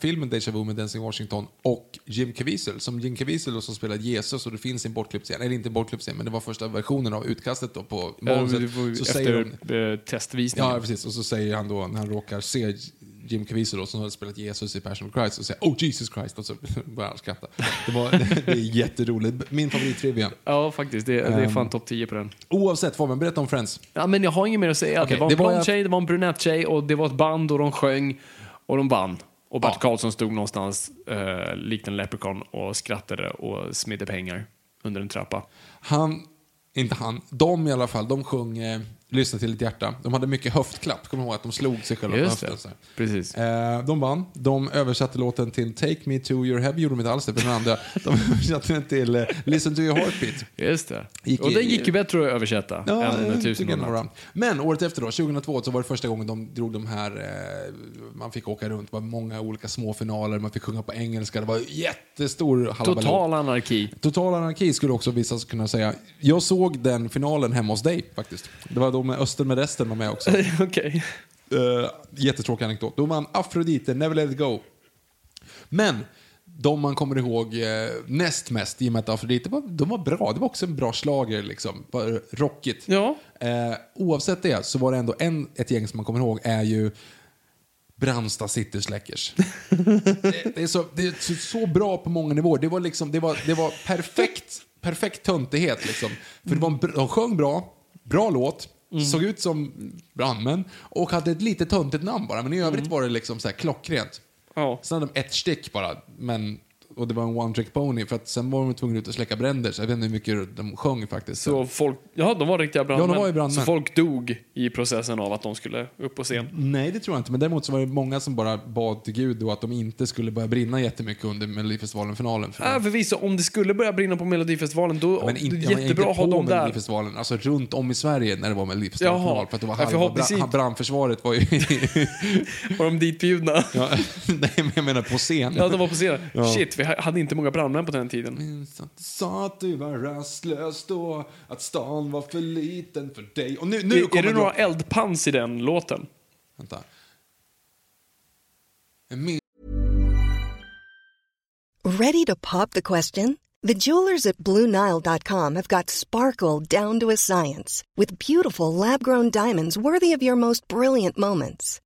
Speaker 1: filmen Deja vu med Dancing Washington och Jim Caviezel. Som Jim Caviezel då, som spelar Jesus och det finns en bortklippt scen. Eller inte en bortklippt scen, men det var första versionen av utkastet då på
Speaker 2: Ja, men det
Speaker 1: manuset.
Speaker 2: var ju
Speaker 1: Ehm, så säger de,
Speaker 2: efter eh, testvisningen.
Speaker 1: Ja, precis. Och så säger han då när han råkar se Jim Caviezel då, som hade spelat Jesus i Passion of Christ och säga Oh Jesus Christ och så började han skratta. Det, var, det är jätteroligt. Min favorittrivia.
Speaker 2: Ja, faktiskt. Det, det är
Speaker 1: Ehm.
Speaker 2: fan topp 10 på den.
Speaker 1: Oavsett vad, men berätta om Friends.
Speaker 2: Ja, men jag har inget mer att säga.
Speaker 1: Okej,
Speaker 2: det var en
Speaker 1: det var
Speaker 2: blond
Speaker 1: jag-
Speaker 2: tjej, det var en brunett tjej och det var ett band och de sjöng och de vann. Och Bert
Speaker 1: Ja.
Speaker 2: Karlsson stod någonstans eh, likt en leprechaun och skrattade och smidde pengar under en trappa.
Speaker 1: Han, inte han, de i alla fall, de sjöng eh, Lyssna till ditt hjärta. De hade mycket höftklapp, kommer du ihåg att de slog sig själva på
Speaker 2: Just det.
Speaker 1: höften. så här.
Speaker 2: Precis.
Speaker 1: Eh, de vann. De översatte låten till Take Me To Your Heavy, gjorde de inte alls det, för den andra. De översatte den till eh, Listen To Your Heartbeat.
Speaker 2: Just det.
Speaker 1: Gick
Speaker 2: och
Speaker 1: i-
Speaker 2: den gick ju bättre att översätta än
Speaker 1: jag
Speaker 2: tusen
Speaker 1: tycker
Speaker 2: och en
Speaker 1: det var bra.
Speaker 2: natt.
Speaker 1: Men året efter då, 2002, så var det första gången de drog de här, eh, man fick åka runt, det var många olika små finaler, man fick sjunga på engelska, det var jättestor halabaloo.
Speaker 2: Total anarki.
Speaker 1: Total anarki skulle också vissa kunna säga. Jag såg den finalen hemma hos dig faktiskt. Det var då med Östen med resten var med också. uh,
Speaker 2: Okej.
Speaker 1: jättetråkig anekdot. Då vann Afrodite, Never Let It Go. Men de man kommer ihåg eh, näst mest i och med att Afrodite var, de var bra. Det var också en bra slager liksom. Bara Rockigt.
Speaker 2: Ja.
Speaker 1: Eh, oavsett det så var det ändå en, ett gäng som man kommer ihåg är ju Brandsta City Släckers. det, det är, så, det är så, så bra på många nivåer. Det var, liksom, det var, det var perfekt, perfekt töntighet. Liksom. För det var en, br- de sjöng bra, bra låt, såg ut som brandmän och hade ett lite töntigt namn bara. Men i övrigt var det liksom så här klockrent.
Speaker 2: Ja.
Speaker 1: Sen hade de ett stick bara, men, och det var en one trick pony. För att sen var de tvungna ut och släcka bränder, så jag vet inte hur mycket de sjöng faktiskt.
Speaker 2: Så folk, ja, de var riktiga brandmän.
Speaker 1: var ju brandmän.
Speaker 2: Så folk dog i processen av att de skulle upp på scen.
Speaker 1: Nej, det tror jag inte. Men däremot så var det många som bara bad till Gud då att de inte skulle börja brinna jättemycket under Melodifestivalen-finalen. För
Speaker 2: Äh, förvisso, om det skulle börja brinna på Melodifestivalen, då
Speaker 1: men inte,
Speaker 2: det är jättebra att
Speaker 1: inte
Speaker 2: ha
Speaker 1: på
Speaker 2: dem där.
Speaker 1: Melodifestivalen, alltså runt om i Sverige när det var Melodifestivalenfinal.
Speaker 2: Jaha.
Speaker 1: För att det var
Speaker 2: Ja,
Speaker 1: halva
Speaker 2: förhoppningsvis-
Speaker 1: bra- brandförsvaret var ju...
Speaker 2: Var de ditbjudna?
Speaker 1: ja, nej, men jag menar på scen.
Speaker 2: Ja, de var på scenen.
Speaker 1: Ja. Mm.
Speaker 2: Shit, vi ha- hade inte många brandmän på den tiden.
Speaker 1: Minns att du sa att du var rastlös då, att stan var för liten för dig. Och nu, nu
Speaker 2: är, är
Speaker 1: kommer
Speaker 2: det
Speaker 1: då-
Speaker 2: några eldpans i den låten?
Speaker 1: Vänta. Min-
Speaker 3: Ready to pop the question? The jewelers at BlueNile.com have got sparkle down to a science with beautiful lab grown diamonds worthy of your most brilliant moments.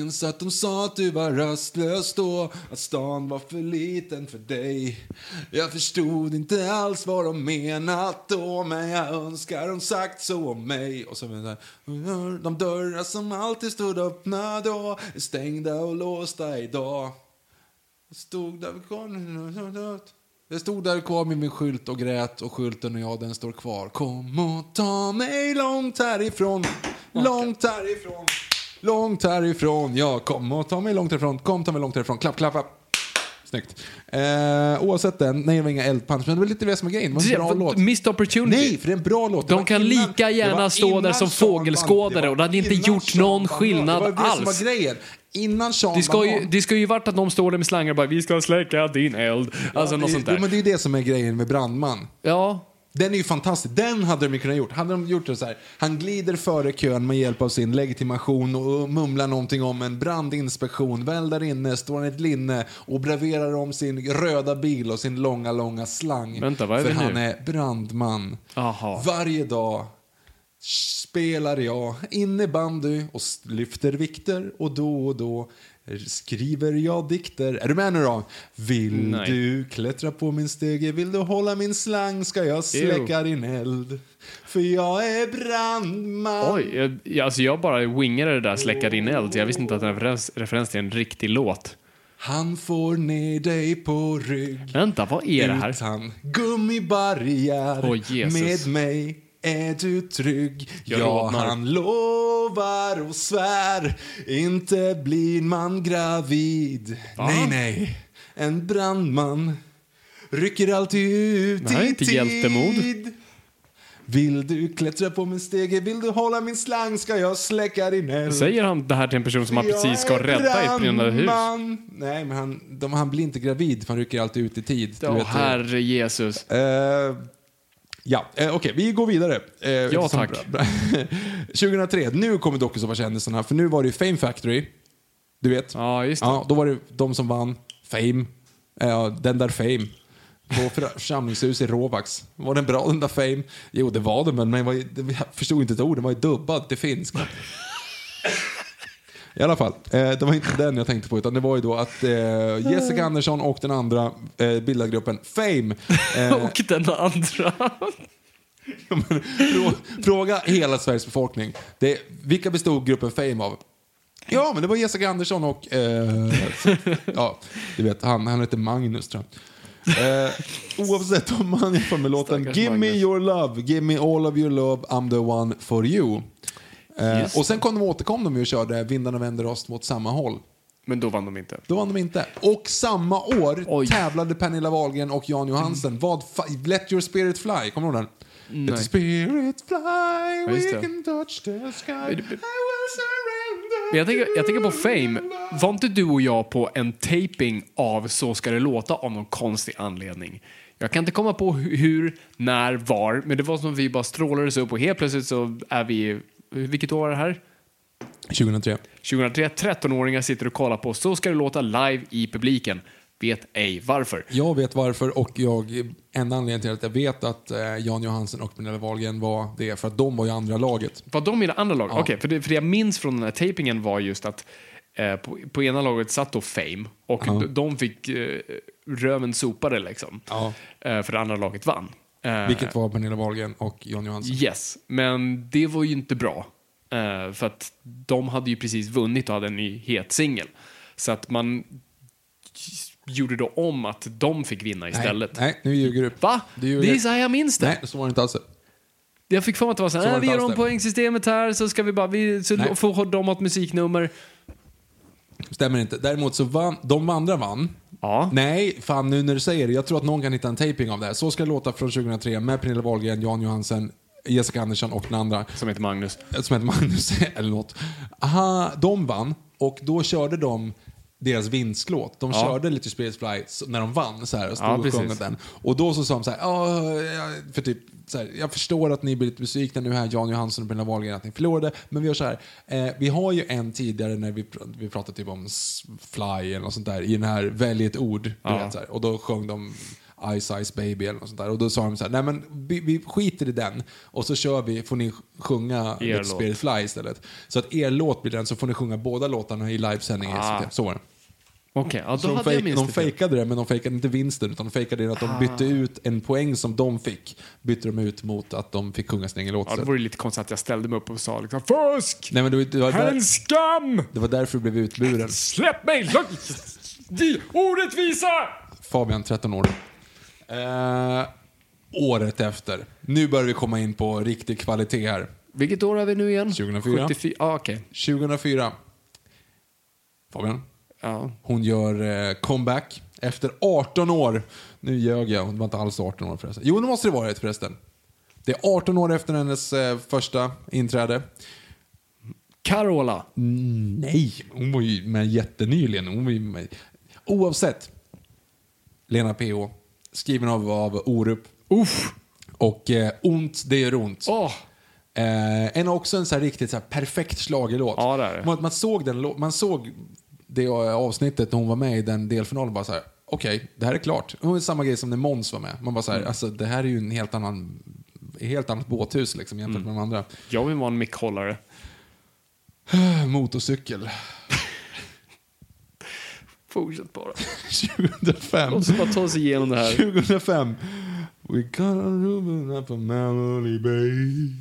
Speaker 1: Minns att de sa att du var rastlös då, att stan var för liten för dig. Jag förstod inte alls vad de menat då, men jag önskar de sagt så om mig. Och så vidare. De dörrar som alltid stod öppna då, är stängda och låsta idag. Jag stod där kvar, jag stod där kvar med min skylt och grät och skylten och jag den står kvar. Kom och ta mig långt härifrån, långt härifrån, långt härifrån. Ja, kom och ta mig långt härifrån, kom ta mig långt härifrån. Klapp, klapp, klapp. Snyggt. Eh, oavsett den, nej det var inga eldpunch, men det var lite det som var grejen. Det var en
Speaker 2: Det
Speaker 1: bra
Speaker 2: var
Speaker 1: låt.
Speaker 2: missed opportunity.
Speaker 1: Nej, för det är en bra låt. Det
Speaker 2: De
Speaker 1: var
Speaker 2: kan lika gärna
Speaker 1: det var
Speaker 2: stå där
Speaker 1: innan
Speaker 2: som
Speaker 1: Sean
Speaker 2: fågelskådare
Speaker 1: Banan- det var
Speaker 2: och det hade inte
Speaker 1: innan
Speaker 2: gjort
Speaker 1: Sean
Speaker 2: någon
Speaker 1: Banan.
Speaker 2: skillnad
Speaker 1: Det var det som
Speaker 2: alls.
Speaker 1: var grejen. Innan Sean
Speaker 2: Det ska, ju,
Speaker 1: Banan-
Speaker 2: det ska ju varit att de står där med slangar och bara “Vi ska släcka din eld”. Alltså
Speaker 1: Ja,
Speaker 2: något
Speaker 1: det-
Speaker 2: sånt där.
Speaker 1: Jo, men det är ju det som är grejen med brandman.
Speaker 2: Ja.
Speaker 1: Den är ju fantastisk. Den hade de ju kunnat gjort. Hade de gjort det så här. Han glider före kön med hjälp av sin legitimation och mumlar någonting om en brandinspektion. Väl där inne står han i ett linne och braverar om sin röda bil och sin långa, långa slang.
Speaker 2: Vänta, vad är
Speaker 1: För
Speaker 2: vi nu?
Speaker 1: han är brandman.
Speaker 2: Aha.
Speaker 1: Varje dag spelar jag innebandy och s- lyfter vikter och då och då skriver jag dikter. Är du med nu då? Vill
Speaker 2: Nej.
Speaker 1: du klättra på min stege? Vill du hålla min slang? Ska jag släcka din eld? För jag är brandman.
Speaker 2: Oj, jag, jag- alltså jag bara wingade det där släcka din eld. Jag visste inte att det var en referens, referens till en riktig låt.
Speaker 1: Han får ner dig på rygg.
Speaker 2: Vänta, vad är det här?
Speaker 1: Utan gummibarriär
Speaker 2: Åh, Jesus.
Speaker 1: Med mig är du trygg
Speaker 2: Jag
Speaker 1: Ja,
Speaker 2: rodnar.
Speaker 1: han lovar och svär Inte blir man gravid Nej, nej En brandman rycker alltid ut
Speaker 2: Det här är
Speaker 1: i
Speaker 2: inte
Speaker 1: tid
Speaker 2: hjältemod.
Speaker 1: Vill du klättra på min stege? Vill du hålla min slang? Ska jag släcka din eld?
Speaker 2: Säger han det här till en person som han
Speaker 1: Jag
Speaker 2: precis ska
Speaker 1: är
Speaker 2: rädda i ett brinnande hus?
Speaker 1: brandman. Nej, men han, de, han blir inte gravid för han rycker alltid ut i tid. Du
Speaker 2: Åh,
Speaker 1: vet,
Speaker 2: herre Jesus.
Speaker 1: Eh, ja, eh, okej, vi går vidare. Eh,
Speaker 2: Ja,
Speaker 1: som-
Speaker 2: tack.
Speaker 1: 2003, nu kommer dokusåpakändisarna, för nu var det ju Fame Factory. Du vet?
Speaker 2: Ja, just det.
Speaker 1: Ja, då var det de som vann Fame. Eh, den där Fame. På för- församlingshus i Rovax. Var den bra den där Fame? Jo, det var den, men den var ju, jag förstod inte ett ord. Den var ju dubbad till finska. I alla fall, eh, det var inte den jag tänkte på utan det var ju då att eh, Jessica Andersson och den andra eh, bildade gruppen Fame. Eh,
Speaker 2: Och den andra.
Speaker 1: Frå- Fråga hela Sveriges befolkning. Det, vilka bestod gruppen Fame av? Ja, men det var Jessica Andersson och... Eh, så, ja, du vet, han, han heter Magnus, tror jag. Eh, oavsett om man jämför med låten
Speaker 2: Stackars
Speaker 1: Give me
Speaker 2: Magnus.
Speaker 1: your love, give me all of your love, I'm the one for you.
Speaker 2: Just
Speaker 1: Eh, och sen kom de, återkom de ju och körde Vindarna vänder oss mot samma håll.
Speaker 2: Men då vann de inte.
Speaker 1: Då vann de inte. Och samma år
Speaker 2: Oj. Mm.
Speaker 1: tävlade Pernilla Wahlgren och Jan Johansen. Vad fa- Let your spirit fly, kommer du ihåg den? Let your spirit fly,
Speaker 2: just
Speaker 1: we
Speaker 2: det.
Speaker 1: can touch the sky, I will surrender
Speaker 2: Men jag tänker, jag tänker på
Speaker 1: to your
Speaker 2: Fame.
Speaker 1: love.
Speaker 2: Var inte du och jag på en taping av Så ska det låta av någon konstig anledning? Jag kan inte komma på hu- hur, när, var, men det var som vi bara strålades upp och helt plötsligt så är vi, vilket år var det här?
Speaker 1: 2003.
Speaker 2: 2003, 13-åringar sitter och kollar på Så ska det låta live i publiken. Vet ej varför.
Speaker 1: Jag vet varför och jag, enda anledningen till att jag vet att eh, Jan Johansen och Pernilla Wahlgren var det är för att de var ju andra laget.
Speaker 2: Var de i det andra laget? Okej, för, det, för det jag minns från den här tapingen var just att eh, på, på ena laget satt då Fame och de, de fick eh, röven sopade liksom.
Speaker 1: Ja.
Speaker 2: Eh, för det andra laget vann. Eh,
Speaker 1: Vilket var Pernilla Wahlgren och Jan Johansen.
Speaker 2: Yes, men det var ju inte bra. Eh, för att de hade ju precis vunnit och hade en ny het singel. Så att man gjorde då om att de fick vinna istället.
Speaker 1: Nej, nej, nu ljuger du.
Speaker 2: Va?
Speaker 1: Du
Speaker 2: det är
Speaker 1: ljuger.
Speaker 2: så här jag minns det.
Speaker 1: Nej, så var det inte alls.
Speaker 2: Jag fick för mig att det var så
Speaker 1: Så
Speaker 2: här,
Speaker 1: var
Speaker 2: "Äh,
Speaker 1: det
Speaker 2: vi
Speaker 1: inte alls
Speaker 2: gör om
Speaker 1: det."
Speaker 2: poängsystemet här så ska vi bara, vi, så
Speaker 1: Nej.
Speaker 2: får de ha ett musiknummer.
Speaker 1: Stämmer inte. Däremot så vann, de andra vann.
Speaker 2: Ja.
Speaker 1: Nej, fan nu när du säger det. Jag tror att någon kan hitta en taping av det här. Så ska det låta från 2003 med Pernilla Wahlgren, Jan Johansen, Jessica Andersson och den andra
Speaker 2: Som heter Magnus.
Speaker 1: som heter Magnus eller något. Aha, de vann och då körde de deras vinstlåt. De körde lite Spirits Fly så- när de vann så här, och stod
Speaker 2: Ja,
Speaker 1: och
Speaker 2: precis.
Speaker 1: sjöng den. Och då så sa de så här, "Ja, jag- för typ, så här, jag förstår att ni blir lite besvikna nu här, Jan Johansson och Pernilla Wahlgren, att ni förlorade. Men vi gör så här, eh, vi har ju en tidigare när vi, pr- vi pratade typ om s- Fly eller något sånt där, i den här Välj ett ord. Du vet, så här. Och då sjöng de Ice Ice Baby eller något sånt där. Och då sa de så här, nej men vi, vi skiter i den och så kör vi, får ni sjunga
Speaker 2: Er
Speaker 1: Let Spirit Fly istället. Så att er låt blir den, så får ni sjunga båda låtarna i livesändning i SVT. Så var det.
Speaker 2: Okej, ja,
Speaker 1: Så
Speaker 2: då
Speaker 1: de,
Speaker 2: hade jag
Speaker 1: fejk,
Speaker 2: minst
Speaker 1: de
Speaker 2: det Ah. fel.
Speaker 1: fejkade det, men de fejkade inte vinsten, utan de fejkade det att de bytte ut en poäng som de fick, bytte de ut mot att de fick sjunga sin egen låt.
Speaker 2: Ja, det
Speaker 1: istället.
Speaker 2: vore lite konstigt att jag ställde mig upp och sa liksom Fusk!
Speaker 1: Nej, men det, var- det, var
Speaker 2: Här är en
Speaker 1: där,
Speaker 2: skam!
Speaker 1: det var därför du blev utburen.
Speaker 2: Släpp mig! Lugn! Di- Orättvisa!
Speaker 1: Fabian, 13 år. Eh, året efter. Nu börjar vi komma in på riktig kvalitet här.
Speaker 2: Vilket år är vi nu igen?
Speaker 1: 2004.
Speaker 2: 74. Ah, okej.
Speaker 1: 2004. Fabian?
Speaker 2: Ja.
Speaker 1: Hon gör eh, comeback efter 18 år. Nu ljög jag, hon var inte alls 18 år förresten. Jo, det måste det varit förresten. Det är 18 år efter hennes eh, första inträde.
Speaker 2: Carola.
Speaker 1: Nej, hon var ju med jättenyligen. Hon var ju med. Oavsett. Lena PH, skriven av, av Orup.
Speaker 2: Uff.
Speaker 1: Och eh, Ont, det gör ont.
Speaker 2: Åh!
Speaker 1: Eh, en också en så här riktigt så här perfekt schlagerlåt.
Speaker 2: Ja, det är det.
Speaker 1: Man, man, såg den, lå- man såg det eh, avsnittet när hon var med i den delfinalen bara så här, okej, det här är klart. Det var samma grej som när Måns var med. Man bara så
Speaker 2: Mm.
Speaker 1: här, alltså det här är ju en helt annan, helt annat båthus liksom jämfört
Speaker 2: Mm.
Speaker 1: med de andra.
Speaker 2: Jag vill vara en mickhållare.
Speaker 1: Motorcykel.
Speaker 2: Fortsätt bara.
Speaker 1: 2005.
Speaker 2: Låt oss bara ta oss igenom det här.
Speaker 1: 2005. We got a room up a Melody Bay.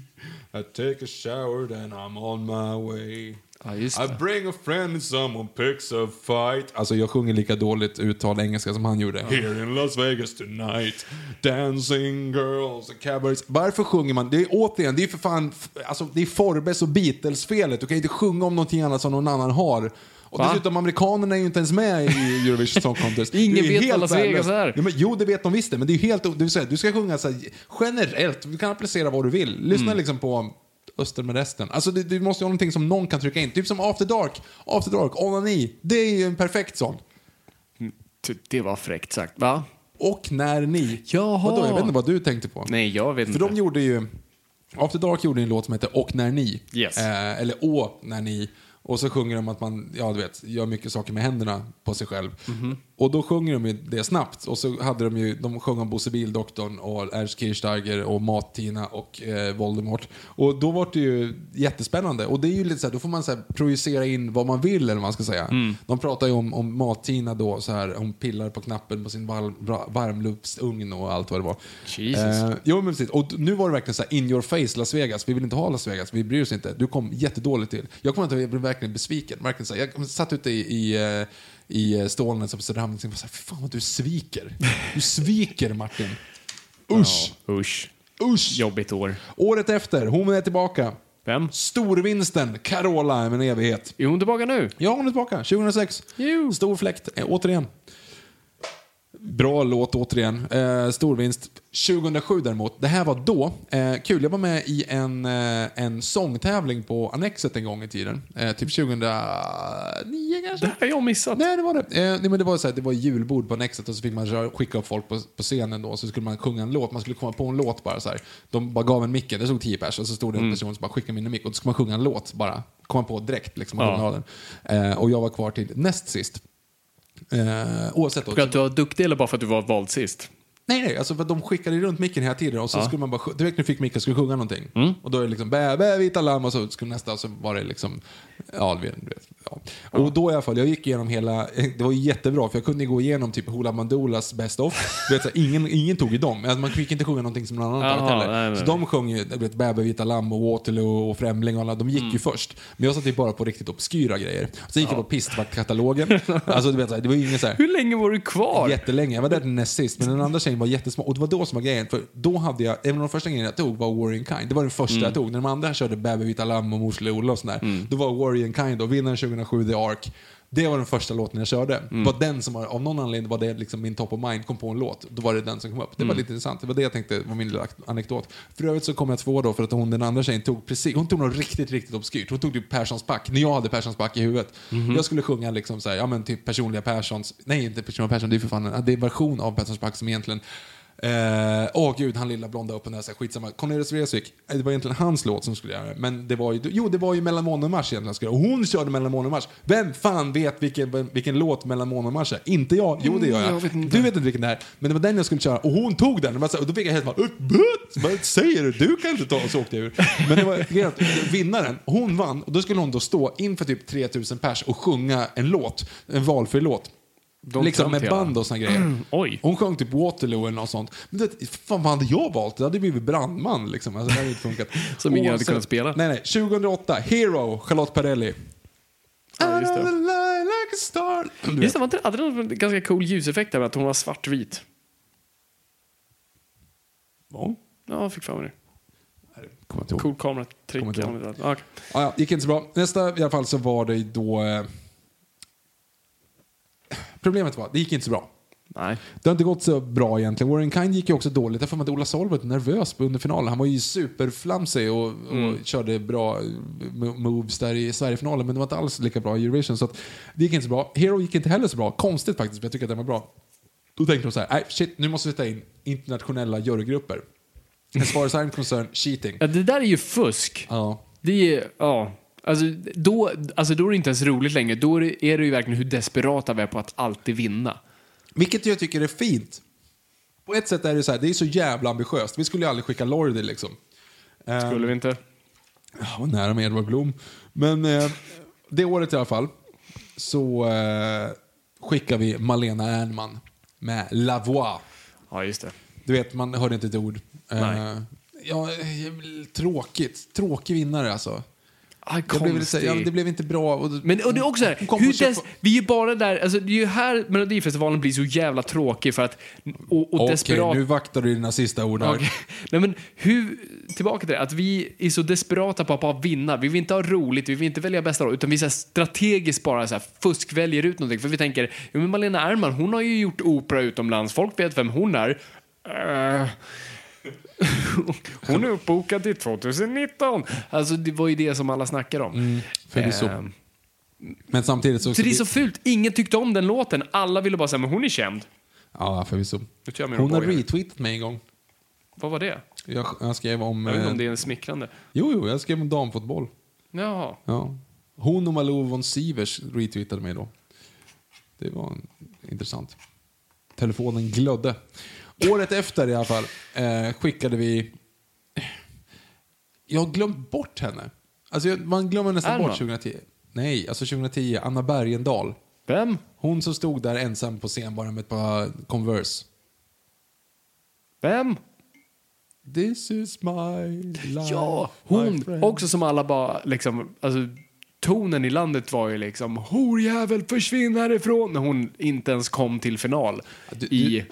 Speaker 1: I take a shower then I'm on my way.
Speaker 2: Ja, just
Speaker 1: I
Speaker 2: det.
Speaker 1: bring a friend and someone picks a fight. Alltså jag sjunger lika dåligt uttal engelska som han gjorde. Here in Las Vegas tonight. Dancing girls and cabarets. Varför sjunger man? Det är återigen, det är för fan, alltså det är Forbes och Beatles-felet. Du kan ju inte sjunga om någonting annat som någon annan har. Och
Speaker 2: Va?
Speaker 1: dessutom, amerikanerna är ju inte ens med i Eurovision Song Contest.
Speaker 2: Ingen
Speaker 1: Det är ju
Speaker 2: vet
Speaker 1: helt
Speaker 2: vad Las Vegas
Speaker 1: värdelöst.
Speaker 2: är.
Speaker 1: Ja, men, jo, det vet de visst det, men det är ju helt... o- Det vill säga, du ska sjunga så här, generellt, du kan applicera vad du vill. Lyssna
Speaker 2: Mm.
Speaker 1: liksom på Öster med resten. Alltså, du, du måste ju ha någonting som någon kan trycka in. Typ som After Dark, After Dark, Onani. Det är ju en perfekt sån.
Speaker 2: Ty- Typ, Det var fräckt sagt. Va?
Speaker 1: Och När Ni.
Speaker 2: Jaha.
Speaker 1: Vadå, jag vet inte vad du tänkte på.
Speaker 2: Nej, jag vet
Speaker 1: För
Speaker 2: inte.
Speaker 1: de gjorde ju... After Dark gjorde ju en låt som heter Och när ni.
Speaker 2: Yes.
Speaker 1: Eh, eller Å när ni. Och så sjunger de att man, ja du vet, gör mycket saker med händerna på sig själv.
Speaker 2: Mhm.
Speaker 1: Och då sjunger de ju det snabbt. Och så hade de ju, de sjöng om Bosse Bildoktorn och Ernst Kirchsteiger och Mat-Tina och eh, Voldemort. Och då var det ju jättespännande. Och det är ju lite så här, då får man så här projicera in vad man vill eller vad man ska säga.
Speaker 2: Mm.
Speaker 1: De pratar ju om, om Mat-Tina då, så här, hon pillar på knappen på sin varm, varmluftsugn och allt vad det var.
Speaker 2: Jesus.
Speaker 1: Eh, jo, men precis. Och nu var det verkligen så här, in your face Las Vegas. Vi vill inte ha Las Vegas, vi bryr oss inte. Du kom jättedåligt till. Jag kommer inte ihåg, jag blev verkligen besviken. Verkligen så här, jag satt ute i, i, eh, i eh, Stålnäs och på Söderhamn och tänkte så här, "Fy fan vad du sviker. Du sviker Martin. Usch,
Speaker 2: Usch.
Speaker 1: usch.
Speaker 2: Jobbigt år.
Speaker 1: Året efter, hon är tillbaka.
Speaker 2: Vem?
Speaker 1: Storvinsten, Carola, med en evighet.
Speaker 2: Är hon tillbaka nu?
Speaker 1: Ja, hon är tillbaka. 2006.
Speaker 2: Jo.
Speaker 1: Stor fläkt, eh, återigen. Bra låt återigen. Eh, stor vinst. 2007 däremot, det här var då. Eh, kul, jag var med i en, eh, en sångtävling på Annexet en gång i tiden. Eh, typ 2009 kanske?
Speaker 2: Det här har jag missat.
Speaker 1: Nej, det var det. Eh, nej, men det var så här, det var julbord på Annexet och så fick man rö- skicka upp folk på, på scenen då. Så skulle man sjunga en låt. Man skulle komma på en låt bara så här. De bara gav en micken, det stod 10 pers och så stod det en person som bara skickade min mick och så skulle man sjunga en låt bara. Komma på direkt liksom.
Speaker 2: Ja.
Speaker 1: originalen. Eh, och jag var kvar till näst sist. Eh, oavsett då.
Speaker 2: För att du var duktig eller bara för att du var vald sist?
Speaker 1: Nej, nej, alltså för att de skickade runt micken hela tiden och så skulle man bara, sj- direkt när du fick micken skulle du sjunga någonting.
Speaker 2: Mm.
Speaker 1: Och då är det liksom bä, bä, vita lamm och så skulle nästa och så var det liksom, ja du vet. du vet, Ja. Och då i alla fall, jag gick igenom hela, det var ju jättebra för jag kunde ju gå igenom typ Hoola Mandolas Best of. Du vet, så här, ingen, ingen tog i dem, alltså, man fick inte sjunga någonting som någon annan
Speaker 2: Jaha,
Speaker 1: tagit heller.
Speaker 2: nej, nej.
Speaker 1: Så de sjöng ju du vet, Bä, bä, vita lamm och Waterloo och Främling och alla, de gick
Speaker 2: Mm.
Speaker 1: ju först. Men jag satt ju bara på riktigt obskyra grejer. Sen gick jag på pistvaktkatalogen. alltså du vet, så här, det var ju ingen så här...
Speaker 2: Hur länge var du kvar?
Speaker 1: Jättelänge. Jag var där till näst sist, men den andra tjejen var jättesmå. Och det var då som var grejen. För då hade jag, även de första grejerna jag tog var Warrior in Kind. Det var den första jag tog. När de andra körde Baby Vita Lamm och Mors Lilla och sådär. Då var Warrior in Kind och vinnaren 2007, The Ark. Det var den första låten jag körde. Det var den som var, av någon anledning var det liksom min top of mind, kom på en låt. Då var det den som kom upp. Det var lite intressant. Det var det jag tänkte var min lilla ak- anekdot. För övrigt så kom jag två då för att hon den andra tjejen tog precis, hon tog något riktigt, riktigt obskyrt. Hon tog typ Perssons back, när jag hade Perssons back i huvudet. Jag skulle sjunga liksom så här, ja men typ personliga Perssons, nej inte personliga Persson, det är för fan en, det är en version av Perssons back som egentligen Eh, Åh gud, han lilla blonda upp och näsa, skitsamma. Cornelis Vreeswijk, eh, det var egentligen hans låt som skulle göra det. Men det var ju, jo det var ju mellan månad och mars egentligen. jag Skulle, och hon körde mellan månad och mars. Vem fan vet vilken, vilken låt mellan månad och mars är? Inte jag, jo det gör jag.
Speaker 2: Mm, jag vet inte.
Speaker 1: Du vet inte vilken det är. Men det var den jag skulle köra och hon tog den. Och man så- Och då fick jag helt bara, "Upp, butt! vad säger du? Du kan inte ta och så åkte jag ur. Men det var grejen att vinnaren, hon vann och då skulle hon då stå inför typ 3000 pers och sjunga en låt, en valfri låt.
Speaker 2: De
Speaker 1: liksom med
Speaker 2: töntiga.
Speaker 1: band och såna grejer.
Speaker 2: Mm, Oj.
Speaker 1: Hon sjöng typ Waterloo eller något sånt. Men du vet, fan vad hade jag valt? Det hade blivit brandman liksom. Alltså, det hade inte funkat.
Speaker 2: Som ingen hade
Speaker 1: Oavsett-
Speaker 2: kunnat spela.
Speaker 1: Nej, nej. 2008, Hero, Charlotte Perrelli.
Speaker 2: Ja, just det.
Speaker 1: I lie like a star. Du vet.
Speaker 2: Just det, var inte- hade den en ganska cool ljuseffekt där med att hon var svartvit?
Speaker 1: Va?
Speaker 2: Ja, jag fick för mig det.
Speaker 1: Kommer jag inte ihåg.
Speaker 2: Cool kameratrick.
Speaker 1: Kommer inte ihåg.
Speaker 2: eller något sånt. Okej.
Speaker 1: Ja, ja, gick inte så bra. Nästa i alla fall så var det då... Eh... Problemet var, det gick inte så bra.
Speaker 2: Nej.
Speaker 1: Det har inte gått så bra egentligen. Warren Kind gick ju också dåligt. Jag har för mig att Ola Solberg var nervös under finalen. Han var ju superflamsig och, och körde bra eh, mo- moves där i Sverigefinalen. Men det var inte alls lika bra i Eurovision. Så att, det gick inte så bra. Hero gick inte heller så bra. Konstigt faktiskt, för jag "Äh, tycker att den var bra. Då tänkte de så här, nej shit, nu måste vi ta in internationella jurygrupper. As far as I'm concerned, cheating.
Speaker 2: Ja, det där är ju fusk.
Speaker 1: Ja.
Speaker 2: Det är, ja. Alltså då, alltså då är det inte ens roligt längre. Då är det, är det ju verkligen hur desperata vi är på att alltid vinna.
Speaker 1: Vilket jag tycker är fint. På ett sätt är det så här, det är så jävla ambitiöst. Vi skulle ju aldrig skicka Lordi liksom. Eh,
Speaker 2: Skulle vi inte?
Speaker 1: Jag var nära med Edvard Blom. Men eh, det året i alla fall så eh, skickar vi Malena Ernman med La Voix.
Speaker 2: Ja, just det.
Speaker 1: Du vet, man hörde inte ett ord. Eh,
Speaker 2: Nej.
Speaker 1: ja, eh, tråkigt. Tråkig vinnare alltså.
Speaker 2: Ah,
Speaker 1: Det blev, lite så här, ja, det blev inte bra. Och,
Speaker 2: Men och det är också så här,
Speaker 1: Hon kom på
Speaker 2: hur
Speaker 1: köp-
Speaker 2: des, vi är ju bara där, alltså det är ju här Melodifestivalen blir så jävla tråkig för att, och, och
Speaker 1: Okej,
Speaker 2: desperat.
Speaker 1: nu vaktar du dina sista ord här.
Speaker 2: Okej. Nej men hur, tillbaka till det, att vi är så desperata på att bara vinna. Vi vill inte ha roligt, vi vill inte välja bästa roll, utan vi så här strategiskt bara så här fuskväljer ut någonting. För vi tänker, ja, men Malena Ernman, hon har ju gjort opera utomlands, folk vet vem hon är. Eh, Hon är uppbokad till 2019. Alltså det var ju det som alla snackade om.
Speaker 1: förvisso.
Speaker 2: Ehm,
Speaker 1: Men samtidigt så...
Speaker 2: så det är så fult. Ingen tyckte om den låten. Alla ville bara säga, men hon är känd.
Speaker 1: Ja, förvisso.
Speaker 2: Nu tar jag med
Speaker 1: Hon har
Speaker 2: Roboy här.
Speaker 1: retweetat mig en gång.
Speaker 2: Vad var det?
Speaker 1: Jag, jag skrev om...
Speaker 2: Jag vet inte om
Speaker 1: eh,
Speaker 2: det är en smickrande.
Speaker 1: Jo, jo, jag skrev om damfotboll.
Speaker 2: Jaha.
Speaker 1: Ja. Hon och Malou von Sivers retweetade mig då. Det var en, intressant. Telefonen glödde. Året efter i alla fall eh, skickade vi... Jag har glömt bort henne. Alltså, jag- man glömmer nästan
Speaker 2: Alma?
Speaker 1: bort 2010. Nej, alltså 2010. Anna Bergendahl.
Speaker 2: Vem?
Speaker 1: Hon som stod där ensam på scen bara med ett par Converse.
Speaker 2: Vem?
Speaker 1: This is my life.
Speaker 2: Ja,
Speaker 1: my
Speaker 2: hon.
Speaker 1: friend.
Speaker 2: Också som alla bara liksom, alltså tonen i landet var ju liksom horjävel försvinn härifrån när hon inte ens kom till final.
Speaker 1: du-
Speaker 2: I,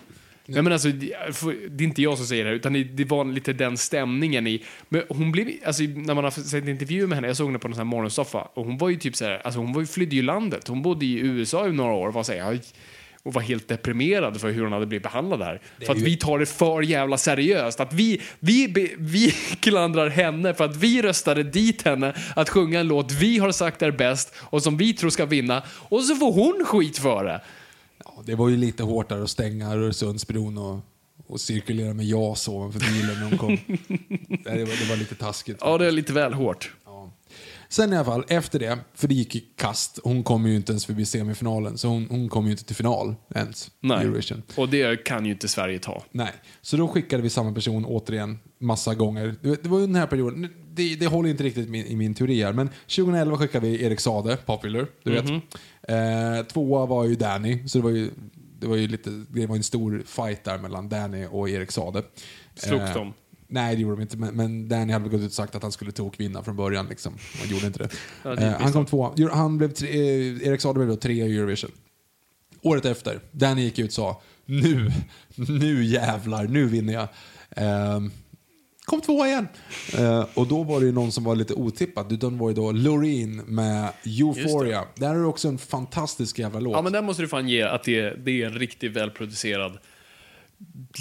Speaker 2: Nej, men alltså, det för- det är inte jag som säger det här, utan det- det var lite den stämningen i... Men hon blev, alltså, när man har sett intervjuer med henne, jag såg henne på någon sån här morgonsoffa, och hon var ju typ så här, alltså hon var ju, flydde ju landet. Hon bodde i USA i några år och var, så här, "Aj", och var helt deprimerad för hur hon hade blivit behandlad här. För att vi tar det för jävla seriöst. Att vi, vi, be- vi klandrar henne för att vi röstade dit henne att sjunga en låt vi har sagt är bäst och som vi tror ska vinna. Och så får hon skit för det.
Speaker 1: Ja, det var ju lite hårt där att stänga Öresundsbron och, och cirkulera med JAS ovanför bilen när de kom. Nej, det, var, det var lite taskigt.
Speaker 2: Ja, det är lite väl hårt.
Speaker 1: Sen i alla fall, efter det, för det gick i kast. Hon kom ju inte ens förbi semifinalen, så hon, hon kom ju inte till final ens.
Speaker 2: Nej.
Speaker 1: Eurovision.
Speaker 2: Och det kan ju inte Sverige ta.
Speaker 1: Nej. Så då skickade vi samma person återigen massa gånger. Du vet, Det var ju den här perioden, nu- det, det håller inte riktigt min, i min teori här, men 2011 skickade vi Erik Sade, Popular, du vet.
Speaker 2: Mhm.
Speaker 1: Eh, tvåa var ju Danny, så det var ju, det var ju lite, det var en stor fight där mellan Danny och Erik Sade. Eh,
Speaker 2: Slogs de?
Speaker 1: Nej, det gjorde de inte, men, men Danny hade väl gått ut och sagt att han skulle tokvinna från början. Liksom. Han gjorde inte det.
Speaker 2: Ja, det är
Speaker 1: eh, han kom tvåa. Jo, Han blev tre, eh, Erik Sade blev då trea i Eurovision. Året efter, Danny gick ut och sa nu, nu jävlar, nu vinner jag. Ehm, kom tvåa igen. Eh, och då var det ju någon som var lite otippat. Utan var ju då Loreen med Euphoria. Det. här är också en fantastisk jävla låt.
Speaker 2: Ja, men där måste du fan ge att det, det är en riktigt välproducerad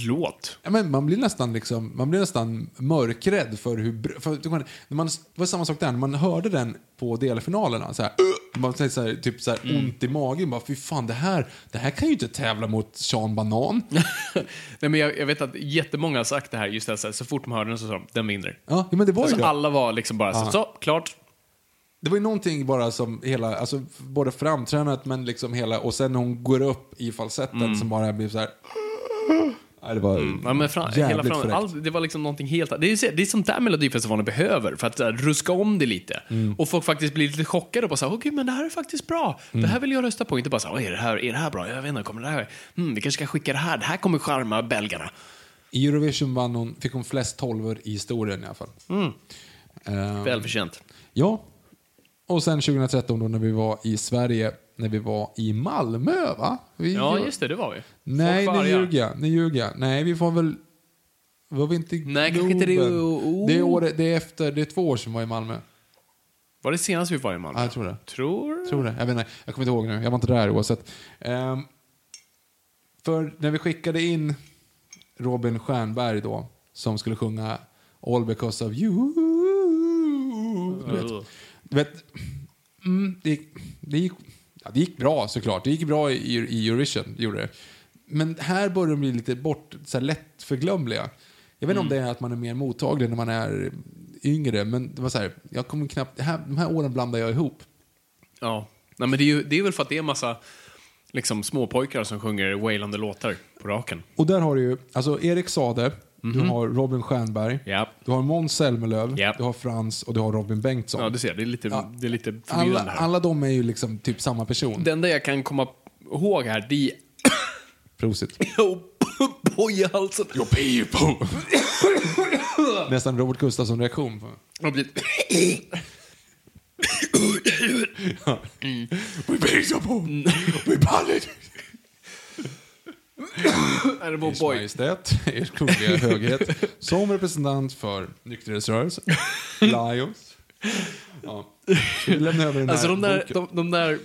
Speaker 2: låt.
Speaker 1: Ja, men man blir nästan, liksom, man blir nästan mörkrädd för hur... br- För, du kan- när man, det var samma sak där, när man hörde den på delfinalerna. Så här, man tänkte så här, typ så här,
Speaker 2: Mm.
Speaker 1: ont i magen. Bara, Fy fan, det här, det här kan ju inte tävla mot Sean Banan.
Speaker 2: Nej, men jag, jag vet att jättemånga har sagt det här, just det, här, så, här, så fort man hörde den så sa de, den vinner.
Speaker 1: Ja, men det var ju
Speaker 2: Alltså,
Speaker 1: det.
Speaker 2: alla var liksom bara så, så, klart.
Speaker 1: Det var ju någonting bara som hela, alltså både framtränat men liksom hela, och sen när hon går upp i falsetten som bara blir så här. Nej, det var
Speaker 2: Mm. Ja, men fram, hela
Speaker 1: jävligt
Speaker 2: fram,
Speaker 1: fräckt.
Speaker 2: all, det var liksom någonting helt Det är, så- det är sånt där Melodifestivalen behöver för att så här, ruska om det lite. Och folk faktiskt blir lite chockade och bara så här, åh gud, men det här är faktiskt bra. Det här vill jag rösta på. Inte bara så här, "Åh, är det här, är det här bra? Jag vet inte, kommer det här? Mm, vi kanske ska skicka det här. Det här kommer charma belgarna.
Speaker 1: I Eurovision vann hon, fick hon flest tolvor i historien i alla fall.
Speaker 2: Mm.
Speaker 1: Ehm,
Speaker 2: Välförtjänt.
Speaker 1: Ja. Och sen 2013 då när vi var i Sverige, när vi var i Malmö va? Vi
Speaker 2: Ja, just det, det var vi. Folk
Speaker 1: Nej,
Speaker 2: var
Speaker 1: nu
Speaker 2: arga.
Speaker 1: ljuger jag. Nu ljuger jag. Nej, vi får väl... Var vi inte i
Speaker 2: Nej, kanske inte det-
Speaker 1: Globen?
Speaker 2: oh.
Speaker 1: Det är, året, det är efter, det är två år sedan vi var i Malmö.
Speaker 2: Var det senast vi var i Malmö?
Speaker 1: Ja, jag tror det.
Speaker 2: Tror?
Speaker 1: tror det. Jag vet inte. Jag kommer inte ihåg nu. Jag var inte där oavsett. Ehm, för när vi skickade in Robin Stjernberg då, som skulle sjunga All because of you. Du vet, du vet mm, det, gick- det, gick, ja, det gick bra såklart. Det gick bra i, i Eurovision, det gjorde det. Men här började de bli lite bort, så här lätt förglömliga. Jag vet inte om det är att man är mer mottaglig när man är yngre, men det var så här, jag kommer knappt, det här, de här åren blandar jag ihop.
Speaker 2: Ja. Nej, men det är, ju, det är väl för att det är en massa liksom, småpojkar som sjunger wailande låtar på raken.
Speaker 1: Och där har du ju, alltså Erik Sade,
Speaker 2: Mhm.
Speaker 1: du har Robin Stjernberg,
Speaker 2: Ja.
Speaker 1: du har Måns Zelmerlöw,
Speaker 2: Ja.
Speaker 1: du har Frans och du har Robin Bengtsson.
Speaker 2: Ja, du ser, det är lite, det är lite förvirrande
Speaker 1: alla,
Speaker 2: här.
Speaker 1: alla de är ju liksom typ samma person.
Speaker 2: Det enda jag kan komma ihåg här, det är...
Speaker 1: Prosit.
Speaker 2: Boj i halsen. Jag
Speaker 1: Nästan Robert Gustafsson-reaktion. på-
Speaker 2: har blivit...
Speaker 1: Vi pissar på!
Speaker 2: Mm.
Speaker 1: Vi pallar!
Speaker 2: Är det vår
Speaker 1: Ers
Speaker 2: boy?
Speaker 1: Majestät, Ers Kungliga Höghet, som representant för nykterhetsrörelsen, Lions. Ja. Ska Vi lämnar över den här
Speaker 2: Alltså de där,
Speaker 1: boken.
Speaker 2: de, de där,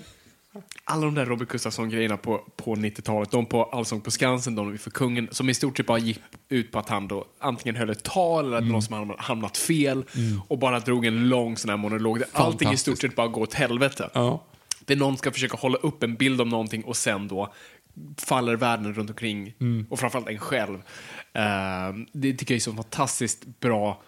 Speaker 2: alla de där Robert Gustafsson-grejerna på, på 90-talet, de på Allsång på Skansen, de för kungen, som i stort sett bara gick ut på att han då antingen höll ett tal eller att
Speaker 1: Mm.
Speaker 2: någon som hade hamnat fel och bara drog en lång sån här monolog där allting i stort
Speaker 1: Fantastiskt.
Speaker 2: sett bara går åt helvete.
Speaker 1: Ja.
Speaker 2: Där någon ska försöka hålla upp en bild om någonting och sen då faller världen runt omkring
Speaker 1: Mm.
Speaker 2: och framförallt en själv. Eh, det tycker jag är så fantastiskt bra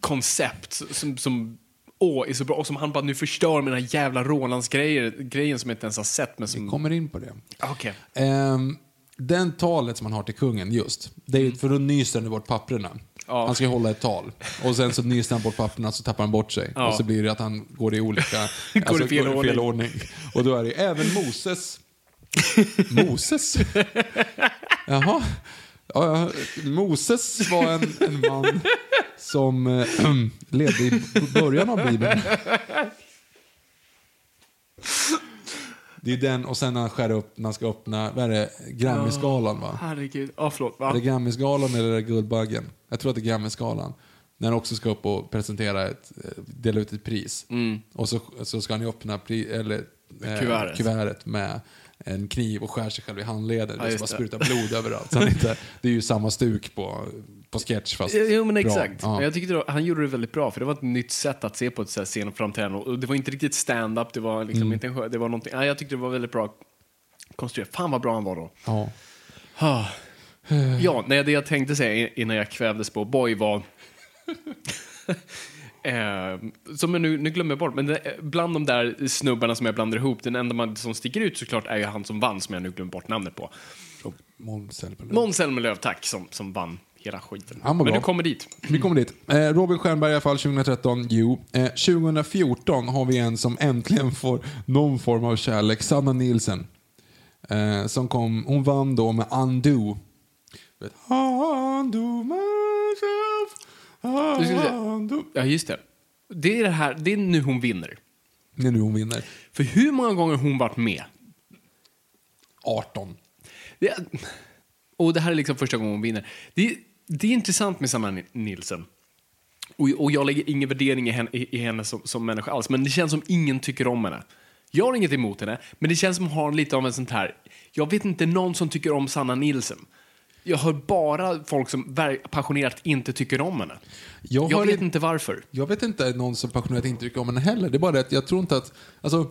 Speaker 2: koncept som, som åh, är så bra och som han bara nu förstör med den här jävla Rolands grejer, grejen som jag inte ens har sett men som...
Speaker 1: kommer in på det.
Speaker 2: Ah, Okej.
Speaker 1: Ehm, den talet som man har till kungen, just. Det är ju för då nyser han bort papperna.
Speaker 2: Mm. Ja.
Speaker 1: Han ska ju hålla ett tal. Och sen så nyser han bort papperna så tappar han bort sig.
Speaker 2: Ja.
Speaker 1: Och så blir det att han går i olika...
Speaker 2: Går i fel
Speaker 1: ordning. Och då är det ju även Moses. Moses? Jaha. Ja, ja, Moses var en, en man som eh, levde i b- början av Bibeln. Det är ju den och sen när han skär upp, när han ska öppna, vad är det, Grammyskalan va?
Speaker 2: Herregud. Ja, förlåt. Va?
Speaker 1: Är det Grammyskalan eller är det Guldbaggen? Jag tror att det är Grammyskalan. När han också ska upp och presentera ett, eh, dela ut ett pris. Och så, så ska han ju öppna pri, eller, eh,
Speaker 2: Mm. Kuvertet.
Speaker 1: kuvertet med en kniv och skär sig själv i handleden. det
Speaker 2: just
Speaker 1: bara
Speaker 2: det.
Speaker 1: sprutar blod överallt. Så han inte, det är ju samma stuk på, på sketch fast
Speaker 2: Jo, men
Speaker 1: bra.
Speaker 2: exakt.
Speaker 1: Ja.
Speaker 2: Men jag tyckte då, han gjorde det väldigt bra, för det var ett nytt sätt att se på ett så här scenframträdande. Och det var inte riktigt stand-up, det var
Speaker 1: Mm.
Speaker 2: liksom inte en sjö, det var någonting. Ja, jag tyckte det var väldigt bra konstruerat. Fan vad bra han var då.
Speaker 1: Ja.
Speaker 2: Ah. Ja, nej, det jag tänkte säga innan jag kvävdes på Boy var... Eh, som jag nu, nu glömmer jag bort, men det, eh, bland de där snubbarna som jag blandar ihop, den enda man, som sticker ut såklart är ju han som vann, som jag nu glömmer bort namnet på.
Speaker 1: Måns Zelmerlöw.
Speaker 2: Måns Zelmerlöw, tack, som, som vann hela skiten.
Speaker 1: Han var
Speaker 2: Men
Speaker 1: bra.
Speaker 2: du kommer dit.
Speaker 1: Vi kommer dit. Eh, Robin Stjernberg i alla fall 2013. Jo. Eh, 2014 har vi en som äntligen får någon form av kärlek. Sanna Nielsen. Eh, som kom, hon vann då med Undo. Du vet, Undo
Speaker 2: Du skulle
Speaker 1: myself.
Speaker 2: säga-
Speaker 1: Undo.
Speaker 2: Ja, just det. Det är, det, här, det är nu hon vinner.
Speaker 1: Det är nu hon vinner.
Speaker 2: För hur många gånger har hon varit med?
Speaker 1: 18.
Speaker 2: Det är, och det här är liksom första gången hon vinner. Det är, det är intressant med Sanna Ni- Nielsen. Och, och jag lägger ingen värdering i henne, i, i henne som, som människa alls, men det känns som ingen tycker om henne. Jag har inget emot henne, men det känns som hon har lite av en sånt här... Jag vet inte någon som tycker om Sanna Nielsen. Jag hör bara folk som ver- passionerat inte tycker om henne.
Speaker 1: Jag
Speaker 2: Jag,
Speaker 1: hör
Speaker 2: vet
Speaker 1: inte-
Speaker 2: inte varför.
Speaker 1: Jag vet inte någon som passionerat intryck om henne heller. Det är bara det att jag tror inte att... Alltså,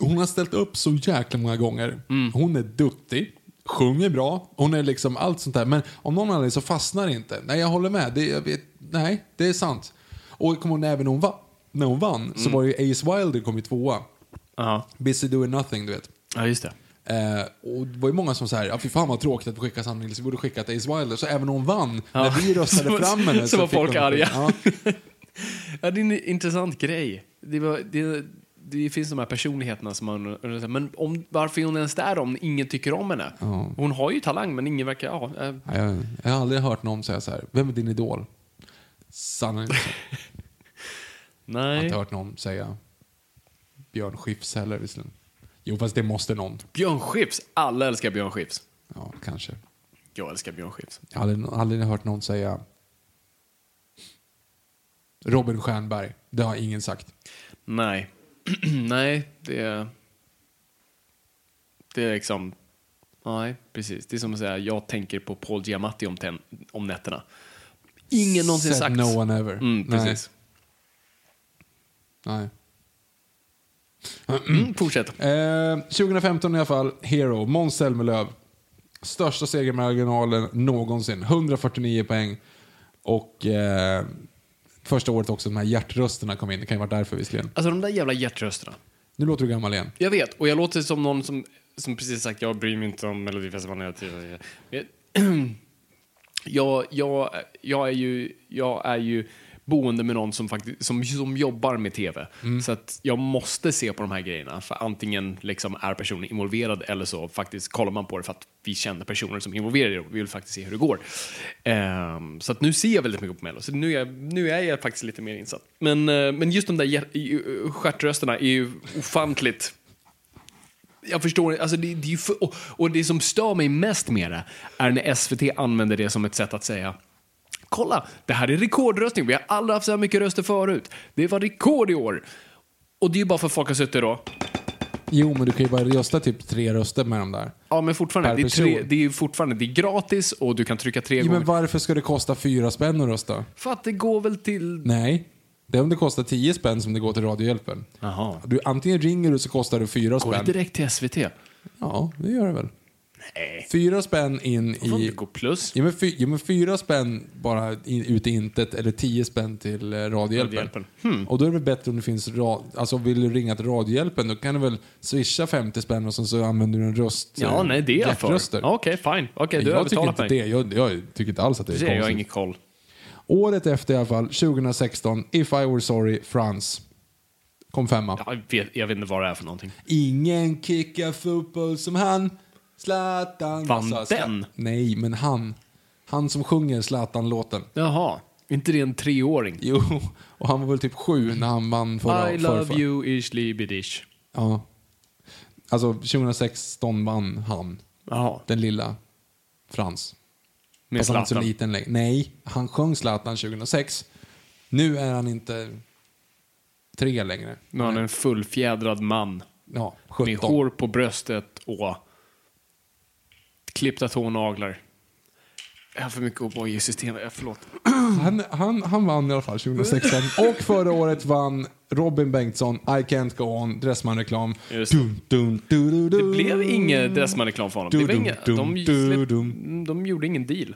Speaker 1: hon har ställt upp så jäkla många gånger.
Speaker 2: Mm.
Speaker 1: Hon är duktig, sjunger bra, hon är liksom allt sånt där. Men om någon anledning så fastnar det inte. Nej, jag håller med. Det, jag vet, nej, det är sant. Och kommer hon även när hon vann, när hon vann
Speaker 2: Mm.
Speaker 1: så var det ju Ace Wilder kom ju tvåa.
Speaker 2: Ja,
Speaker 1: Busy doing nothing, du vet.
Speaker 2: ja just det.
Speaker 1: Eh, och det var ju många som sa här, ja fy fan vad tråkigt att vi skickar Sanna Nilsson, vi borde skickat Ace Wilder. Så även om hon vann, när vi röstade
Speaker 2: Så-
Speaker 1: fram henne
Speaker 2: så var
Speaker 1: fick
Speaker 2: folk
Speaker 1: hon-
Speaker 2: arga.
Speaker 1: Ja.
Speaker 2: Ja, det är en intressant grej. Det, var, det, det finns de här personligheterna som man undrar, men om, varför är hon ens där om ingen tycker om henne? Hon har ju talang, men ingen verkar... Ja, eh,
Speaker 1: Nej, Jag, jag har aldrig hört någon säga så här. Vem är din idol? Sanna Nilsson. Jag har
Speaker 2: nej.
Speaker 1: inte hört någon säga Björn Skifs heller visserligen. Jo, fast det måste någon.
Speaker 2: Björn Skifs. Alla älskar Björn Skifs.
Speaker 1: Ja, kanske.
Speaker 2: Jag älskar Björn Skifs.
Speaker 1: Jag har aldrig, aldrig hört någon säga Robin Stjernberg. Det har ingen sagt.
Speaker 2: Nej. nej, det är... Det är liksom... Nej, precis. Det är som att säga, jag tänker på Paul Giamatti om, ten, om nätterna. Ingen någonsin
Speaker 1: Said
Speaker 2: sagt.
Speaker 1: no one ever.
Speaker 2: Mm, precis.
Speaker 1: Nej.
Speaker 2: Mm, fortsätt.
Speaker 1: Eh, Nej. Eh, 2015 i alla fall, Hero, Måns Zelmerlöw. Största segermarginalen någonsin. 149 poäng. Och eh, första året också de här hjärtrösterna kom in. Det kan ju vara därför visserligen.
Speaker 2: Alltså de där jävla hjärtrösterna.
Speaker 1: Nu låter du gammal igen.
Speaker 2: Jag vet, och jag låter som någon som, som precis sagt jag bryr mig inte om Melodifestivalen. Jag, tycker- jag, jag, jag, jag, är ju, jag är ju boende med någon som, faktiskt, som, som jobbar med tv. Så att jag måste se på de här grejerna. För antingen liksom är personen involverad eller så faktiskt kollar man på det för att vi känner personer som är involverade och vi vill faktiskt se hur det går. Ehm, så att nu ser jag väldigt mycket på Mello. Så nu är, jag- nu är jag faktiskt lite mer insatt. Men, eh, men just de där hjär- stjärtrösterna är ju ofantligt jag förstår alltså det, det är ju för, och, och det som stör mig mest med det är när SVT använder det som ett sätt att säga Kolla, det här är rekordröstning. Vi har aldrig haft så här mycket röster förut. Det var rekord i år. Och det är ju bara för att folk har suttit då.
Speaker 1: Jo, men du kan ju bara rösta typ tre röster med de där.
Speaker 2: Ja, men fortfarande.
Speaker 1: Per
Speaker 2: Det är, tre,
Speaker 1: person.
Speaker 2: det är ju fortfarande det är gratis och du kan trycka tre
Speaker 1: Jo, men
Speaker 2: gånger.
Speaker 1: varför ska det kosta fyra spänn att rösta?
Speaker 2: För att det går väl till...
Speaker 1: Nej. Det är om det kostar 10 spänn som det går till Radiohjälpen.
Speaker 2: Jaha.
Speaker 1: Du, antingen ringer du så kostar det fyra
Speaker 2: Går det
Speaker 1: spänn.
Speaker 2: direkt till SVT?
Speaker 1: Ja, det gör det väl. Fyra spänn in
Speaker 2: Får inte
Speaker 1: i...
Speaker 2: gå plus?
Speaker 1: Ja men, fy, ja men fyra spänn bara i- ut i intet eller tio spänn till eh, Radiohjälpen.
Speaker 2: Radiohjälpen. Hmm.
Speaker 1: Och då är det väl bättre om det finns ra, Alltså vill du ringa till Radiohjälpen då kan du väl swisha 50 spänn och sen så använder du en röst.
Speaker 2: Ja,
Speaker 1: eh,
Speaker 2: nej, det är jag för.
Speaker 1: hjärtröster.
Speaker 2: Ja, Okej, fine. Okej, du har
Speaker 1: jag tycker
Speaker 2: övertalat
Speaker 1: inte
Speaker 2: mig.
Speaker 1: det. Jag, jag tycker inte alls att det är
Speaker 2: Det
Speaker 1: konstigt.
Speaker 2: jag har ingen koll.
Speaker 1: Året efter i alla fall, 2016, If I Were Sorry, Frans. Kom femma.
Speaker 2: Jag vet, jag vet inte vad det är för någonting.
Speaker 1: Ingen kickar fotboll som han. Zlatan.
Speaker 2: Vann
Speaker 1: Zlatan.
Speaker 2: den?
Speaker 1: Nej, men han. Han som sjunger Zlatan-låten.
Speaker 2: Jaha, inte det en treåring?
Speaker 1: Jo, och han var väl typ sju när han vann förra
Speaker 2: I
Speaker 1: förrförra.
Speaker 2: love you ish libidish.
Speaker 1: Ja. Alltså 2016 vann han.
Speaker 2: Jaha,
Speaker 1: Den lilla Frans.
Speaker 2: med
Speaker 1: Fast han är inte så
Speaker 2: Zlatan.
Speaker 1: liten längre. Nej, han sjöng Zlatan 2006. Nu är han inte tre längre.
Speaker 2: Nu har han en fullfjädrad man.
Speaker 1: Ja,
Speaker 2: Med
Speaker 1: 17.
Speaker 2: hår på bröstet och klippta tånaglar. Jag har för mycket O'boy i systemet, Jag- förlåt.
Speaker 1: Han, han, han vann i alla fall 2016. Och förra året vann Robin Bengtsson, I can't go on, Dressman-reklam.
Speaker 2: Just det.
Speaker 1: Dun, dun, du, du, du.
Speaker 2: Det blev ingen Dressman-reklam för honom. Det var
Speaker 1: Dum,
Speaker 2: inga,
Speaker 1: dum,
Speaker 2: de,
Speaker 1: dum,
Speaker 2: släpp,
Speaker 1: dum.
Speaker 2: de gjorde ingen deal.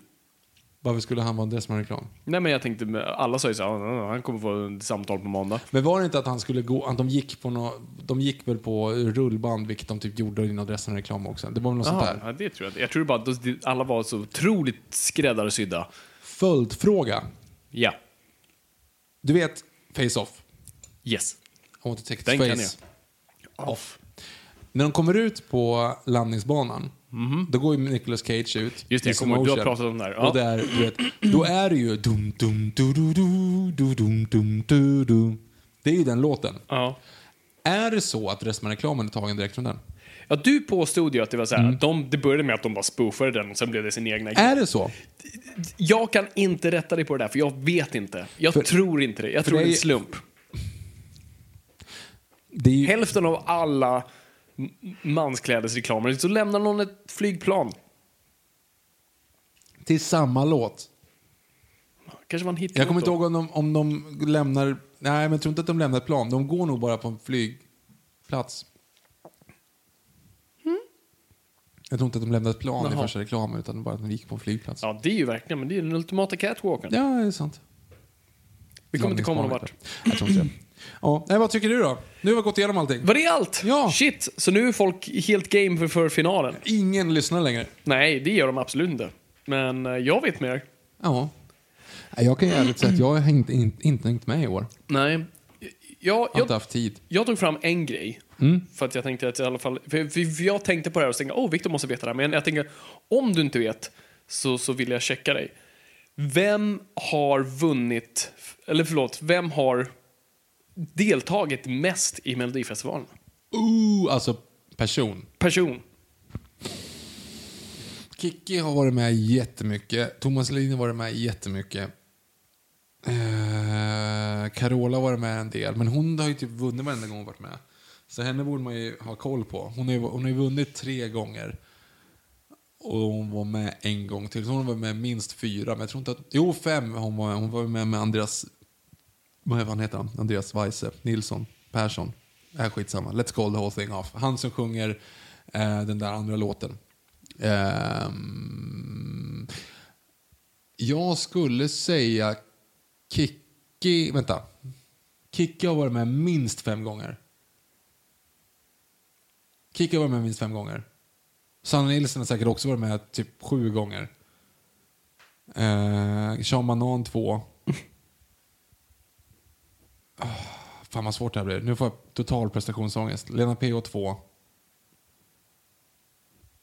Speaker 1: Varför skulle han vara en Dressman-reklam?
Speaker 2: Nej men jag tänkte, alla sa ju såhär, ah, han kommer få ett samtal på måndag.
Speaker 1: Men var det inte att han skulle gå, att de gick på nå, de gick väl på rullband, vilket de typ gjorde i någon Dressman-reklam också. Det var väl något sånt
Speaker 2: Jaha,
Speaker 1: där.
Speaker 2: ja, det tror jag inte. Jag tror bara att de- alla var så otroligt skräddarsydda.
Speaker 1: Följdfråga.
Speaker 2: Ja.
Speaker 1: Du vet, Face-Off.
Speaker 2: Yes.
Speaker 1: I want to take
Speaker 2: Den
Speaker 1: face.
Speaker 2: kan Off.
Speaker 1: När de kommer ut på landningsbanan, då går ju Nicolas Cage ut.
Speaker 2: Mhm. Just det,
Speaker 1: i
Speaker 2: jag kommer ihåg,
Speaker 1: slow
Speaker 2: du har
Speaker 1: motion.
Speaker 2: pratat om det här. Ja.
Speaker 1: Och där, du vet, då är det ju dum dum du du du du dum dum du du. Det är ju den låten.
Speaker 2: Ja.
Speaker 1: Är det så att Dressman-reklamen är tagen direkt från den?
Speaker 2: Ja, du påstod ju att det var så här, att de, det började med att de bara spoofade den och sen blev det sin egna grej.
Speaker 1: Mm. Är det så?
Speaker 2: Jag kan inte rätta dig på det där, för jag vet inte. Jag
Speaker 1: För-
Speaker 2: tror inte det. Jag
Speaker 1: för
Speaker 2: tror det är
Speaker 1: dig-
Speaker 2: en slump.
Speaker 1: Det är ju,
Speaker 2: Hälften av alla m- mansklädesreklamer, så lämnar någon ett flygplan.
Speaker 1: till samma låt.
Speaker 2: Kanske var en hit.
Speaker 1: Jag kommer inte ihåg om de, om de lämnar... Nej, men jag tror inte att de lämnar ett plan. De går nog bara på en flygplats. Jag tror inte att de lämnade ett plan i
Speaker 2: Jaha.
Speaker 1: första reklamen, utan bara att de gick på en flygplats. Ja,
Speaker 2: Ja, det är ju verkligen, men det är ju den ultimata catwalken.
Speaker 1: det är sant.
Speaker 2: Vi kommer inte komma någon vart.
Speaker 1: Jag tror inte det. Ja, nej, vad tycker du då? Nu har vi gått igenom allting.
Speaker 2: Var det allt?
Speaker 1: Ja.
Speaker 2: Shit, så nu är folk helt game för, för finalen?
Speaker 1: Ingen lyssnar längre.
Speaker 2: Nej, det gör de absolut inte. Men eh, jag vet mer.
Speaker 1: Ja. Nej, Jag kan ju ärligt säga att jag har hängt, in, inte hängt med i år.
Speaker 2: Nej. Jag,
Speaker 1: Jag har
Speaker 2: jag,
Speaker 1: inte haft tid.
Speaker 2: Jag tog fram en grej. För att jag tänkte att i alla fall, för, för för jag tänkte på det här och tänkte, åh, oh, Victor måste veta det här. Men jag tänker, om du inte vet så, så vill jag checka dig. Vem har vunnit, eller förlåt, vem har deltagit mest i Melodifestivalen?
Speaker 1: Ooh, alltså person.
Speaker 2: Person.
Speaker 1: Kikki har varit med jättemycket. Thomas Ledin har varit med jättemycket. Eh, Carola har varit med en del, men hon har ju typ vunnit varenda gång hon varit med. Så henne borde man ju ha koll på. Hon har ju, hon har ju vunnit tre gånger. Och hon var med en gång till. Så hon var med minst fyra, men jag tror inte att... Jo, fem. Hon var, hon var med med Andreas... Vad fan heter han? Andreas Weise, Nilsson, Persson. Äh, skitsamma. Let's call the whole thing off. Han som sjunger eh, den där andra låten. Ehm, jag skulle säga Kikki... Vänta. Kikki har varit med minst fem gånger. Kikki har varit med minst fem gånger. Sanna Nilsson har säkert också varit med typ sju gånger. Eh, Sean Banan två. Ah, fan vad svårt det här blir. Nu får jag total prestationsångest. Lena PH två.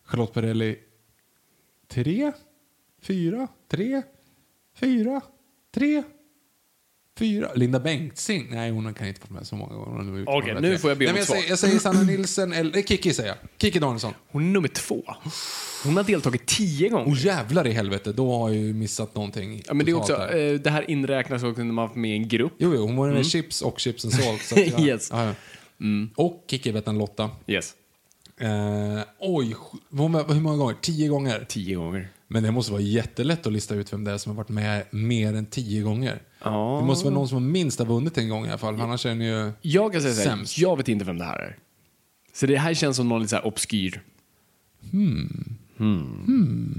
Speaker 1: Charlotte Perrelli tre, fyra, tre, fyra, tre, fyra. Linda Bengtzing. Nej, hon kan inte varit med så många gånger. Hon har gjort
Speaker 2: Okej,
Speaker 1: bara
Speaker 2: nu
Speaker 1: tre.
Speaker 2: får jag be
Speaker 1: Nej,
Speaker 2: om
Speaker 1: men
Speaker 2: ett
Speaker 1: jag,
Speaker 2: svar.
Speaker 1: säger, jag säger Sanna Nilsson eller nej, Kiki säger jag. Kiki Danielsson.
Speaker 2: Hon är nummer två. Hon har deltagit tio gånger.
Speaker 1: Och jävlar i helvete, då har jag ju missat någonting.
Speaker 2: Ja, men det, är
Speaker 1: totalt
Speaker 2: också,
Speaker 1: här.
Speaker 2: eh, det här inräknas också när man har varit med i en grupp.
Speaker 1: Jo, jo, hon var med i Chips och Chips and Salt. Så att jag,
Speaker 2: Yes. Mm.
Speaker 1: ja, ja. Och Kikki Vettan Lotta.
Speaker 2: Yes.
Speaker 1: Eh, oj, sj- var med, hur många gånger? Tio gånger?
Speaker 2: Tio gånger.
Speaker 1: Men det måste vara jättelätt att lista ut vem det är som har varit med mer än tio gånger.
Speaker 2: Ja.
Speaker 1: Det måste vara någon som minst har vunnit en gång i alla fall. Annars är ni ju...
Speaker 2: Jag kan säga så här,
Speaker 1: Sämst.
Speaker 2: jag vet inte vem det här är. Så det här känns som någon lite så här obskyr. Hmm. Hmm.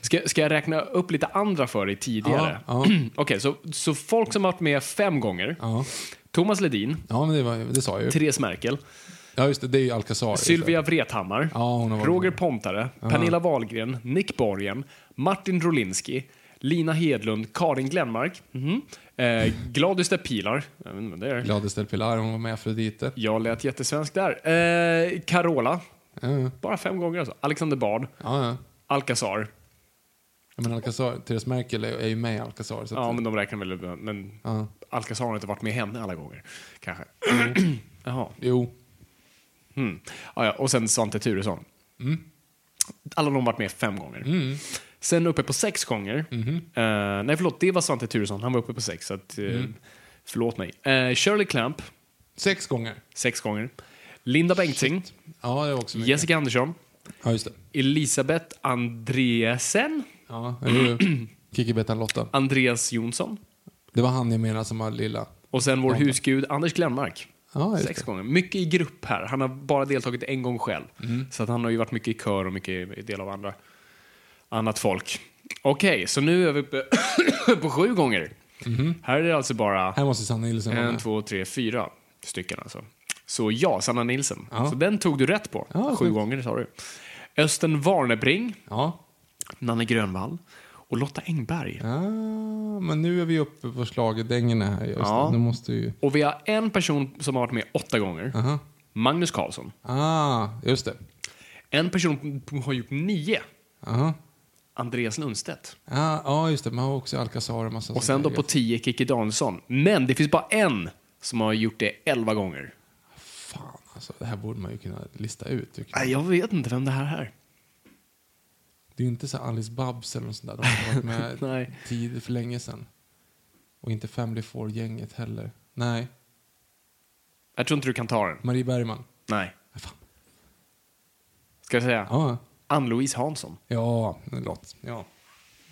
Speaker 2: Ska, ska jag räkna upp lite andra för dig tidigare?
Speaker 1: Ja, ja.
Speaker 2: Okej, så, så folk som har varit med fem gånger.
Speaker 1: Ja,
Speaker 2: Thomas Ledin,
Speaker 1: ja men det, var, det sa jag ju.
Speaker 2: Therese Merkel,
Speaker 1: Ja, just det. Det är ju Alcazar. just det.
Speaker 2: Sylvia Vrethammar,
Speaker 1: Ja, hon har varit
Speaker 2: Roger
Speaker 1: med.
Speaker 2: Pontare, Pernilla Wahlgren, Nick Borgen, Martin Rolinski, Lina Hedlund, Karin Glenmark, mhm, eh, Gladys de Pilar, jag vet inte vem det är.
Speaker 1: Gladys del Pilar, hon var med i Afrodite.
Speaker 2: Jag lät jättesvensk där. Eh, Carola.
Speaker 1: Ja, ja.
Speaker 2: Bara fem gånger alltså. Alexander Bard.
Speaker 1: ja, ja.
Speaker 2: Alcazar.
Speaker 1: Ja, men Alcazar, Therese Merkel är är ju med i Alcazar. Så att,
Speaker 2: Ja, men de räknar väl... Men Alcazar har inte varit med henne alla gånger. Kanske.
Speaker 1: Mm.
Speaker 2: Jaha.
Speaker 1: Jo,
Speaker 2: Mm. Ja, ja. Och sen Svante Thuresson.
Speaker 1: Mm.
Speaker 2: Alla de har varit med fem gånger. Sen uppe på sex gånger.
Speaker 1: Mm-hmm.
Speaker 2: Eh, nej, förlåt. Det var Svante Thuresson. Han var uppe på sex. Så att, eh,
Speaker 1: Mm.
Speaker 2: Förlåt mig. Eh, Shirley Clamp,
Speaker 1: sex gånger.
Speaker 2: sex gånger. Linda Bengtzing.
Speaker 1: Ja, det var också mycket.
Speaker 2: Jessica Andersson.
Speaker 1: Ja, just det.
Speaker 2: Elisabeth Andreasen.
Speaker 1: Ja,
Speaker 2: Mm.
Speaker 1: det är ju Kikki Bettan Lotta.
Speaker 2: Andreas Jonsson.
Speaker 1: Det var han jag menade som var lilla.
Speaker 2: Och sen vår husgud Anders Glenmark.
Speaker 1: Ja, just
Speaker 2: Sex
Speaker 1: det.
Speaker 2: gånger. Mycket i grupp här. Han har bara deltagit en gång själv.
Speaker 1: Mm.
Speaker 2: Så att han har ju varit mycket i kör och mycket i del av andra, annat folk. Okej, så nu är vi uppe på sju gånger. Här är det alltså bara
Speaker 1: Mhm. Här måste Sanna Nilsson vara
Speaker 2: en,
Speaker 1: med.
Speaker 2: två, tre, fyra stycken alltså. Så ja, Sanna Nilsen.
Speaker 1: Ja.
Speaker 2: Så den tog du rätt på.
Speaker 1: Ja,
Speaker 2: sju
Speaker 1: sjukt.
Speaker 2: gånger sa du. Östen Warnerbring,
Speaker 1: Ja.
Speaker 2: Nanne Grönvall och Lotta Engberg.
Speaker 1: ja, Ah, men nu är vi uppe på schlagerdängorna här. Just
Speaker 2: Ja.
Speaker 1: ja. Nu måste ju...
Speaker 2: Och vi har en person som har varit med åtta gånger.
Speaker 1: Aha.
Speaker 2: Magnus Karlsson.
Speaker 1: Ah, just det.
Speaker 2: En person som har gjort nio.
Speaker 1: Aha.
Speaker 2: Andreas Lundstedt.
Speaker 1: Ah, ja, just det. Man har också Alcazar och massa
Speaker 2: Och sen då
Speaker 1: sådana
Speaker 2: på tio Kikki Danielsson. Men det finns bara en som har gjort det elva gånger.
Speaker 1: Fan, alltså. Det här borde man ju kunna lista ut. tycker jag.
Speaker 2: Nej, Jag vet inte vem det här är.
Speaker 1: Det är ju inte så Alice Babs eller något sånt där. De har varit med
Speaker 2: Nej.
Speaker 1: tid för länge sedan. Och inte Family Four-gänget heller. Nej.
Speaker 2: Jag tror inte du kan ta den.
Speaker 1: Marie Bergman. Äh,
Speaker 2: Nej.
Speaker 1: Fan.
Speaker 2: Ska jag säga?
Speaker 1: Ja,
Speaker 2: Ann-Louise Hansson.
Speaker 1: ja. Lott. Ja.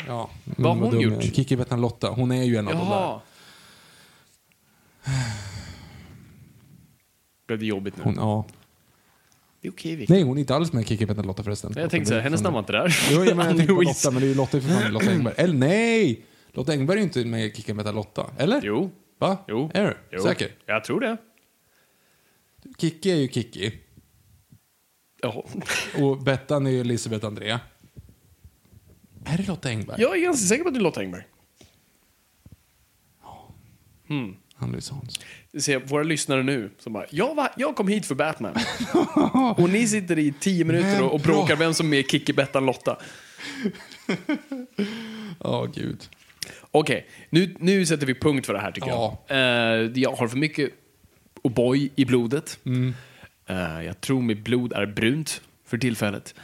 Speaker 1: ja. Men
Speaker 2: Vad har hon
Speaker 1: dum jag
Speaker 2: gjort?
Speaker 1: är. Kikki Bettan Lotta. Hon är ju en av de där.
Speaker 2: Jaha. Blev det jobbigt nu?
Speaker 1: Hon, ja.
Speaker 2: Det är okej, Vicky.
Speaker 1: Nej, hon är inte alls med i Kikki Bettan Lotta förresten.
Speaker 2: Jag tänkte säga, hennes namn var inte där.
Speaker 1: Jo, jag, menar, jag tänkte på
Speaker 2: Ann-Louise.
Speaker 1: Lotta, men det är ju Lotta är för fan med Lotta Engberg. Eller nej! Lotta Engberg är ju inte med i Kikki Bettan Lotta. Eller?
Speaker 2: Jo.
Speaker 1: Va?
Speaker 2: Jo.
Speaker 1: Är du
Speaker 2: Jo.
Speaker 1: säker?
Speaker 2: Jag tror det.
Speaker 1: Kikki är ju Kikki.
Speaker 2: Ja.
Speaker 1: Och Bettan är ju Elisabeth Andrea. Är det Lotta Engberg?
Speaker 2: Jag är ganska säker på att det är Lotta Engberg.
Speaker 1: Ann-Louise Hansson.
Speaker 2: se våra lyssnare nu som bara jag, var, jag kom hit för Batman. och ni sitter i tio minuter och, och bråkar vem som är mer Kikki, Bettan, Lotta.
Speaker 1: Ja, gud.
Speaker 2: Okej, nu, nu sätter vi punkt för det här tycker
Speaker 1: Ja.
Speaker 2: jag. Eh, jag har för mycket O'boy i blodet. Eh, jag tror mitt blod är brunt för tillfället.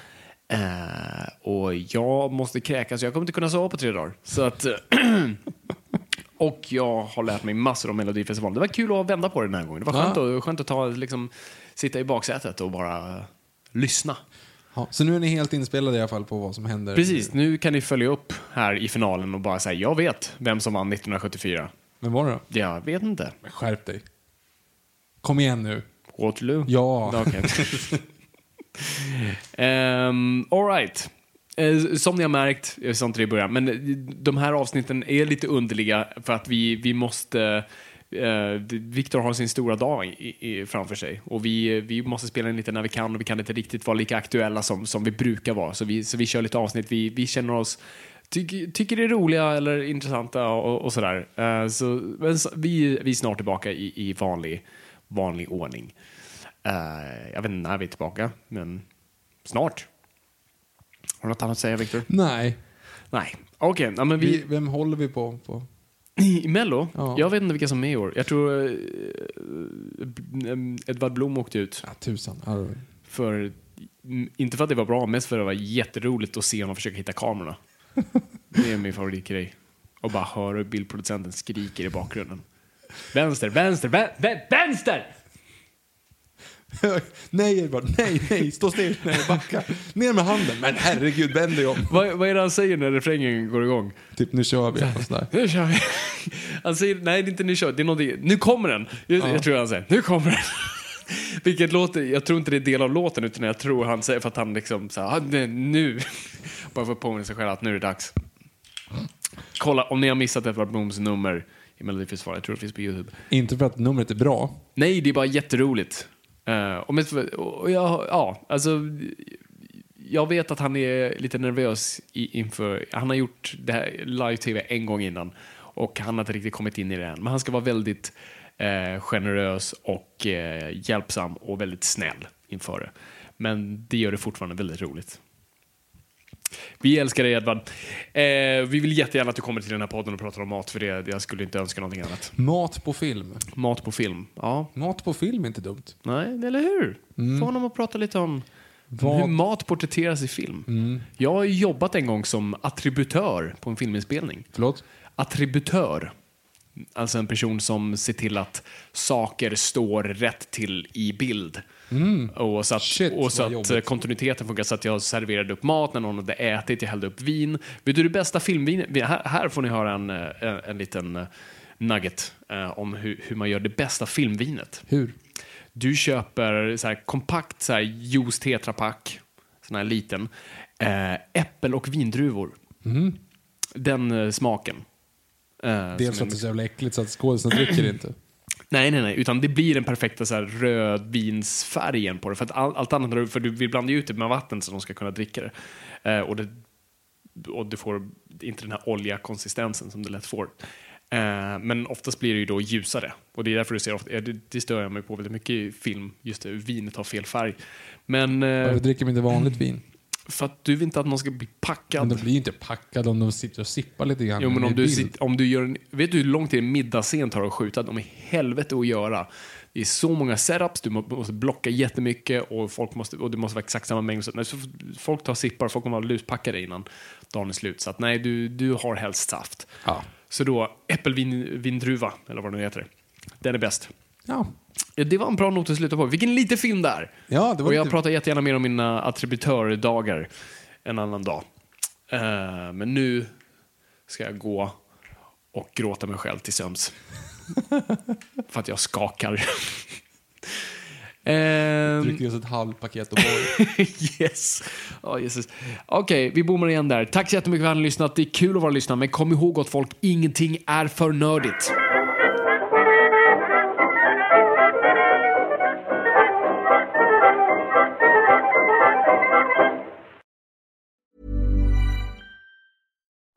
Speaker 2: Eh, och jag måste kräkas, jag kommer inte kunna sova på tre dagar. Så att, eh, och jag har lärt mig massor om Melodifestivalen. Det var kul att vända på det den här gången. Det var skönt, att, skönt att ta, liksom, sitta i baksätet och bara eh, lyssna.
Speaker 1: Ja, så nu är ni helt inspelade i alla fall på vad som händer.
Speaker 2: Precis, nu kan ni följa upp här i finalen och bara säga jag vet vem som vann 1974.
Speaker 1: Men var det då?
Speaker 2: Jag vet inte.
Speaker 1: Men skärp dig. Kom igen nu.
Speaker 2: Waterloo?
Speaker 1: Ja.
Speaker 2: Okej. Um, Alright. Eh, Som ni har märkt, jag sa inte det i början, men eh, de här avsnitten är lite underliga för att vi, vi måste... eh, Viktor har sin stora dag i, i, framför sig och vi, vi måste spela in lite när vi kan och vi kan inte riktigt vara lika aktuella som, som vi brukar vara. Så vi, så vi kör lite avsnitt vi, vi känner oss tyck, tycker det är roliga eller intressanta och, och sådär. Eh, så, men så, vi, vi är snart tillbaka i, i vanlig, vanlig ordning. Eh, jag vet inte när vi är tillbaka, men snart. Har du något annat att säga, Viktor?
Speaker 1: Nej.
Speaker 2: Nej. Okej, ja, men
Speaker 1: Vi,
Speaker 2: vi...
Speaker 1: vem håller vi på? på?
Speaker 2: I Mello?
Speaker 1: Ja.
Speaker 2: Jag vet inte vilka som är i år. Jag tror eh, b- em, Edvard Blom åkte ut.
Speaker 1: Ja, tusan. Ja, det-
Speaker 2: För, m- inte för att det var bra, mest för att det var jätteroligt att se honom försöka hitta kamerorna. Det är min favoritgrej. Och bara höra hur bildproducenten skriker i bakgrunden. Vänster, vänster, vä- vä- vänster!
Speaker 1: nej Edvard, nej, nej, stå still, nej, backa. Ner med handen, men herregud, vänd dig om.
Speaker 2: Vad, vad är det han säger när refrängen går igång?
Speaker 1: Typ, nu kör vi. och sådär.
Speaker 2: Nu kör vi. Han säger, nej det är inte nu kör vi. det är någonting, nu kommer den. Jag, jag tror han säger, nu kommer den. Vilket låter, jag tror inte det är del av låten utan jag tror han säger för att han liksom så här, "Ah, nej, nu. Bara för att påminna sig själv att nu är det dags. Kolla, om ni har missat Edvard Blooms nummer i Melodifestivalen, jag tror det finns på Youtube.
Speaker 1: Inte för att numret är bra.
Speaker 2: Nej, det är bara jätteroligt. Eh, och med, och jag, ja, alltså, jag vet att han är lite nervös i, inför... Han har gjort det här live-tv en gång innan och han har inte riktigt kommit in i det än. Men han ska vara väldigt eh, generös och eh, hjälpsam och väldigt snäll inför det. Men det gör det fortfarande väldigt roligt. Vi älskar dig Edvard. Eh, vi vill jättegärna att du kommer till den här podden och pratar om mat för det, jag skulle inte önska någonting annat.
Speaker 1: Mat på film.
Speaker 2: Mat på film, ja
Speaker 1: Mat på film är inte dumt.
Speaker 2: Nej, eller hur? Få honom att prata lite om
Speaker 1: Mm. Vad- Mm.
Speaker 2: hur mat porträtteras i film. Jag har ju jobbat en gång som attributör på en filminspelning.
Speaker 1: Förlåt?
Speaker 2: Attributör. Alltså en person som ser till att saker står rätt till i bild. Och så att,
Speaker 1: Mm. Shit,
Speaker 2: och så
Speaker 1: vad
Speaker 2: att
Speaker 1: jobbigt.
Speaker 2: kontinuiteten funkar så att jag serverade upp mat när någon hade ätit, jag hällde upp vin. Vet du det bästa filmvinet? vi- Här, här får ni höra en, eh, en liten eh, nugget eh, om hur, hur man gör det bästa filmvinet.
Speaker 1: Hur?
Speaker 2: Du köper så här, kompakt så här, juice tetrapack, sån här liten, eh, äppel och vindruvor. Den eh, smaken. Eh,
Speaker 1: Mm. Dels för
Speaker 2: som
Speaker 1: att
Speaker 2: är-
Speaker 1: det är så jävla äckligt så att skådisarna dricker inte.
Speaker 2: Nej, nej, nej, utan det blir den perfekta så här, rödvinsfärgen på det. För att all, allt annat, har du- för du vill blanda ut det med vatten så de ska kunna dricka det. Eh, och, det och du får inte den här olja konsistensen som du lätt får. Eh, men oftast blir det ju då ljusare. Och det är därför du ser ofta, ja, det, det stör jag mig på väldigt mycket i film, just det, vinet har fel färg. Men eh,
Speaker 1: Varför dricker man inte vanligt vin?
Speaker 2: för att du vill inte att någon ska bli packad.
Speaker 1: Men de blir ju inte packade om de sitter och sippar lite grann.
Speaker 2: Jo, men
Speaker 1: Det
Speaker 2: om
Speaker 1: är
Speaker 2: du,
Speaker 1: bild.
Speaker 2: sit, om du gör en, vet du hur lång tid en middagsscen tar att skjuta? De är helvete att göra. Det är så många setups, du må- måste blocka jättemycket och, folk måste, och det måste vara exakt samma mängd. Så, nej, så folk tar sippar, folk kommer vara luspackade innan dagen är slut. Så att, nej, du, du har helst saft.
Speaker 1: Ja.
Speaker 2: Så då, äppelvindruva, eller vad det nu heter, den är bäst.
Speaker 1: Ja.
Speaker 2: Ja, Det var en bra not att sluta på. Vilken liten film där!
Speaker 1: Ja, det var
Speaker 2: och jag
Speaker 1: lite-
Speaker 2: pratar jättegärna mer om mina attributördagar en annan dag. Eh, men nu ska jag gå och gråta mig själv till sömns. För att jag skakar. Ehm,
Speaker 1: Dricker just ett halvt paket och boll.
Speaker 2: yes. Ja, Jesus. Okej, vi bommar igen där. Tack så jättemycket för att ni har lyssnat. Det är kul att vara lyssnare, men kom ihåg gott folk, ingenting är för nördigt.